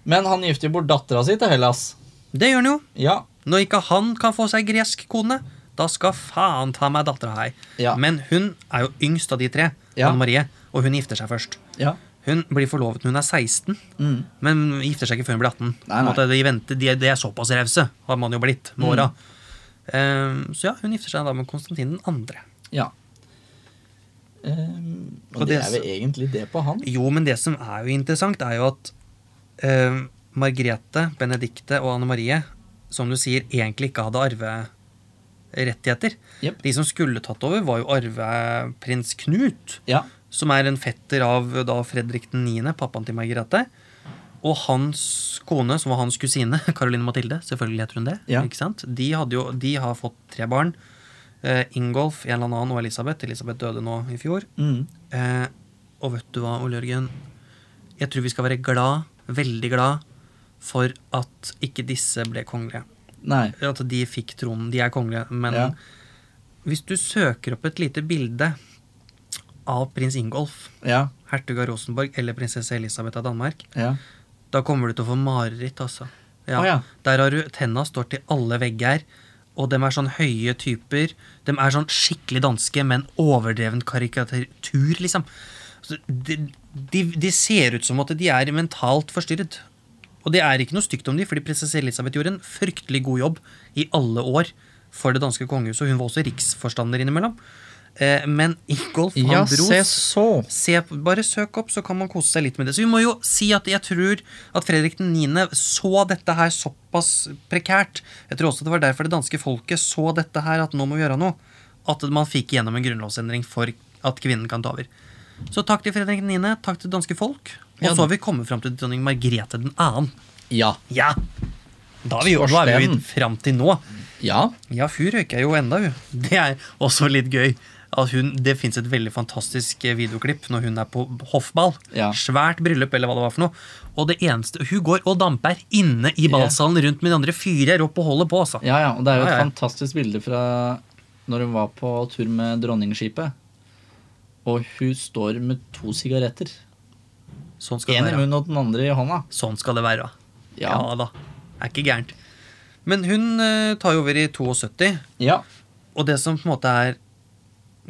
[SPEAKER 1] Men han gifter jo bort dattera si til Hellas.
[SPEAKER 2] Det gjør han jo.
[SPEAKER 1] Ja.
[SPEAKER 2] Når ikke han kan få seg gresk kone, da skal faen ta meg dattera her.
[SPEAKER 1] Ja.
[SPEAKER 2] Men hun er jo yngst av de tre,
[SPEAKER 1] Ja.
[SPEAKER 2] Anne Marie, og hun gifter seg først.
[SPEAKER 1] Ja.
[SPEAKER 2] Hun blir forlovet når hun er 16,
[SPEAKER 1] Mm.
[SPEAKER 2] men gifter seg ikke før hun blir 18.
[SPEAKER 1] Nei, Mm. nei.
[SPEAKER 2] Måtte De, vente, de, de er såpass rause, har man jo blitt med åra. Ehm, så ja, hun gifter seg da med Konstantin den andre.
[SPEAKER 1] ja. Ehm, og
[SPEAKER 2] Og
[SPEAKER 1] det
[SPEAKER 2] det
[SPEAKER 1] er vel egentlig det på han.
[SPEAKER 2] Jo, men det som er jo interessant, er jo at eh, Margrethe, Benedikte og Anne Marie, som du sier, egentlig ikke hadde arverettigheter.
[SPEAKER 1] Jepp.
[SPEAKER 2] De som skulle tatt over, var jo arveprins Knut,
[SPEAKER 1] Ja.
[SPEAKER 2] som er en fetter av da Fredrik 9., pappaen til Margrethe. Og hans kone, som var hans kusine, Caroline Mathilde, selvfølgelig heter hun det.
[SPEAKER 1] Ja.
[SPEAKER 2] ikke sant? De, hadde jo, de har fått tre barn. Eh, Ingolf, en eller annen, og Elisabeth. Elisabeth døde nå i fjor.
[SPEAKER 1] Mm.
[SPEAKER 2] Eh, og vet du hva, Ole Jørgen? Jeg tror vi skal være glad, veldig glad, for at ikke disse ble kongelige.
[SPEAKER 1] Nei.
[SPEAKER 2] At de fikk tronen. De er kongelige. Men
[SPEAKER 1] Ja.
[SPEAKER 2] hvis du søker opp et lite bilde av prins Ingolf,
[SPEAKER 1] Ja,
[SPEAKER 2] hertug av Rosenborg eller prinsesse Elisabeth av Danmark,
[SPEAKER 1] ja.
[SPEAKER 2] da kommer du til å få mareritt, altså. Ja.
[SPEAKER 1] Å, ja.
[SPEAKER 2] Der har du Tenna står til alle vegger, og dem er sånn høye typer. De er sånn skikkelig danske, men overdreven karikatur, liksom. Så de, de, de ser ut som at de er mentalt forstyrret. Og det er ikke noe stygt om de, fordi prinsesse Elisabeth gjorde en fryktelig god jobb i alle år for det danske kongehuset, og hun var også riksforstander innimellom. Eh, men Ingolf, han
[SPEAKER 1] ja
[SPEAKER 2] dro
[SPEAKER 1] se så.
[SPEAKER 2] Se, bare søk opp, så kan man kose seg litt med det. Så vi må jo si at jeg tror at Fredrik 9. så dette her såpass prekært. Jeg tror også det var derfor det danske folket så dette her, at nå må vi gjøre noe. At man fikk gjennom en grunnlovsendring for at kvinnen kan ta over. Så takk til Fredrik 9., takk til det danske folk. Og
[SPEAKER 1] Ja.
[SPEAKER 2] så har vi kommet fram til dronning Margrethe 2.
[SPEAKER 1] Ja.
[SPEAKER 2] Ja! Da er vi jo da er vi jo
[SPEAKER 1] Skorsten.
[SPEAKER 2] fram til nå.
[SPEAKER 1] Ja.
[SPEAKER 2] Ja, hun røyker jo enda, hun. Det er også litt gøy. At hun, det fins et veldig fantastisk eh, videoklipp når hun er på hoffball.
[SPEAKER 1] Ja.
[SPEAKER 2] Svært bryllup, eller hva det var for noe. Og det eneste, Hun går og damper inne i ballsalen rundt med de andre. Fyrer opp og holder på, altså.
[SPEAKER 1] Ja, ja, og det er jo et
[SPEAKER 2] Ja, ja.
[SPEAKER 1] fantastisk bilde fra når hun var på tur med dronningskipet. Og hun står med to sigaretter.
[SPEAKER 2] Sånn skal
[SPEAKER 1] Én
[SPEAKER 2] det
[SPEAKER 1] i
[SPEAKER 2] være.
[SPEAKER 1] munnen og den andre i hånda.
[SPEAKER 2] Sånn skal det være. Ja,
[SPEAKER 1] Ja.
[SPEAKER 2] da. Er ikke gærent. Men hun eh, tar jo over i 72.
[SPEAKER 1] Ja.
[SPEAKER 2] Og det som på en måte er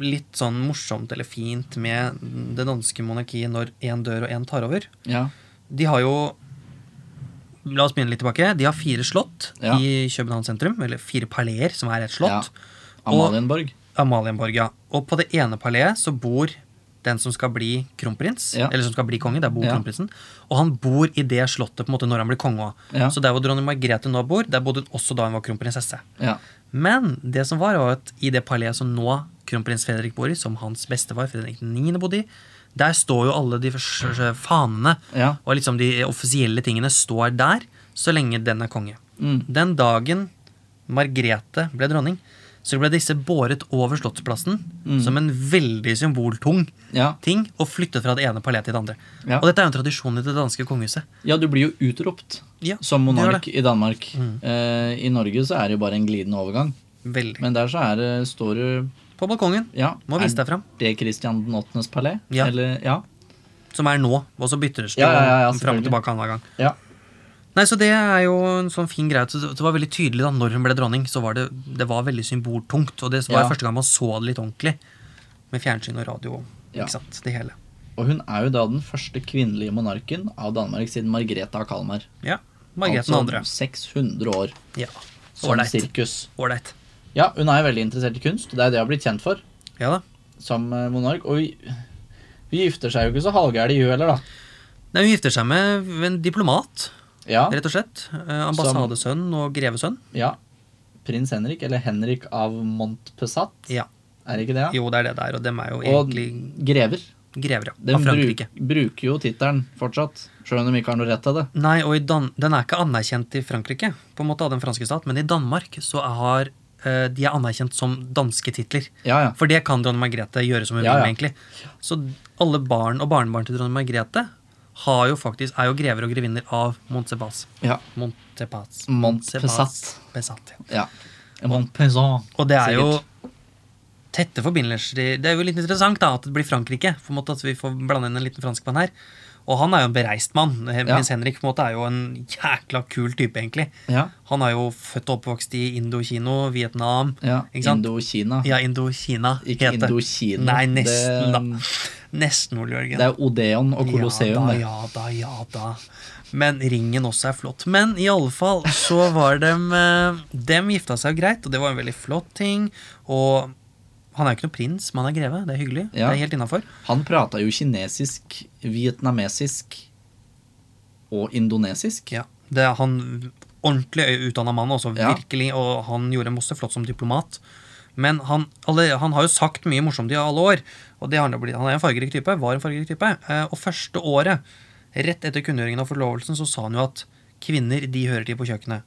[SPEAKER 2] litt sånn morsomt eller fint med det danske monarkiet når én dør og én tar over,
[SPEAKER 1] Ja.
[SPEAKER 2] De har jo La oss begynne litt tilbake. De har fire slott
[SPEAKER 1] Ja.
[SPEAKER 2] i København sentrum. Eller fire paleer, som er et slott.
[SPEAKER 1] Amalienborg.
[SPEAKER 2] Amalienborg, ja. Og på det ene paleet så bor den som skal bli kronprins.
[SPEAKER 1] Ja.
[SPEAKER 2] Eller som skal bli konge. Der bor
[SPEAKER 1] Ja.
[SPEAKER 2] kronprinsen. Og han bor i det slottet på en måte når han blir konge òg.
[SPEAKER 1] Ja.
[SPEAKER 2] Så der hvor dronning Margrethe nå bor, der bodde hun også da hun var kronprinsesse.
[SPEAKER 1] Ja.
[SPEAKER 2] Men det som var, var at i det paleet som nå kronprins Fredrik bor i, som hans bestefar Fredrik 9. bodde i, der står jo alle de fors- fanene
[SPEAKER 1] Ja.
[SPEAKER 2] og liksom de offisielle tingene står der så lenge den er konge.
[SPEAKER 1] Mm.
[SPEAKER 2] Den dagen Margrethe ble dronning, så ble disse båret over Slottsplassen som en veldig
[SPEAKER 1] Mm.
[SPEAKER 2] symboltung
[SPEAKER 1] Ja.
[SPEAKER 2] ting og flyttet fra det ene palet til det andre.
[SPEAKER 1] Ja.
[SPEAKER 2] Og dette er jo en tradisjon i det danske kongehuset.
[SPEAKER 1] ja, du blir jo utropt
[SPEAKER 2] Ja,
[SPEAKER 1] som
[SPEAKER 2] det gjør
[SPEAKER 1] monark
[SPEAKER 2] det. Mm.
[SPEAKER 1] i Danmark. Eh, I Norge så er det jo bare en glidende overgang.
[SPEAKER 2] Veldig.
[SPEAKER 1] Men der så er det, står det
[SPEAKER 2] På balkongen,
[SPEAKER 1] ja,
[SPEAKER 2] Må vise deg
[SPEAKER 1] er
[SPEAKER 2] fram.
[SPEAKER 1] det Kristian 8.s palé?
[SPEAKER 2] Ja.
[SPEAKER 1] Eller, ja.
[SPEAKER 2] som er nå, og så bytter det seg
[SPEAKER 1] Ja, ja, ja, ja,
[SPEAKER 2] fram og
[SPEAKER 1] selvfølgelig.
[SPEAKER 2] tilbake annenhver gang.
[SPEAKER 1] ja.
[SPEAKER 2] Nei, så Det er jo en sånn fin greie. Så Det var veldig tydelig da, når hun ble dronning. så var Det det var veldig symboltungt. Og det var
[SPEAKER 1] Ja.
[SPEAKER 2] første gang man så det litt ordentlig. Med fjernsyn og radio og
[SPEAKER 1] Ja.
[SPEAKER 2] ikke sant, det hele.
[SPEAKER 1] Og hun er jo da den første kvinnelige monarken av Danmark siden Margrethe av Kalmar.
[SPEAKER 2] Ja, Margrethe den andre.
[SPEAKER 1] 600 år
[SPEAKER 2] Ja.
[SPEAKER 1] Altså, som
[SPEAKER 2] Ålreit.
[SPEAKER 1] sirkus.
[SPEAKER 2] Ålreit.
[SPEAKER 1] Ja, hun er jo veldig interessert i kunst. Det er det hun har blitt kjent for
[SPEAKER 2] Ja da.
[SPEAKER 1] som eh, monark. Og vi, vi gifter seg jo ikke så halvgæli, hun heller, da.
[SPEAKER 2] Nei, Hun gifter seg med en diplomat,
[SPEAKER 1] Ja,
[SPEAKER 2] rett og slett. Eh, ambassadesønn og grevesønn.
[SPEAKER 1] ja. Prins Henrik, eller Henrik av Montpessat,
[SPEAKER 2] Ja.
[SPEAKER 1] er det ikke det? Ja?
[SPEAKER 2] Jo, det er det der, og dem er jo
[SPEAKER 1] Og
[SPEAKER 2] egentlig
[SPEAKER 1] grever.
[SPEAKER 2] grever ja,
[SPEAKER 1] Den
[SPEAKER 2] av
[SPEAKER 1] bruk,
[SPEAKER 2] Frankrike.
[SPEAKER 1] bruker jo tittelen fortsatt, sjøl om de ikke har noe rett til det.
[SPEAKER 2] Nei, og i Dan Den er ikke anerkjent i Frankrike, på en måte av den franske stat, men i Danmark så har eh, de er anerkjent som danske titler.
[SPEAKER 1] Ja, ja.
[SPEAKER 2] For det kan dronning Margrethe gjøre som hun
[SPEAKER 1] Ja,
[SPEAKER 2] vil,
[SPEAKER 1] ja.
[SPEAKER 2] egentlig. Så alle barn og barnebarn til dronning Margrethe har jo faktisk, er jo grever og grevinner av Montsepas.
[SPEAKER 1] ja.
[SPEAKER 2] Montsepas.
[SPEAKER 1] Montpessat.
[SPEAKER 2] Pesat, ja.
[SPEAKER 1] ja. Montpessat.
[SPEAKER 2] Og det er
[SPEAKER 1] sikkert.
[SPEAKER 2] jo tette forbindelser til- Det er jo litt interessant da, at det blir Frankrike. på en måte At vi får blande inn en liten franskmann her. Og han er jo en bereist mann. Prins Henrik på en måte er jo en jækla kul type, egentlig.
[SPEAKER 1] Ja.
[SPEAKER 2] Han er jo født og oppvokst i Indokino, Vietnam.
[SPEAKER 1] ja.
[SPEAKER 2] Ikke sant?
[SPEAKER 1] Indokina.
[SPEAKER 2] ja, Indokina.
[SPEAKER 1] Ikke
[SPEAKER 2] het det.
[SPEAKER 1] Indokina.
[SPEAKER 2] Nei, nesten,
[SPEAKER 1] det,
[SPEAKER 2] da. Nesten, Ole Jørgen.
[SPEAKER 1] Det er Odeon og Colosseum, det.
[SPEAKER 2] Ja da, ja da, ja da. Men ringen også er flott. Men i alle fall så var dem eh, Dem gifta seg jo greit, og det var en veldig flott ting. Og han er jo ikke noe prins, men han er greve. Det er hyggelig.
[SPEAKER 1] Ja.
[SPEAKER 2] Det er helt innafor.
[SPEAKER 1] Han prata jo kinesisk, vietnamesisk og indonesisk.
[SPEAKER 2] Ja. Det er han ordentlig utdanna mann, altså,
[SPEAKER 1] Ja.
[SPEAKER 2] virkelig, og han gjorde masse flott som diplomat. Men han, alle, han har jo sagt mye morsomt i alle år, og det har han, jo blitt, han er en fargerik type, var en fargerik type. Eh, Og første året, rett etter kunngjøringen og forlovelsen, så sa han jo at kvinner, de hører til på kjøkkenet.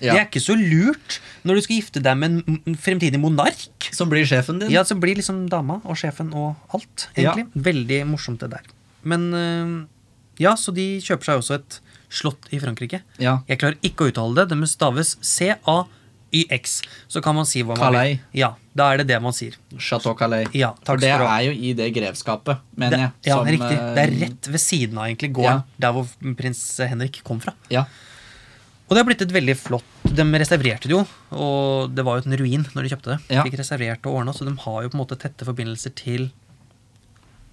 [SPEAKER 1] Ja.
[SPEAKER 2] Det er ikke så lurt når du skal gifte deg med en m- fremtidig monark.
[SPEAKER 1] Som blir sjefen din.
[SPEAKER 2] Ja, så blir liksom dama og sjefen og alt, egentlig. Veldig morsomt det der. Men eh, ja, så de kjøper seg også et slott i Frankrike.
[SPEAKER 1] Ja.
[SPEAKER 2] Jeg klarer ikke å uttale det. Det må staves YX. Så kan man si hva man
[SPEAKER 1] Calais.
[SPEAKER 2] vil. Ja, da er det det man sier.
[SPEAKER 1] Chateau Calais.
[SPEAKER 2] Ja, takk
[SPEAKER 1] For det
[SPEAKER 2] skal du ha.
[SPEAKER 1] er jo i det grevskapet,
[SPEAKER 2] Det,
[SPEAKER 1] mener jeg.
[SPEAKER 2] ja,
[SPEAKER 1] som,
[SPEAKER 2] riktig.
[SPEAKER 1] eh,
[SPEAKER 2] Det er rett ved siden av egentlig gården, der hvor prins Henrik kom fra.
[SPEAKER 1] Ja,
[SPEAKER 2] Og det har blitt et veldig flott De restaurerte det jo, og det var jo en ruin når de kjøpte det.
[SPEAKER 1] Ja.
[SPEAKER 2] Fikk restaurert og ordna, så de har jo på en måte tette forbindelser til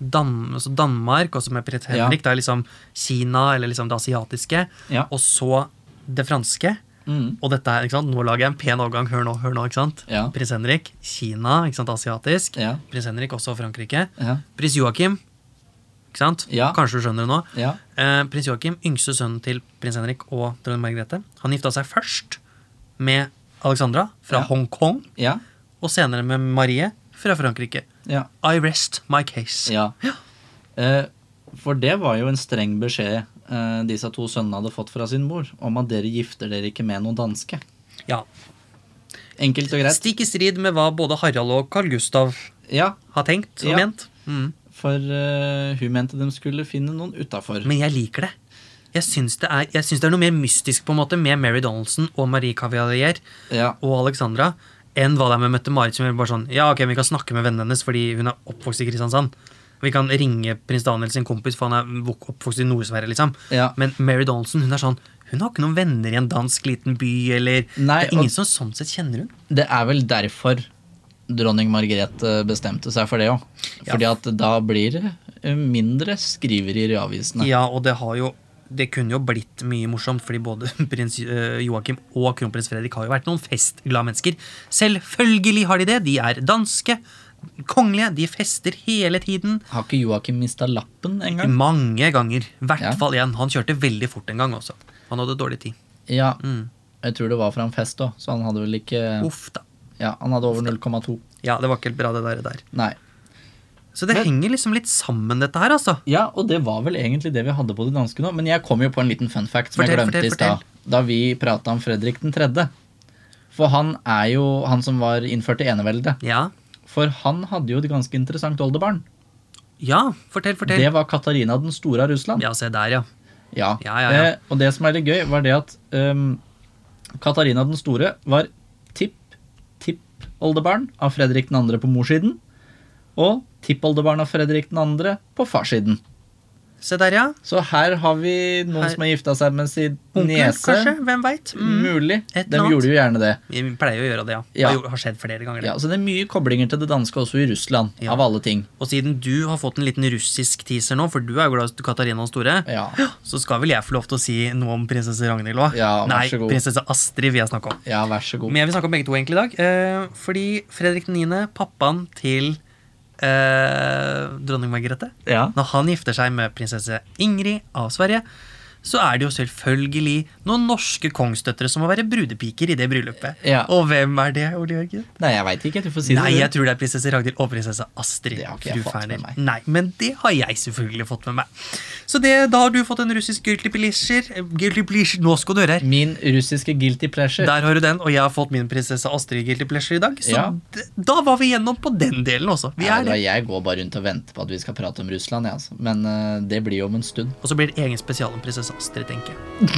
[SPEAKER 2] Dan altså Danmark, også med prins
[SPEAKER 1] Ja.
[SPEAKER 2] Henrik. Da liksom Kina, eller liksom det asiatiske.
[SPEAKER 1] Ja.
[SPEAKER 2] Og så det franske.
[SPEAKER 1] Mm.
[SPEAKER 2] Og dette er, ikke sant, nå lager jeg en pen overgang. Hør nå, hør nå, ikke sant?
[SPEAKER 1] Ja.
[SPEAKER 2] Prins Henrik, Kina, ikke sant, asiatisk.
[SPEAKER 1] Ja.
[SPEAKER 2] Prins Henrik, også Frankrike.
[SPEAKER 1] ja,
[SPEAKER 2] Prins Joakim, ikke sant?
[SPEAKER 1] Ja.
[SPEAKER 2] Kanskje du skjønner det nå.
[SPEAKER 1] ja.
[SPEAKER 2] Eh, prins Joakim, yngste sønnen til prins Henrik og dronning Margrethe, han gifta seg først med Alexandra fra
[SPEAKER 1] Ja.
[SPEAKER 2] Hongkong,
[SPEAKER 1] Ja,
[SPEAKER 2] og senere med Marie fra Frankrike.
[SPEAKER 1] ja,
[SPEAKER 2] I rest my case.
[SPEAKER 1] ja. Eh, for det var jo en streng beskjed eh, disse to sønnene hadde fått fra sin mor, om at dere gifter dere ikke med noen danske.
[SPEAKER 2] Ja.
[SPEAKER 1] Enkelt og greit.
[SPEAKER 2] Stikk i strid med hva både Harald og Carl Gustav
[SPEAKER 1] Ja,
[SPEAKER 2] har tenkt og
[SPEAKER 1] Ja.
[SPEAKER 2] ment. Mm.
[SPEAKER 1] for eh, hun mente de skulle finne noen utafor.
[SPEAKER 2] Men jeg liker det. Jeg syns det, er, jeg syns det er noe mer mystisk på en måte med Mary Donaldson og Marie Cavalier
[SPEAKER 1] Ja,
[SPEAKER 2] og Alexandra enn hva det er med Mette-Marit. som er bare sånn, ja ok, Vi kan snakke med vennen hennes fordi hun er oppvokst i Kristiansand. Vi kan ringe prins Daniel sin kompis, for han er vok- oppvokst i Nord-Sverige. liksom.
[SPEAKER 1] Ja.
[SPEAKER 2] Men Mary Donaldson hun er sånn, hun har ikke noen venner i en dansk liten by. eller
[SPEAKER 1] Nei,
[SPEAKER 2] Det er ingen
[SPEAKER 1] og-
[SPEAKER 2] som sånn sett kjenner hun.
[SPEAKER 1] Det er vel derfor dronning Margrethe eh, bestemte seg for det òg.
[SPEAKER 2] Ja.
[SPEAKER 1] Fordi at da blir det eh, mindre skriverier i avisene.
[SPEAKER 2] Ja, og det har jo det kunne jo blitt mye morsomt, fordi både prins eh, Joakim og kronprins Fredrik har jo vært noen festglade mennesker. Selvfølgelig har de det! De er danske, kongelige, de fester hele tiden.
[SPEAKER 1] Har ikke Joakim mista lappen engang?
[SPEAKER 2] Mange ganger. I hvert
[SPEAKER 1] Ja.
[SPEAKER 2] fall én. Han kjørte veldig fort en gang også. Han hadde dårlig tid.
[SPEAKER 1] Ja. Jeg tror det var fra en fest òg, så han hadde vel ikke
[SPEAKER 2] Uff da.
[SPEAKER 1] Ja, han hadde over 0,2.
[SPEAKER 2] Ja, det var ikke helt bra, det der. der.
[SPEAKER 1] Nei.
[SPEAKER 2] Så det
[SPEAKER 1] Men-
[SPEAKER 2] henger liksom litt sammen, dette her, altså.
[SPEAKER 1] Ja, og det var vel egentlig det vi hadde på det danske nå, men jeg kom jo på en liten fun fact som jeg
[SPEAKER 2] Fortell,
[SPEAKER 1] glemte
[SPEAKER 2] fortell,
[SPEAKER 1] i stad. Da vi prata om Fredrik den tredje. For han er jo han som var innført i eneveldet.
[SPEAKER 2] Ja.
[SPEAKER 1] For han hadde jo et ganske interessant oldebarn.
[SPEAKER 2] Ja, fortell, fortell.
[SPEAKER 1] Det var Katarina den store av Russland.
[SPEAKER 2] Ja, se der, ja.
[SPEAKER 1] Ja.
[SPEAKER 2] Ja, ja, ja.
[SPEAKER 1] Eh, og det som er litt gøy, var det at ehm, Katarina den store var tipp-tipp-oldebarn av Fredrik 2. på morssiden. Og tippoldebarn av Fredrik 2. på farssiden.
[SPEAKER 2] Se der, ja.
[SPEAKER 1] Så her har vi noen
[SPEAKER 2] Her-
[SPEAKER 1] som har gifta seg med sin
[SPEAKER 2] Onkel,
[SPEAKER 1] niese.
[SPEAKER 2] kanskje? Hvem veit? Mm.
[SPEAKER 1] Mulig.
[SPEAKER 2] Et eller
[SPEAKER 1] De
[SPEAKER 2] annet.
[SPEAKER 1] gjorde jo gjerne det.
[SPEAKER 2] Vi pleier å gjøre det, ja.
[SPEAKER 1] Ja.
[SPEAKER 2] Har, jo- har skjedd flere ganger. det.
[SPEAKER 1] Ja, så det er mye koblinger til det danske også i Russland,
[SPEAKER 2] Ja.
[SPEAKER 1] av alle ting.
[SPEAKER 2] Og siden du har fått en liten russisk teaser nå, for du er jo glad i Katarina den store,
[SPEAKER 1] Ja.
[SPEAKER 2] så skal vel jeg få lov til å si noe om prinsesse Ragnhild òg?
[SPEAKER 1] Ja, vær
[SPEAKER 2] Nei,
[SPEAKER 1] så god.
[SPEAKER 2] prinsesse Astrid vil jeg snakke om.
[SPEAKER 1] Ja, vær så god.
[SPEAKER 2] Men jeg vil snakke om begge to egentlig i dag. Eh, fordi Fredrik 9., pappaen til eh, dronning Margrethe
[SPEAKER 1] Ja.
[SPEAKER 2] Når han gifter seg med prinsesse Ingrid av Sverige, så er det jo selvfølgelig noen norske kongsdøtre som må være brudepiker i det bryllupet.
[SPEAKER 1] Ja.
[SPEAKER 2] Og hvem er det, Ole Jørgen?
[SPEAKER 1] Nei, jeg veit ikke. Du får si det.
[SPEAKER 2] Nei,
[SPEAKER 1] sånn.
[SPEAKER 2] jeg tror det er prinsesse Ragnhild og prinsesse Astrid.
[SPEAKER 1] Det har ikke jeg
[SPEAKER 2] fru
[SPEAKER 1] fått med
[SPEAKER 2] Ferner.
[SPEAKER 1] meg.
[SPEAKER 2] Nei, Men det har jeg selvfølgelig fått med meg. Så det, da har du fått en russisk guilty pleasure. Guilty pleasure. Nå skal du høre her.
[SPEAKER 1] Min russiske guilty pleasure.
[SPEAKER 2] Der har du den, og jeg har fått min prinsesse Astrid Guilty Pleasure i dag. Så
[SPEAKER 1] Ja.
[SPEAKER 2] d- da var vi gjennom på den delen også. Vi
[SPEAKER 1] Nei,
[SPEAKER 2] er
[SPEAKER 1] da,
[SPEAKER 2] det.
[SPEAKER 1] jeg går bare rundt og venter på at vi skal prate om Russland, jeg, altså. Men eh, det blir jo om en stund.
[SPEAKER 2] Og så blir det egen spesial om prinsesse Astrid, tenker jeg.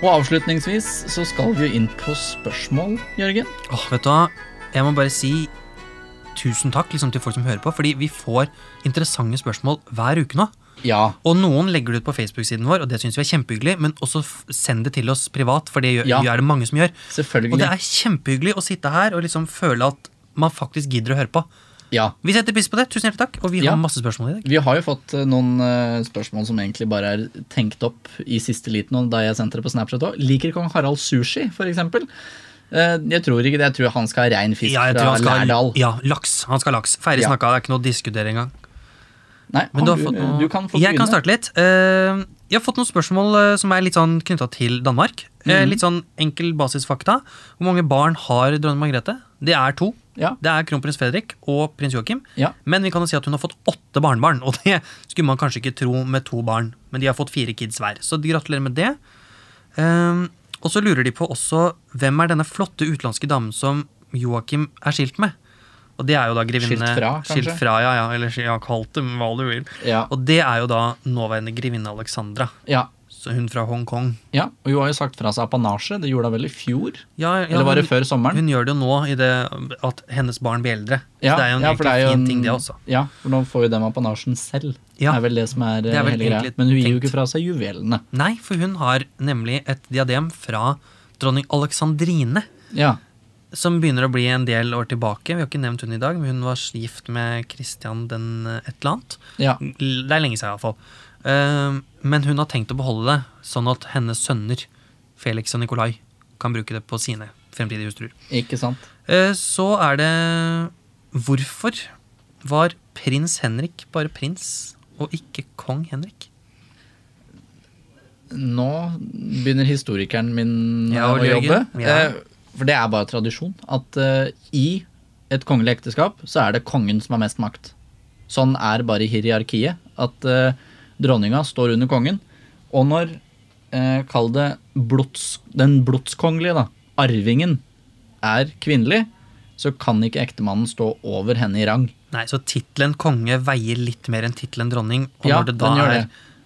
[SPEAKER 1] Og avslutningsvis så skal vi jo inn på spørsmål, Jørgen.
[SPEAKER 2] Åh, vet du hva? Jeg må bare si tusen takk liksom, til folk som hører på, fordi vi får interessante spørsmål hver uke nå.
[SPEAKER 1] Ja.
[SPEAKER 2] Og noen legger det ut på Facebook-siden vår, og det syns vi er kjempehyggelig, men også f- send det til oss privat, for det gjør,
[SPEAKER 1] Ja.
[SPEAKER 2] er det mange som gjør.
[SPEAKER 1] Selvfølgelig.
[SPEAKER 2] Og det er kjempehyggelig å sitte her og liksom føle at man faktisk gidder å høre på.
[SPEAKER 1] Ja.
[SPEAKER 2] Vi setter pris på det. Tusen hjertelig takk. Og vi
[SPEAKER 1] Ja.
[SPEAKER 2] har masse spørsmål i dag.
[SPEAKER 1] Vi har jo fått eh, noen eh, spørsmål som egentlig bare er tenkt opp i siste liten, og da jeg sendte det på Snapchat òg. Liker kong Harald sushi, for eksempel? Eh, jeg tror ikke det. Jeg tror han skal ha rein fisk
[SPEAKER 2] Ja, jeg tror
[SPEAKER 1] fra
[SPEAKER 2] han skal ha
[SPEAKER 1] Lærdal.
[SPEAKER 2] ja, laks. Han skal ha laks. Ferdig
[SPEAKER 1] Ja.
[SPEAKER 2] snakka, det er ikke noe å diskutere engang.
[SPEAKER 1] Nei,
[SPEAKER 2] Men
[SPEAKER 1] han,
[SPEAKER 2] du
[SPEAKER 1] du,
[SPEAKER 2] har fått noe...
[SPEAKER 1] du kan få
[SPEAKER 2] jeg kan starte litt. Eh, jeg har fått noen spørsmål eh, som er litt sånn knytta til Danmark.
[SPEAKER 1] Mhm.
[SPEAKER 2] Eh, litt sånn enkel basisfakta. Hvor mange barn har dronning Margrethe? Det er to.
[SPEAKER 1] Ja.
[SPEAKER 2] Det er kronprins Fredrik og prins Joakim.
[SPEAKER 1] Ja.
[SPEAKER 2] Men vi kan jo si at hun har fått åtte barnebarn, og det skulle man kanskje ikke tro med to barn. Men de har fått fire kids hver, så de gratulerer med det. Ehm, og så lurer de på også hvem er denne flotte utenlandske damen som Joakim er skilt med. Og det er jo da grevinne
[SPEAKER 1] Skilt fra, kanskje?
[SPEAKER 2] Skilt fra, ja, ja. Eller ja, kalt det hva du vil.
[SPEAKER 1] Ja.
[SPEAKER 2] Og det er jo da nåværende grevinne Alexandra.
[SPEAKER 1] ja.
[SPEAKER 2] Så hun fra Hongkong.
[SPEAKER 1] ja. Og hun har jo sagt fra seg apanasje. Det gjorde hun vel i fjor?
[SPEAKER 2] Ja, ja,
[SPEAKER 1] Eller var det
[SPEAKER 2] hun,
[SPEAKER 1] før sommeren?
[SPEAKER 2] hun gjør det jo nå i det at hennes barn blir eldre.
[SPEAKER 1] Ja,
[SPEAKER 2] så det er jo en
[SPEAKER 1] ja, for det
[SPEAKER 2] egentlig
[SPEAKER 1] er jo
[SPEAKER 2] fin
[SPEAKER 1] en-
[SPEAKER 2] ting, det også.
[SPEAKER 1] Ja, for nå får jo dem apanasjen selv.
[SPEAKER 2] Ja.
[SPEAKER 1] Det er vel det som er, eh,
[SPEAKER 2] Det er vel
[SPEAKER 1] hele greia.
[SPEAKER 2] egentlig
[SPEAKER 1] Men hun gir jo
[SPEAKER 2] tenkt.
[SPEAKER 1] ikke fra seg juvelene.
[SPEAKER 2] Nei, for hun har nemlig et diadem fra dronning Alexandrine.
[SPEAKER 1] Ja.
[SPEAKER 2] Som begynner å bli en del år tilbake. Vi har ikke nevnt hun i dag, men hun var gift med Christian den eh, et eller annet.
[SPEAKER 1] ja.
[SPEAKER 2] L- Det er lenge siden, iallfall. Uh, men hun har tenkt å beholde det, sånn at hennes sønner, Felix og Nikolai, kan bruke det på sine fremtidige hustruer.
[SPEAKER 1] Ikke sant?
[SPEAKER 2] Eh, så er det Hvorfor var prins Henrik bare prins, og ikke kong Henrik?
[SPEAKER 1] Nå begynner historikeren min
[SPEAKER 2] Ja,
[SPEAKER 1] eh, å
[SPEAKER 2] Ole
[SPEAKER 1] jobbe.
[SPEAKER 2] Jørgen. Ja.
[SPEAKER 1] Eh, For det er bare tradisjon at eh, i et kongelig ekteskap så er det kongen som har mest makt. Sånn er bare hierarkiet. At eh, dronninga står under kongen. Og når, eh, kall det blods, den blodskongelige, da, arvingen, er kvinnelig, så kan ikke ektemannen stå over henne i rang.
[SPEAKER 2] Nei, så tittelen konge veier litt mer enn tittelen dronning. Og
[SPEAKER 1] Ja,
[SPEAKER 2] når det da
[SPEAKER 1] den gjør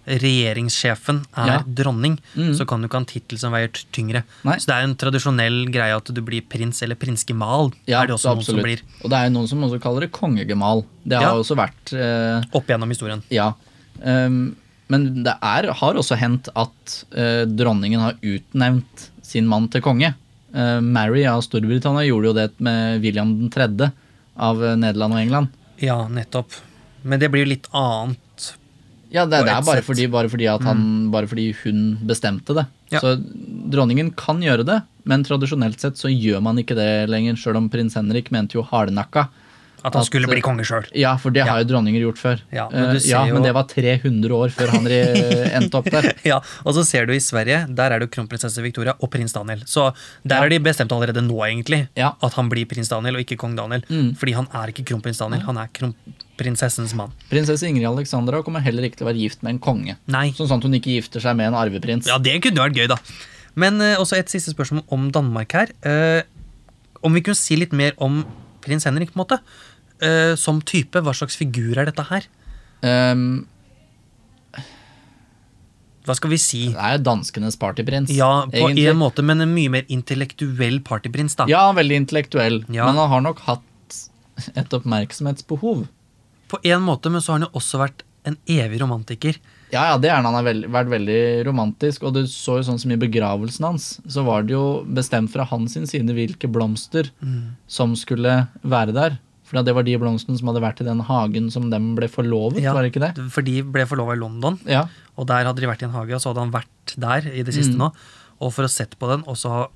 [SPEAKER 2] er regjeringssjefen er
[SPEAKER 1] Ja.
[SPEAKER 2] dronning,
[SPEAKER 1] Mm.
[SPEAKER 2] så kan du ikke ha en tittel som veier t- tyngre.
[SPEAKER 1] Nei.
[SPEAKER 2] Så det er en tradisjonell greie at du blir prins eller prinsgemal. er det
[SPEAKER 1] så
[SPEAKER 2] også noen som blir
[SPEAKER 1] Og det er jo noen som også kaller det kongegemal. Det har
[SPEAKER 2] Ja.
[SPEAKER 1] også vært eh,
[SPEAKER 2] opp gjennom historien.
[SPEAKER 1] Ja. ehm, men det er, har også hendt at eh, dronningen har utnevnt sin mann til konge. Eh, Mary av Storbritannia gjorde jo det med William 3. av eh, Nederland og England.
[SPEAKER 2] Ja, nettopp. Men det blir jo litt annet.
[SPEAKER 1] Ja, det,
[SPEAKER 2] På
[SPEAKER 1] det
[SPEAKER 2] ett
[SPEAKER 1] er bare
[SPEAKER 2] sett. Mm.
[SPEAKER 1] fordi, bare, fordi at han, bare fordi hun bestemte det.
[SPEAKER 2] Ja.
[SPEAKER 1] Så dronningen kan gjøre det, men tradisjonelt sett så gjør man ikke det lenger, sjøl om prins Henrik mente jo hardnakka.
[SPEAKER 2] At han
[SPEAKER 1] At,
[SPEAKER 2] skulle bli
[SPEAKER 1] eh,
[SPEAKER 2] konge sjøl.
[SPEAKER 1] Ja, for det har
[SPEAKER 2] Ja.
[SPEAKER 1] jo dronninger gjort før.
[SPEAKER 2] Ja, men du
[SPEAKER 1] Eh,
[SPEAKER 2] ser
[SPEAKER 1] ja,
[SPEAKER 2] jo-
[SPEAKER 1] men det var 300 år før han re- endte opp der.
[SPEAKER 2] Ja, og så ser du i Sverige, der er det jo kronprinsesse Victoria og prins Daniel. Så der har de bestemt allerede nå, egentlig,
[SPEAKER 1] Ja. Mm.
[SPEAKER 2] at han blir prins Daniel og ikke kong Daniel. Fordi han er ikke kronprins Daniel, han er kronprinsessens mann.
[SPEAKER 1] Prinsesse Ingrid Alexandra kommer heller ikke til å være gift med en konge.
[SPEAKER 2] Nei.
[SPEAKER 1] Sånn sånn at hun ikke gifter seg med en arveprins.
[SPEAKER 2] Ja, det kunne vært gøy, da. Men eh, også et siste spørsmål om Danmark her. Eh, om vi kunne si litt mer om prins Henrik, på en måte. Eh, som type, hva slags figur er dette her?
[SPEAKER 1] Ehm,
[SPEAKER 2] Hva skal vi si?
[SPEAKER 1] det er jo danskenes partyprins,
[SPEAKER 2] Ja, på
[SPEAKER 1] egentlig.
[SPEAKER 2] en måte, men en mye mer intellektuell partyprins, da.
[SPEAKER 1] Ja, han er veldig intellektuell,
[SPEAKER 2] Ja.
[SPEAKER 1] men han har nok hatt et oppmerksomhetsbehov.
[SPEAKER 2] På en måte, men så har han jo også vært en evig romantiker.
[SPEAKER 1] Ja, ja, det er han. Han har vel- vært veldig romantisk, og du så jo sånn som i begravelsen hans, så var det jo bestemt fra hans sin side hvilke blomster
[SPEAKER 2] Mm.
[SPEAKER 1] som skulle være der. For det var de blomstene som hadde vært i den hagen som dem ble forlovet,
[SPEAKER 2] Ja,
[SPEAKER 1] var det ikke det?
[SPEAKER 2] For de ble forlova i London,
[SPEAKER 1] Ja.
[SPEAKER 2] og der hadde de vært i en hage, og så hadde han vært der i det siste
[SPEAKER 1] Mm.
[SPEAKER 2] nå, og for å sett på den, og så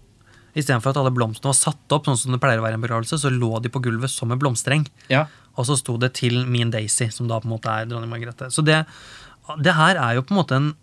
[SPEAKER 2] Istedenfor at alle blomstene var satt opp, sånn som det pleier å være i en begravelse, så lå de på gulvet som en blomstereng.
[SPEAKER 1] ja.
[SPEAKER 2] Og så sto det 'til min Daisy', som da på en måte er dronning Margrethe. Så det, det her er jo på en måte en,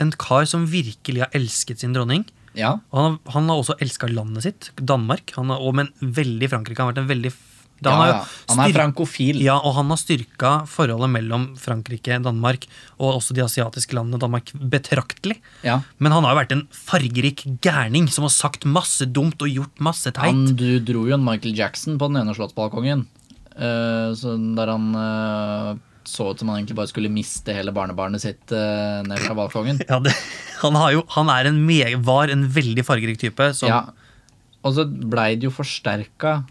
[SPEAKER 2] en kar som virkelig har elsket sin dronning.
[SPEAKER 1] Ja.
[SPEAKER 2] Og han, har- han har også elska landet sitt, Danmark, han har, og, men veldig Frankrike. Han har vært en veldig f- da
[SPEAKER 1] ja,
[SPEAKER 2] har jo
[SPEAKER 1] ja. Han er
[SPEAKER 2] styr-
[SPEAKER 1] frankofil.
[SPEAKER 2] Ja, og han har styrka forholdet mellom Frankrike, Danmark og også de asiatiske landene Danmark betraktelig.
[SPEAKER 1] Ja.
[SPEAKER 2] Men han har jo vært en fargerik gærning som har sagt masse dumt og gjort masse teit.
[SPEAKER 1] Han du dro jo en Michael Jackson på den ene slottsbalkongen. eh, så der han eh, så ut som han egentlig bare skulle miste hele barnebarnet sitt eh, ned fra balkongen.
[SPEAKER 2] Ja, det, han, har jo, han er en me- var en veldig fargerik type. Som,
[SPEAKER 1] Ja. Og så blei det jo forsterka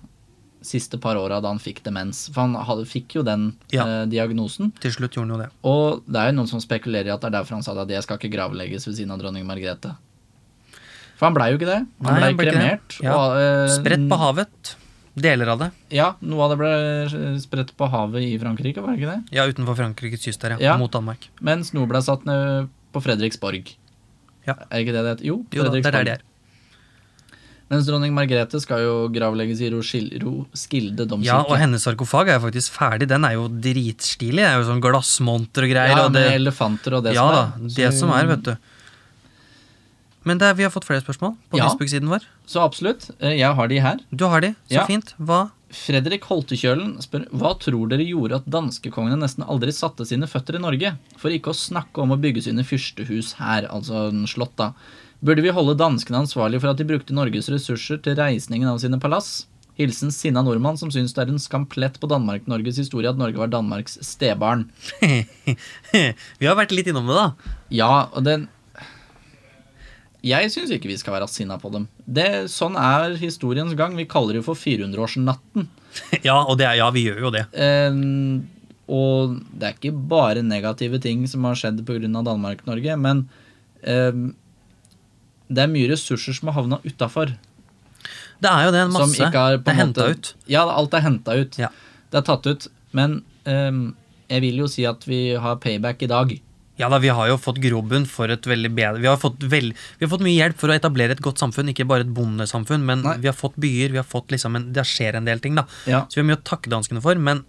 [SPEAKER 1] siste par åra da han fikk demens. For han hadde, fikk jo den
[SPEAKER 2] Ja.
[SPEAKER 1] eh, diagnosen.
[SPEAKER 2] Til slutt gjorde han jo det.
[SPEAKER 1] Og det er jo noen som spekulerer i at det er derfor han sa at jeg skal ikke gravlegges ved siden av dronning Margrethe. For han blei jo ikke det.
[SPEAKER 2] Nei,
[SPEAKER 1] Han blei
[SPEAKER 2] han ble ikke
[SPEAKER 1] kremert.
[SPEAKER 2] det. Ja.
[SPEAKER 1] og, eh,
[SPEAKER 2] Spredt på havet. Deler av det.
[SPEAKER 1] Ja, noe av det ble spredt på havet i Frankrike, var det ikke det?
[SPEAKER 2] Ja, utenfor Frankrikes kyst der, ja.
[SPEAKER 1] Ja.
[SPEAKER 2] Mot Danmark.
[SPEAKER 1] Mens noe ble satt ned på Fredriksborg.
[SPEAKER 2] Ja.
[SPEAKER 1] Er ikke det det heter? Jo,
[SPEAKER 2] Jo, da, der er de her.
[SPEAKER 1] Mens dronning Margrethe skal jo gravlegges i Roskil- Roskilde domkirke.
[SPEAKER 2] Ja, og hennes sarkofag er jo faktisk ferdig. Den er jo dritstilig. Det er jo sånn glassmonter og greier.
[SPEAKER 1] Ja,
[SPEAKER 2] og
[SPEAKER 1] med
[SPEAKER 2] det,
[SPEAKER 1] elefanter og det
[SPEAKER 2] ja
[SPEAKER 1] som
[SPEAKER 2] da,
[SPEAKER 1] er.
[SPEAKER 2] det som er, vet du. Men det er, vi har fått flere spørsmål på
[SPEAKER 1] Ja.
[SPEAKER 2] Facebook-siden vår.
[SPEAKER 1] Så absolutt. eh, Jeg har de her.
[SPEAKER 2] Du har de, så
[SPEAKER 1] Ja.
[SPEAKER 2] fint. Hva?
[SPEAKER 1] Fredrik Holtekjølen spør hva tror dere gjorde at danskekongene nesten aldri satte sine føtter i Norge, for ikke å snakke om å bygge sine fyrstehus her, altså en slott, da. Burde vi holde danskene ansvarlig for at de brukte Norges ressurser til reisningen av sine palass? Hilsen sinna nordmann som syns det er en skamplett på Danmark-Norges historie at Norge var Danmarks stebarn.
[SPEAKER 2] vi har vært litt innom det, da.
[SPEAKER 1] Ja, og den Jeg syns ikke vi skal være sinna på dem. Det, sånn er historiens gang. Vi kaller det jo for 400-årsnatten.
[SPEAKER 2] ja, og det er, ja, vi gjør jo det.
[SPEAKER 1] Eh, og det er ikke bare negative ting som har skjedd pga. Danmark-Norge, men eh, det er mye ressurser som har havna utafor.
[SPEAKER 2] Det er jo det, en masse. det er henta ut.
[SPEAKER 1] Ja, alt er henta ut.
[SPEAKER 2] Ja.
[SPEAKER 1] Det er tatt ut. Men ehm, jeg vil jo si at vi har payback i dag.
[SPEAKER 2] Ja da, vi har jo fått grobunn for et veldig bedre vi har, fått vel- vi har fått mye hjelp for å etablere et godt samfunn, ikke bare et bondesamfunn, men
[SPEAKER 1] Nei.
[SPEAKER 2] vi har fått byer, vi har fått liksom en, det skjer en del ting, da.
[SPEAKER 1] Ja.
[SPEAKER 2] Så vi har mye å takke danskene for, men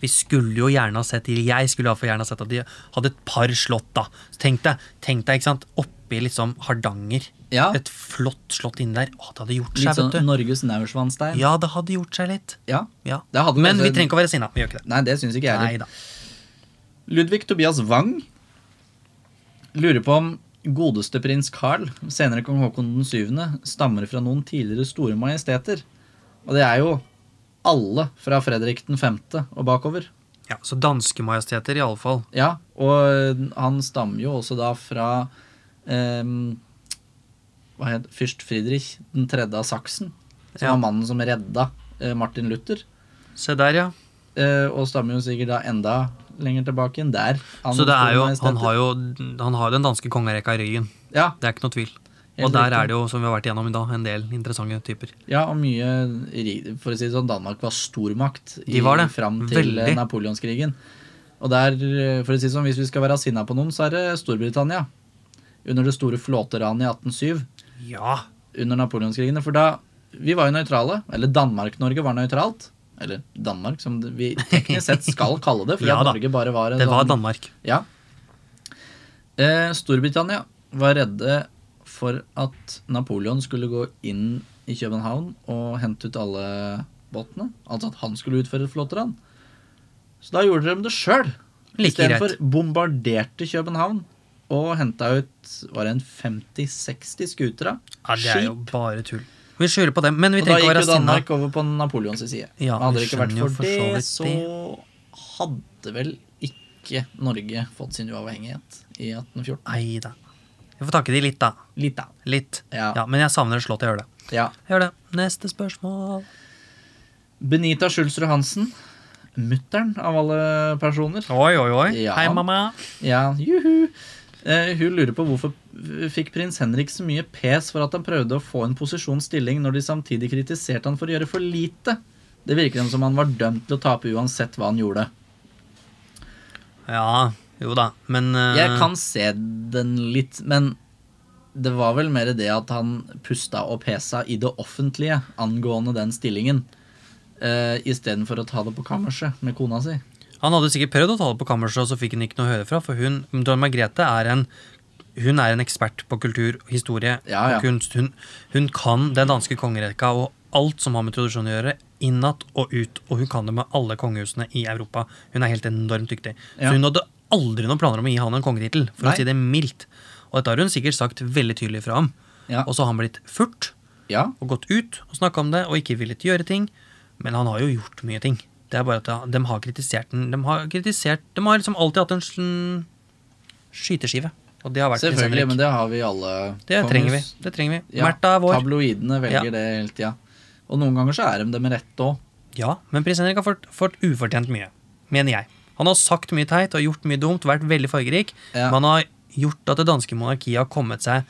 [SPEAKER 2] vi skulle jo gjerne ha sett til Jeg skulle i hvert fall gjerne ha sett at de hadde et par slott, da. Så tenk deg, tenk deg, ikke sant, oppi liksom Hardanger.
[SPEAKER 1] Ja.
[SPEAKER 2] Et flott slott inni der. Å, det hadde gjort
[SPEAKER 1] Litt
[SPEAKER 2] seg,
[SPEAKER 1] sånn
[SPEAKER 2] vet du.
[SPEAKER 1] Norges naursvannstein.
[SPEAKER 2] Ja, det hadde gjort seg litt.
[SPEAKER 1] Ja.
[SPEAKER 2] Ja.
[SPEAKER 1] Det hadde
[SPEAKER 2] Men vi
[SPEAKER 1] kanskje-
[SPEAKER 2] trenger ikke å være sinna. Vi gjør ikke det.
[SPEAKER 1] Nei, det syns ikke jeg
[SPEAKER 2] Nei
[SPEAKER 1] heller.
[SPEAKER 2] da.
[SPEAKER 1] Ludvig Tobias Wang lurer på om godeste prins Carl, senere kong Haakon den 7., stammer fra noen tidligere store majesteter. Og det er jo alle fra Fredrik den 5. og bakover.
[SPEAKER 2] Ja, så danske majesteter, iallfall.
[SPEAKER 1] Ja, og han stammer jo også da fra ehm, hva het Fyrst Friedrich den tredje av Saksen, som
[SPEAKER 2] Ja.
[SPEAKER 1] var mannen som redda eh, Martin Luther.
[SPEAKER 2] Se der, ja.
[SPEAKER 1] Eh, og stammer jo sikkert da enda lenger tilbake enn der.
[SPEAKER 2] Så det er jo, han har jo, han har jo den danske kongerekka i ryggen.
[SPEAKER 1] ja,
[SPEAKER 2] Det er ikke noe tvil.
[SPEAKER 1] Helt
[SPEAKER 2] Og der
[SPEAKER 1] riktig.
[SPEAKER 2] er det jo, som vi har vært igjennom i dag, en del interessante typer.
[SPEAKER 1] ja, og mye ri- For å si det sånn, Danmark var stormakt
[SPEAKER 2] De var det.
[SPEAKER 1] fram til eh,
[SPEAKER 2] Veldig.
[SPEAKER 1] Napoleonskrigen. Og der, eh, for å si det sånn, hvis vi skal være sinna på noen, så er det Storbritannia. Under det store flåteranet i 1807.
[SPEAKER 2] Ja.
[SPEAKER 1] under Napoleonskrigene. For da Vi var jo nøytrale. Eller Danmark-Norge var nøytralt. Eller Danmark, som det- vi teknisk sett skal kalle det. For
[SPEAKER 2] Ja
[SPEAKER 1] at
[SPEAKER 2] da.
[SPEAKER 1] Norge bare var en
[SPEAKER 2] Det var
[SPEAKER 1] sånn-
[SPEAKER 2] Danmark.
[SPEAKER 1] Ja. Eh, Storbritannia var redde for at Napoleon skulle gå inn i København og hente ut alle båtene. Altså at han skulle utføre et flåteran. Så da gjorde de det sjøl.
[SPEAKER 2] Like
[SPEAKER 1] Istedenfor
[SPEAKER 2] greit.
[SPEAKER 1] bombarderte København og henta ut var det en 50-60 skutere.
[SPEAKER 2] Ja, det er jo
[SPEAKER 1] Skip.
[SPEAKER 2] bare tull. Vi skylder på dem, men vi
[SPEAKER 1] Og da
[SPEAKER 2] trenger ikke å
[SPEAKER 1] gikk
[SPEAKER 2] være
[SPEAKER 1] jo
[SPEAKER 2] sinna.
[SPEAKER 1] Danmark over på Napoleons side.
[SPEAKER 2] Ja,
[SPEAKER 1] Men hadde
[SPEAKER 2] vi
[SPEAKER 1] det ikke vært
[SPEAKER 2] skjønner jo
[SPEAKER 1] for,
[SPEAKER 2] for så
[SPEAKER 1] det,
[SPEAKER 2] vidt
[SPEAKER 1] så hadde vel ikke Norge fått sin uavhengighet i 1814.
[SPEAKER 2] Nei da. Vi får takke de litt, da.
[SPEAKER 1] Litt, da.
[SPEAKER 2] Litt.
[SPEAKER 1] Ja.
[SPEAKER 2] Ja, men jeg savner et slott. Jeg gjør det.
[SPEAKER 1] Ja.
[SPEAKER 2] Jeg gjør det. Neste spørsmål.
[SPEAKER 1] Benita Schulzrud Hansen. Mutter'n av alle personer.
[SPEAKER 2] Oi, oi, oi.
[SPEAKER 1] Ja.
[SPEAKER 2] Hei, mamma.
[SPEAKER 1] Ja, juhu. Eh, hun lurer på hvorfor fikk prins Henrik så mye pes for at han prøvde å få en posisjonsstilling når de samtidig kritiserte han for å gjøre for lite. Det virker som han var dømt til å tape uansett hva han gjorde.
[SPEAKER 2] Ja, jo da, men eh,
[SPEAKER 1] Jeg kan se den litt, men det var vel mer det at han pusta og pesa i det offentlige angående den stillingen. Uh, Istedenfor å ta det på kammerset med kona si.
[SPEAKER 2] Han hadde sikkert prøvd å ta det på kammerset, og så fikk han ikke noe å høre fra. For hun, Dronning Margrethe er en, hun er en ekspert på kultur, historie
[SPEAKER 1] Ja, ja.
[SPEAKER 2] og kunst. Hun, hun kan den danske kongerekka og alt som har med tradisjon å gjøre, innat og ut. Og hun kan det med alle kongehusene i Europa. Hun er helt enormt dyktig.
[SPEAKER 1] Ja.
[SPEAKER 2] Så hun hadde aldri noen planer om å gi han en kongetittel, for
[SPEAKER 1] Nei.
[SPEAKER 2] å si det mildt. Og dette har hun sikkert sagt veldig tydelig fra om.
[SPEAKER 1] Ja.
[SPEAKER 2] Og så har han blitt furt
[SPEAKER 1] Ja,
[SPEAKER 2] og gått ut og snakka om det, og ikke villet gjøre ting. Men han har jo gjort mye ting. Det er bare at de har kritisert den. De har, kritisert, de har liksom alltid hatt en sl- skyteskive. Og det har vært prins
[SPEAKER 1] selvfølgelig,
[SPEAKER 2] Henrik.
[SPEAKER 1] men det har vi alle.
[SPEAKER 2] Det
[SPEAKER 1] kongehus.
[SPEAKER 2] trenger vi. det trenger vi.
[SPEAKER 1] Ja,
[SPEAKER 2] Märtha er vår.
[SPEAKER 1] Tabloidene velger
[SPEAKER 2] Ja.
[SPEAKER 1] det hele tida. Og noen ganger så er de det med rette òg.
[SPEAKER 2] Ja, men prins Henrik har fått, fått ufortjent mye, mener jeg. Han har sagt mye teit og gjort mye dumt, vært veldig fargerik.
[SPEAKER 1] Ja.
[SPEAKER 2] Men han har gjort at det danske monarkiet har kommet seg,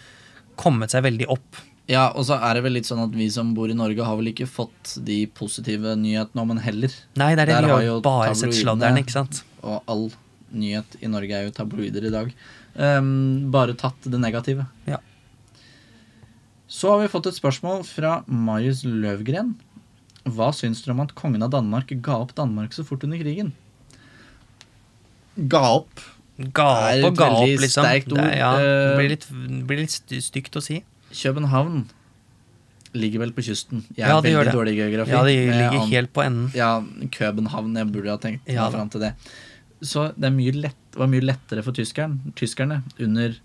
[SPEAKER 2] kommet seg veldig opp.
[SPEAKER 1] Ja, og så er det vel litt sånn at vi som bor i Norge, har vel ikke fått de positive nyhetene om en heller.
[SPEAKER 2] Nei, det er det.
[SPEAKER 1] Der
[SPEAKER 2] Vi
[SPEAKER 1] har
[SPEAKER 2] har jo
[SPEAKER 1] jo
[SPEAKER 2] bare sett
[SPEAKER 1] tabloidene-
[SPEAKER 2] sladderen, ikke sant?
[SPEAKER 1] Og all nyhet i Norge er jo tabloider i dag. Ehm, bare tatt det negative.
[SPEAKER 2] Ja.
[SPEAKER 1] Så har vi fått et spørsmål fra Marius Løvgren. Hva syns dere om at kongen av Danmark ga opp Danmark så fort under krigen? Ga opp?
[SPEAKER 2] Ga
[SPEAKER 1] Det er
[SPEAKER 2] opp og
[SPEAKER 1] et
[SPEAKER 2] ga opp,
[SPEAKER 1] veldig
[SPEAKER 2] liksom.
[SPEAKER 1] sterkt
[SPEAKER 2] Det,
[SPEAKER 1] ord.
[SPEAKER 2] er- ja, det
[SPEAKER 1] Eh,
[SPEAKER 2] blir litt, blir litt sty- stygt å si.
[SPEAKER 1] København ligger vel på kysten. Jeg er
[SPEAKER 2] Ja, det
[SPEAKER 1] veldig
[SPEAKER 2] gjør det.
[SPEAKER 1] dårlig i geografi.
[SPEAKER 2] Ja, det
[SPEAKER 1] men jeg
[SPEAKER 2] ligger
[SPEAKER 1] an-
[SPEAKER 2] helt på enden.
[SPEAKER 1] Ja, København. Jeg burde ha tenkt
[SPEAKER 2] Ja
[SPEAKER 1] meg
[SPEAKER 2] da.
[SPEAKER 1] fram til det. Så det er mye lett, var mye lettere for tyskeren, tyskerne under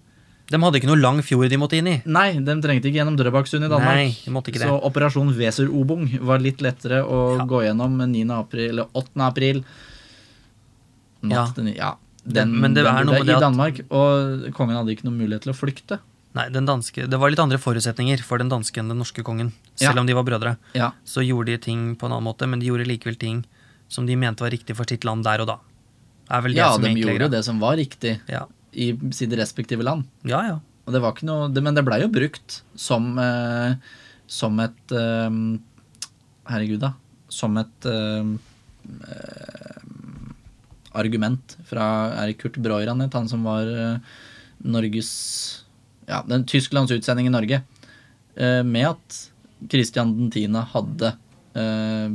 [SPEAKER 2] De hadde ikke noe lang fjord de måtte inn i.
[SPEAKER 1] Nei, de trengte ikke gjennom Drøbaksund i Danmark.
[SPEAKER 2] Nei, de måtte ikke det.
[SPEAKER 1] Så operasjon Weserobung var litt lettere å
[SPEAKER 2] Ja.
[SPEAKER 1] gå gjennom men 9. april, eller 8. april. Natt
[SPEAKER 2] Ja.
[SPEAKER 1] til ni- ja. Den,
[SPEAKER 2] Men det
[SPEAKER 1] den
[SPEAKER 2] er noe
[SPEAKER 1] bodde
[SPEAKER 2] med det
[SPEAKER 1] i
[SPEAKER 2] at-
[SPEAKER 1] Danmark, og kongen hadde ikke noen mulighet til å flykte.
[SPEAKER 2] Nei, den danske, Det var litt andre forutsetninger for den danske enn den norske kongen. Selv
[SPEAKER 1] Ja.
[SPEAKER 2] om de var brødre,
[SPEAKER 1] Ja,
[SPEAKER 2] så gjorde de ting på en annen måte, men de gjorde likevel ting som de mente var riktig for sitt land der og da. Er vel det
[SPEAKER 1] ja
[SPEAKER 2] som
[SPEAKER 1] de
[SPEAKER 2] egentlig er
[SPEAKER 1] gjorde jo
[SPEAKER 2] greia.
[SPEAKER 1] det som var riktig
[SPEAKER 2] Ja.
[SPEAKER 1] i sine respektive land.
[SPEAKER 2] ja, ja.
[SPEAKER 1] Og det var ikke noe, det, men det blei jo brukt som, eh, som et eh, Herregud, da. Som et eh, eh, argument fra Er det Kurt Breuer han het? Han som var eh, Norges Ja, den Tysklands utsending i Norge. Eh, med at Christian 10. hadde eh,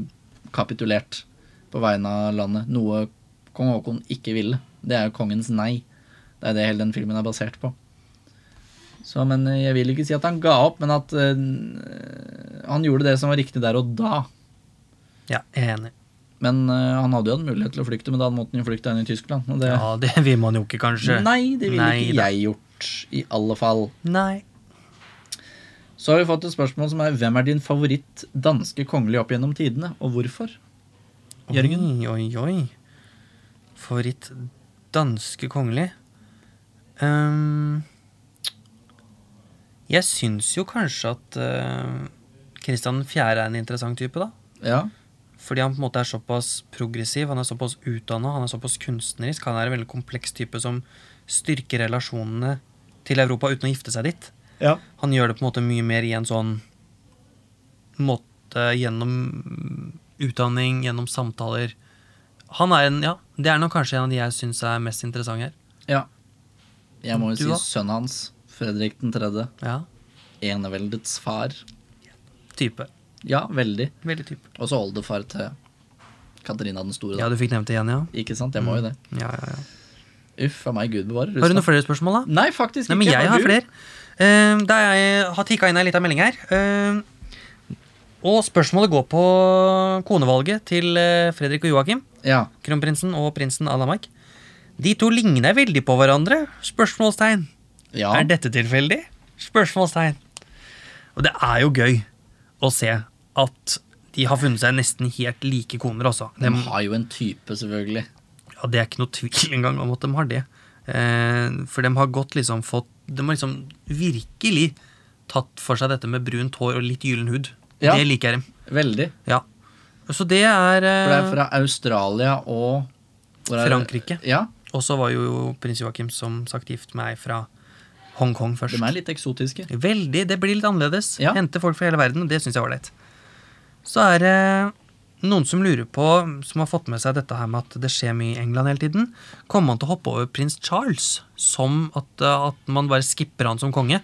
[SPEAKER 1] kapitulert på vegne av landet. Noe kong Haakon ikke ville. Det er jo kongens nei. Det er det hele den filmen er basert på. Så, men eh, jeg vil ikke si at han ga opp, men at eh, han gjorde det som var riktig der og da.
[SPEAKER 2] ja jeg er enig.
[SPEAKER 1] Men eh, han hadde jo en mulighet til å flykte, men da måtte han jo flykte inn i Tyskland. Og det,
[SPEAKER 2] Ja, det vil man jo ikke, kanskje.
[SPEAKER 1] nei, det ville
[SPEAKER 2] Nei
[SPEAKER 1] ikke
[SPEAKER 2] da.
[SPEAKER 1] jeg gjort, i alle fall.
[SPEAKER 2] Nei.
[SPEAKER 1] Så har vi fått et spørsmål som er hvem er din favoritt danske kongelige opp gjennom tidene, og hvorfor? Jørgen?
[SPEAKER 2] Oi, oi, oi. Favoritt danske kongelig? Ehm, jeg syns jo kanskje at eh, Kristian 4. er en interessant type, da.
[SPEAKER 1] Ja.
[SPEAKER 2] Fordi han på en måte er såpass progressiv, han er såpass utdanna, han er såpass kunstnerisk. Han er en veldig kompleks type som styrker relasjonene til Europa uten å gifte seg dit.
[SPEAKER 1] ja.
[SPEAKER 2] Han gjør det på en måte mye mer i en sånn måte gjennom utdanning, gjennom samtaler. Han er en, ja, Det er nok kanskje en av de jeg syns er mest interessant her.
[SPEAKER 1] Jeg må jo
[SPEAKER 2] Du
[SPEAKER 1] si
[SPEAKER 2] da?
[SPEAKER 1] sønnen hans, Fredrik 3.,
[SPEAKER 2] Ja,
[SPEAKER 1] eneveldets far.
[SPEAKER 2] type.
[SPEAKER 1] Ja, veldig.
[SPEAKER 2] Veldig type.
[SPEAKER 1] Og så oldefar til Katarina den store. Da.
[SPEAKER 2] Ja, du fikk nevnt det igjen, ja.
[SPEAKER 1] Ikke sant? Jeg må jo det.
[SPEAKER 2] ja, ja, ja.
[SPEAKER 1] Uff a meg, gud bevare
[SPEAKER 2] Har du
[SPEAKER 1] Russland.
[SPEAKER 2] noen flere spørsmål, da?
[SPEAKER 1] Nei, faktisk
[SPEAKER 2] Nei,
[SPEAKER 1] ikke.
[SPEAKER 2] men jeg har
[SPEAKER 1] du?
[SPEAKER 2] flere. Eh, da jeg har tikka inn ei lita melding her. Eh, og spørsmålet går på konevalget til eh, Fredrik og Joakim.
[SPEAKER 1] Ja.
[SPEAKER 2] Kronprinsen og prinsen av Danmark. De to ligner veldig på hverandre? Spørsmålstegn.
[SPEAKER 1] ja.
[SPEAKER 2] Er dette tilfeldig? Spørsmålstegn. Og det er jo gøy å se at de har funnet seg nesten helt like koner, altså.
[SPEAKER 1] De
[SPEAKER 2] Dem-
[SPEAKER 1] har jo en type, selvfølgelig.
[SPEAKER 2] ja, det er ikke noe tvil engang om at de har det. Eh, for de har godt liksom fått De har liksom virkelig tatt for seg dette med brunt hår og litt gyllen hud.
[SPEAKER 1] Ja.
[SPEAKER 2] Det liker jeg dem.
[SPEAKER 1] Veldig.
[SPEAKER 2] Ja. Så det er,
[SPEAKER 1] For det
[SPEAKER 2] eh,
[SPEAKER 1] er fra Australia og hvor er det?
[SPEAKER 2] Frankrike.
[SPEAKER 1] Ja,
[SPEAKER 2] Og så var jo prins Joakim som sagt gift med ei fra Hongkong først.
[SPEAKER 1] de er litt eksotiske.
[SPEAKER 2] Veldig, Det blir litt annerledes.
[SPEAKER 1] Ja.
[SPEAKER 2] Hente folk fra hele verden, og det syns jeg var ålreit. Så er det noen som lurer på, som har fått med seg dette her med at det skjer mye i England hele tiden, kommer han til å hoppe over prins Charles som at, eh, at man bare skipper han som konge?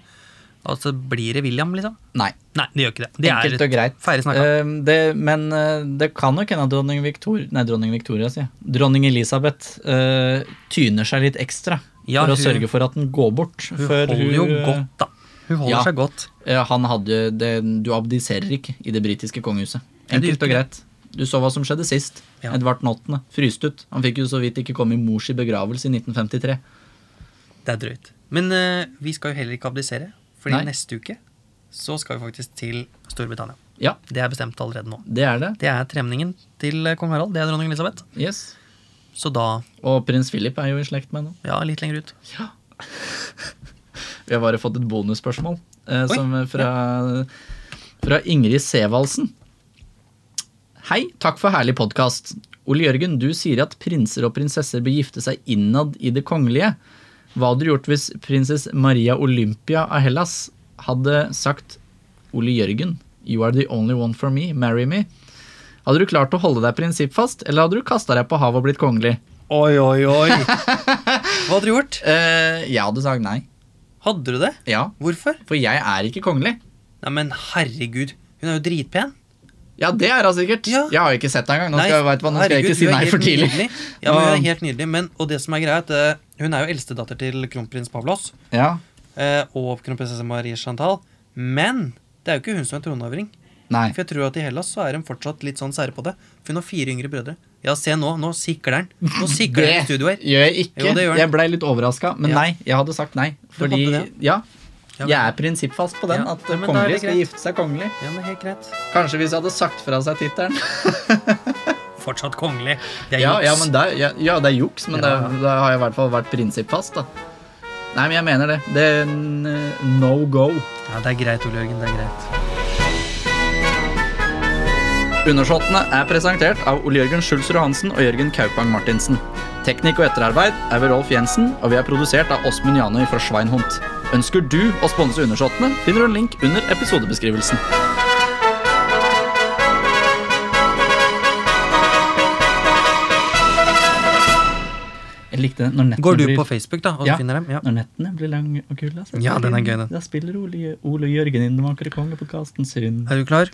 [SPEAKER 2] Altså blir det William, liksom?
[SPEAKER 1] Nei.
[SPEAKER 2] Nei, det gjør ikke det. Det
[SPEAKER 1] Enkelt og greit.
[SPEAKER 2] ferdig snakka.
[SPEAKER 1] Eh, det, men eh, det kan nok hende at dronning Victoria Nei, dronning Victoria, sier jeg. Dronning Elisabeth eh, tyner seg litt ekstra
[SPEAKER 2] Ja,
[SPEAKER 1] for å
[SPEAKER 2] hun-
[SPEAKER 1] sørge for at den går bort.
[SPEAKER 2] hun
[SPEAKER 1] før
[SPEAKER 2] holder jo
[SPEAKER 1] hun, eh,
[SPEAKER 2] godt, da. Hun holder
[SPEAKER 1] ja.
[SPEAKER 2] seg godt.
[SPEAKER 1] eh, Han hadde det, Du abdiserer ikke i det britiske kongehuset.
[SPEAKER 2] Ja, du gjør
[SPEAKER 1] Enkelt og
[SPEAKER 2] ikke
[SPEAKER 1] greit. Du så hva som skjedde sist.
[SPEAKER 2] Ja.
[SPEAKER 1] Edvard den åttende fryste ut. Han fikk jo så vidt ikke komme i mors i begravelse i 1953.
[SPEAKER 2] Det er drøyt. Men eh, vi skal jo heller ikke abdisere, Fordi
[SPEAKER 1] Nei.
[SPEAKER 2] neste uke så skal vi faktisk til Storbritannia.
[SPEAKER 1] Ja,
[SPEAKER 2] Det er bestemt allerede nå.
[SPEAKER 1] det er det.
[SPEAKER 2] Det er tremningen til eh, kong Harald. Det er dronning Elisabeth.
[SPEAKER 1] Yes.
[SPEAKER 2] Så da
[SPEAKER 1] Og prins Philip er jo i slekt med henne.
[SPEAKER 2] Ja, litt lenger ut.
[SPEAKER 1] Vi har bare fått et bonusspørsmål eh,
[SPEAKER 2] Oi,
[SPEAKER 1] som er fra, fra Ingrid Sevaldsen. Hei, takk for herlig podkast. Ole Jørgen, du sier at prinser og prinsesser bør gifte seg innad i det kongelige. Hva hadde du gjort hvis prinsesse Maria Olympia av Hellas hadde sagt Ole Jørgen, you are the only one for me, marry me? Hadde du klart å holde deg prinsippfast, eller hadde du kasta deg på havet og blitt kongelig?
[SPEAKER 2] Oi, oi, oi. Hva hadde du gjort?
[SPEAKER 1] Eh, jeg hadde sagt nei.
[SPEAKER 2] Hadde du det?
[SPEAKER 1] Ja,
[SPEAKER 2] Hvorfor?
[SPEAKER 1] for jeg er ikke kongelig.
[SPEAKER 2] Nei, men herregud. Hun er jo dritpen.
[SPEAKER 1] Ja, det er hun sikkert.
[SPEAKER 2] Ja.
[SPEAKER 1] Jeg har jo ikke sett henne engang. Nå
[SPEAKER 2] Nei,
[SPEAKER 1] skal jeg, vet hva, nå skal jeg
[SPEAKER 2] herregud,
[SPEAKER 1] ikke si
[SPEAKER 2] hun er
[SPEAKER 1] nei
[SPEAKER 2] helt
[SPEAKER 1] for tidlig.
[SPEAKER 2] nydelig. Ja, men Hun
[SPEAKER 1] Og-
[SPEAKER 2] er helt nydelig. Men, og det som er greia, er at eh, hun er jo eldstedatter til kronprins Pavlos
[SPEAKER 1] Ja.
[SPEAKER 2] eh, og kronprinsesse Marie Chantal. Men det er jo ikke hun som er tronarving.
[SPEAKER 1] Nei.
[SPEAKER 2] For jeg tror at i Hellas så er de fortsatt litt sånn sære på det. For hun har fire yngre brødre. Ja, se nå, nå sikler han. Nå sikler han i studio her.
[SPEAKER 1] gjør jeg ikke.
[SPEAKER 2] Jo, det gjør den.
[SPEAKER 1] jeg blei litt overraska, men
[SPEAKER 2] Ja.
[SPEAKER 1] nei. Jeg hadde sagt nei.
[SPEAKER 2] Du hadde
[SPEAKER 1] Fordi
[SPEAKER 2] det?
[SPEAKER 1] ja,
[SPEAKER 2] Ja.
[SPEAKER 1] jeg er prinsippfast på den.
[SPEAKER 2] Ja,
[SPEAKER 1] At
[SPEAKER 2] men da er
[SPEAKER 1] kongelige
[SPEAKER 2] det
[SPEAKER 1] skal
[SPEAKER 2] greit.
[SPEAKER 1] gifte seg kongelig.
[SPEAKER 2] Ja, men helt greit.
[SPEAKER 1] Kanskje hvis jeg hadde sagt fra seg tittelen.
[SPEAKER 2] Fortsatt kongelig. Det er
[SPEAKER 1] Ja,
[SPEAKER 2] juks.
[SPEAKER 1] ja, men det er- ja, ja, det er juks, men
[SPEAKER 2] Ja.
[SPEAKER 1] det er- da har jeg i hvert fall vært prinsippfast. da Nei, men jeg mener det. Det er en eh, no go.
[SPEAKER 2] Ja, det er greit, Ole Jørgen. Det er greit.
[SPEAKER 1] Undersåttene er presentert av Ole Jørgen Schulzrud Hansen og Jørgen Kaupang Martinsen. Teknikk og etterarbeid er ved Rolf Jensen, og vi er produsert av Åsmund Janøy fra Schweinhund. Ønsker du å sponse Undersåttene, finner du en link under episodebeskrivelsen. Jeg likte det når nettene
[SPEAKER 2] Går du
[SPEAKER 1] blir-
[SPEAKER 2] på Facebook, da, og
[SPEAKER 1] Ja.
[SPEAKER 2] finner dem? Ja.
[SPEAKER 1] Når nettene blir lange og altså. kulde,
[SPEAKER 2] Ja, den er gøy, den.
[SPEAKER 1] Da spiller Ole, Ole Jørgen inn Den vakre kongepodkasten sin.
[SPEAKER 2] Er du klar?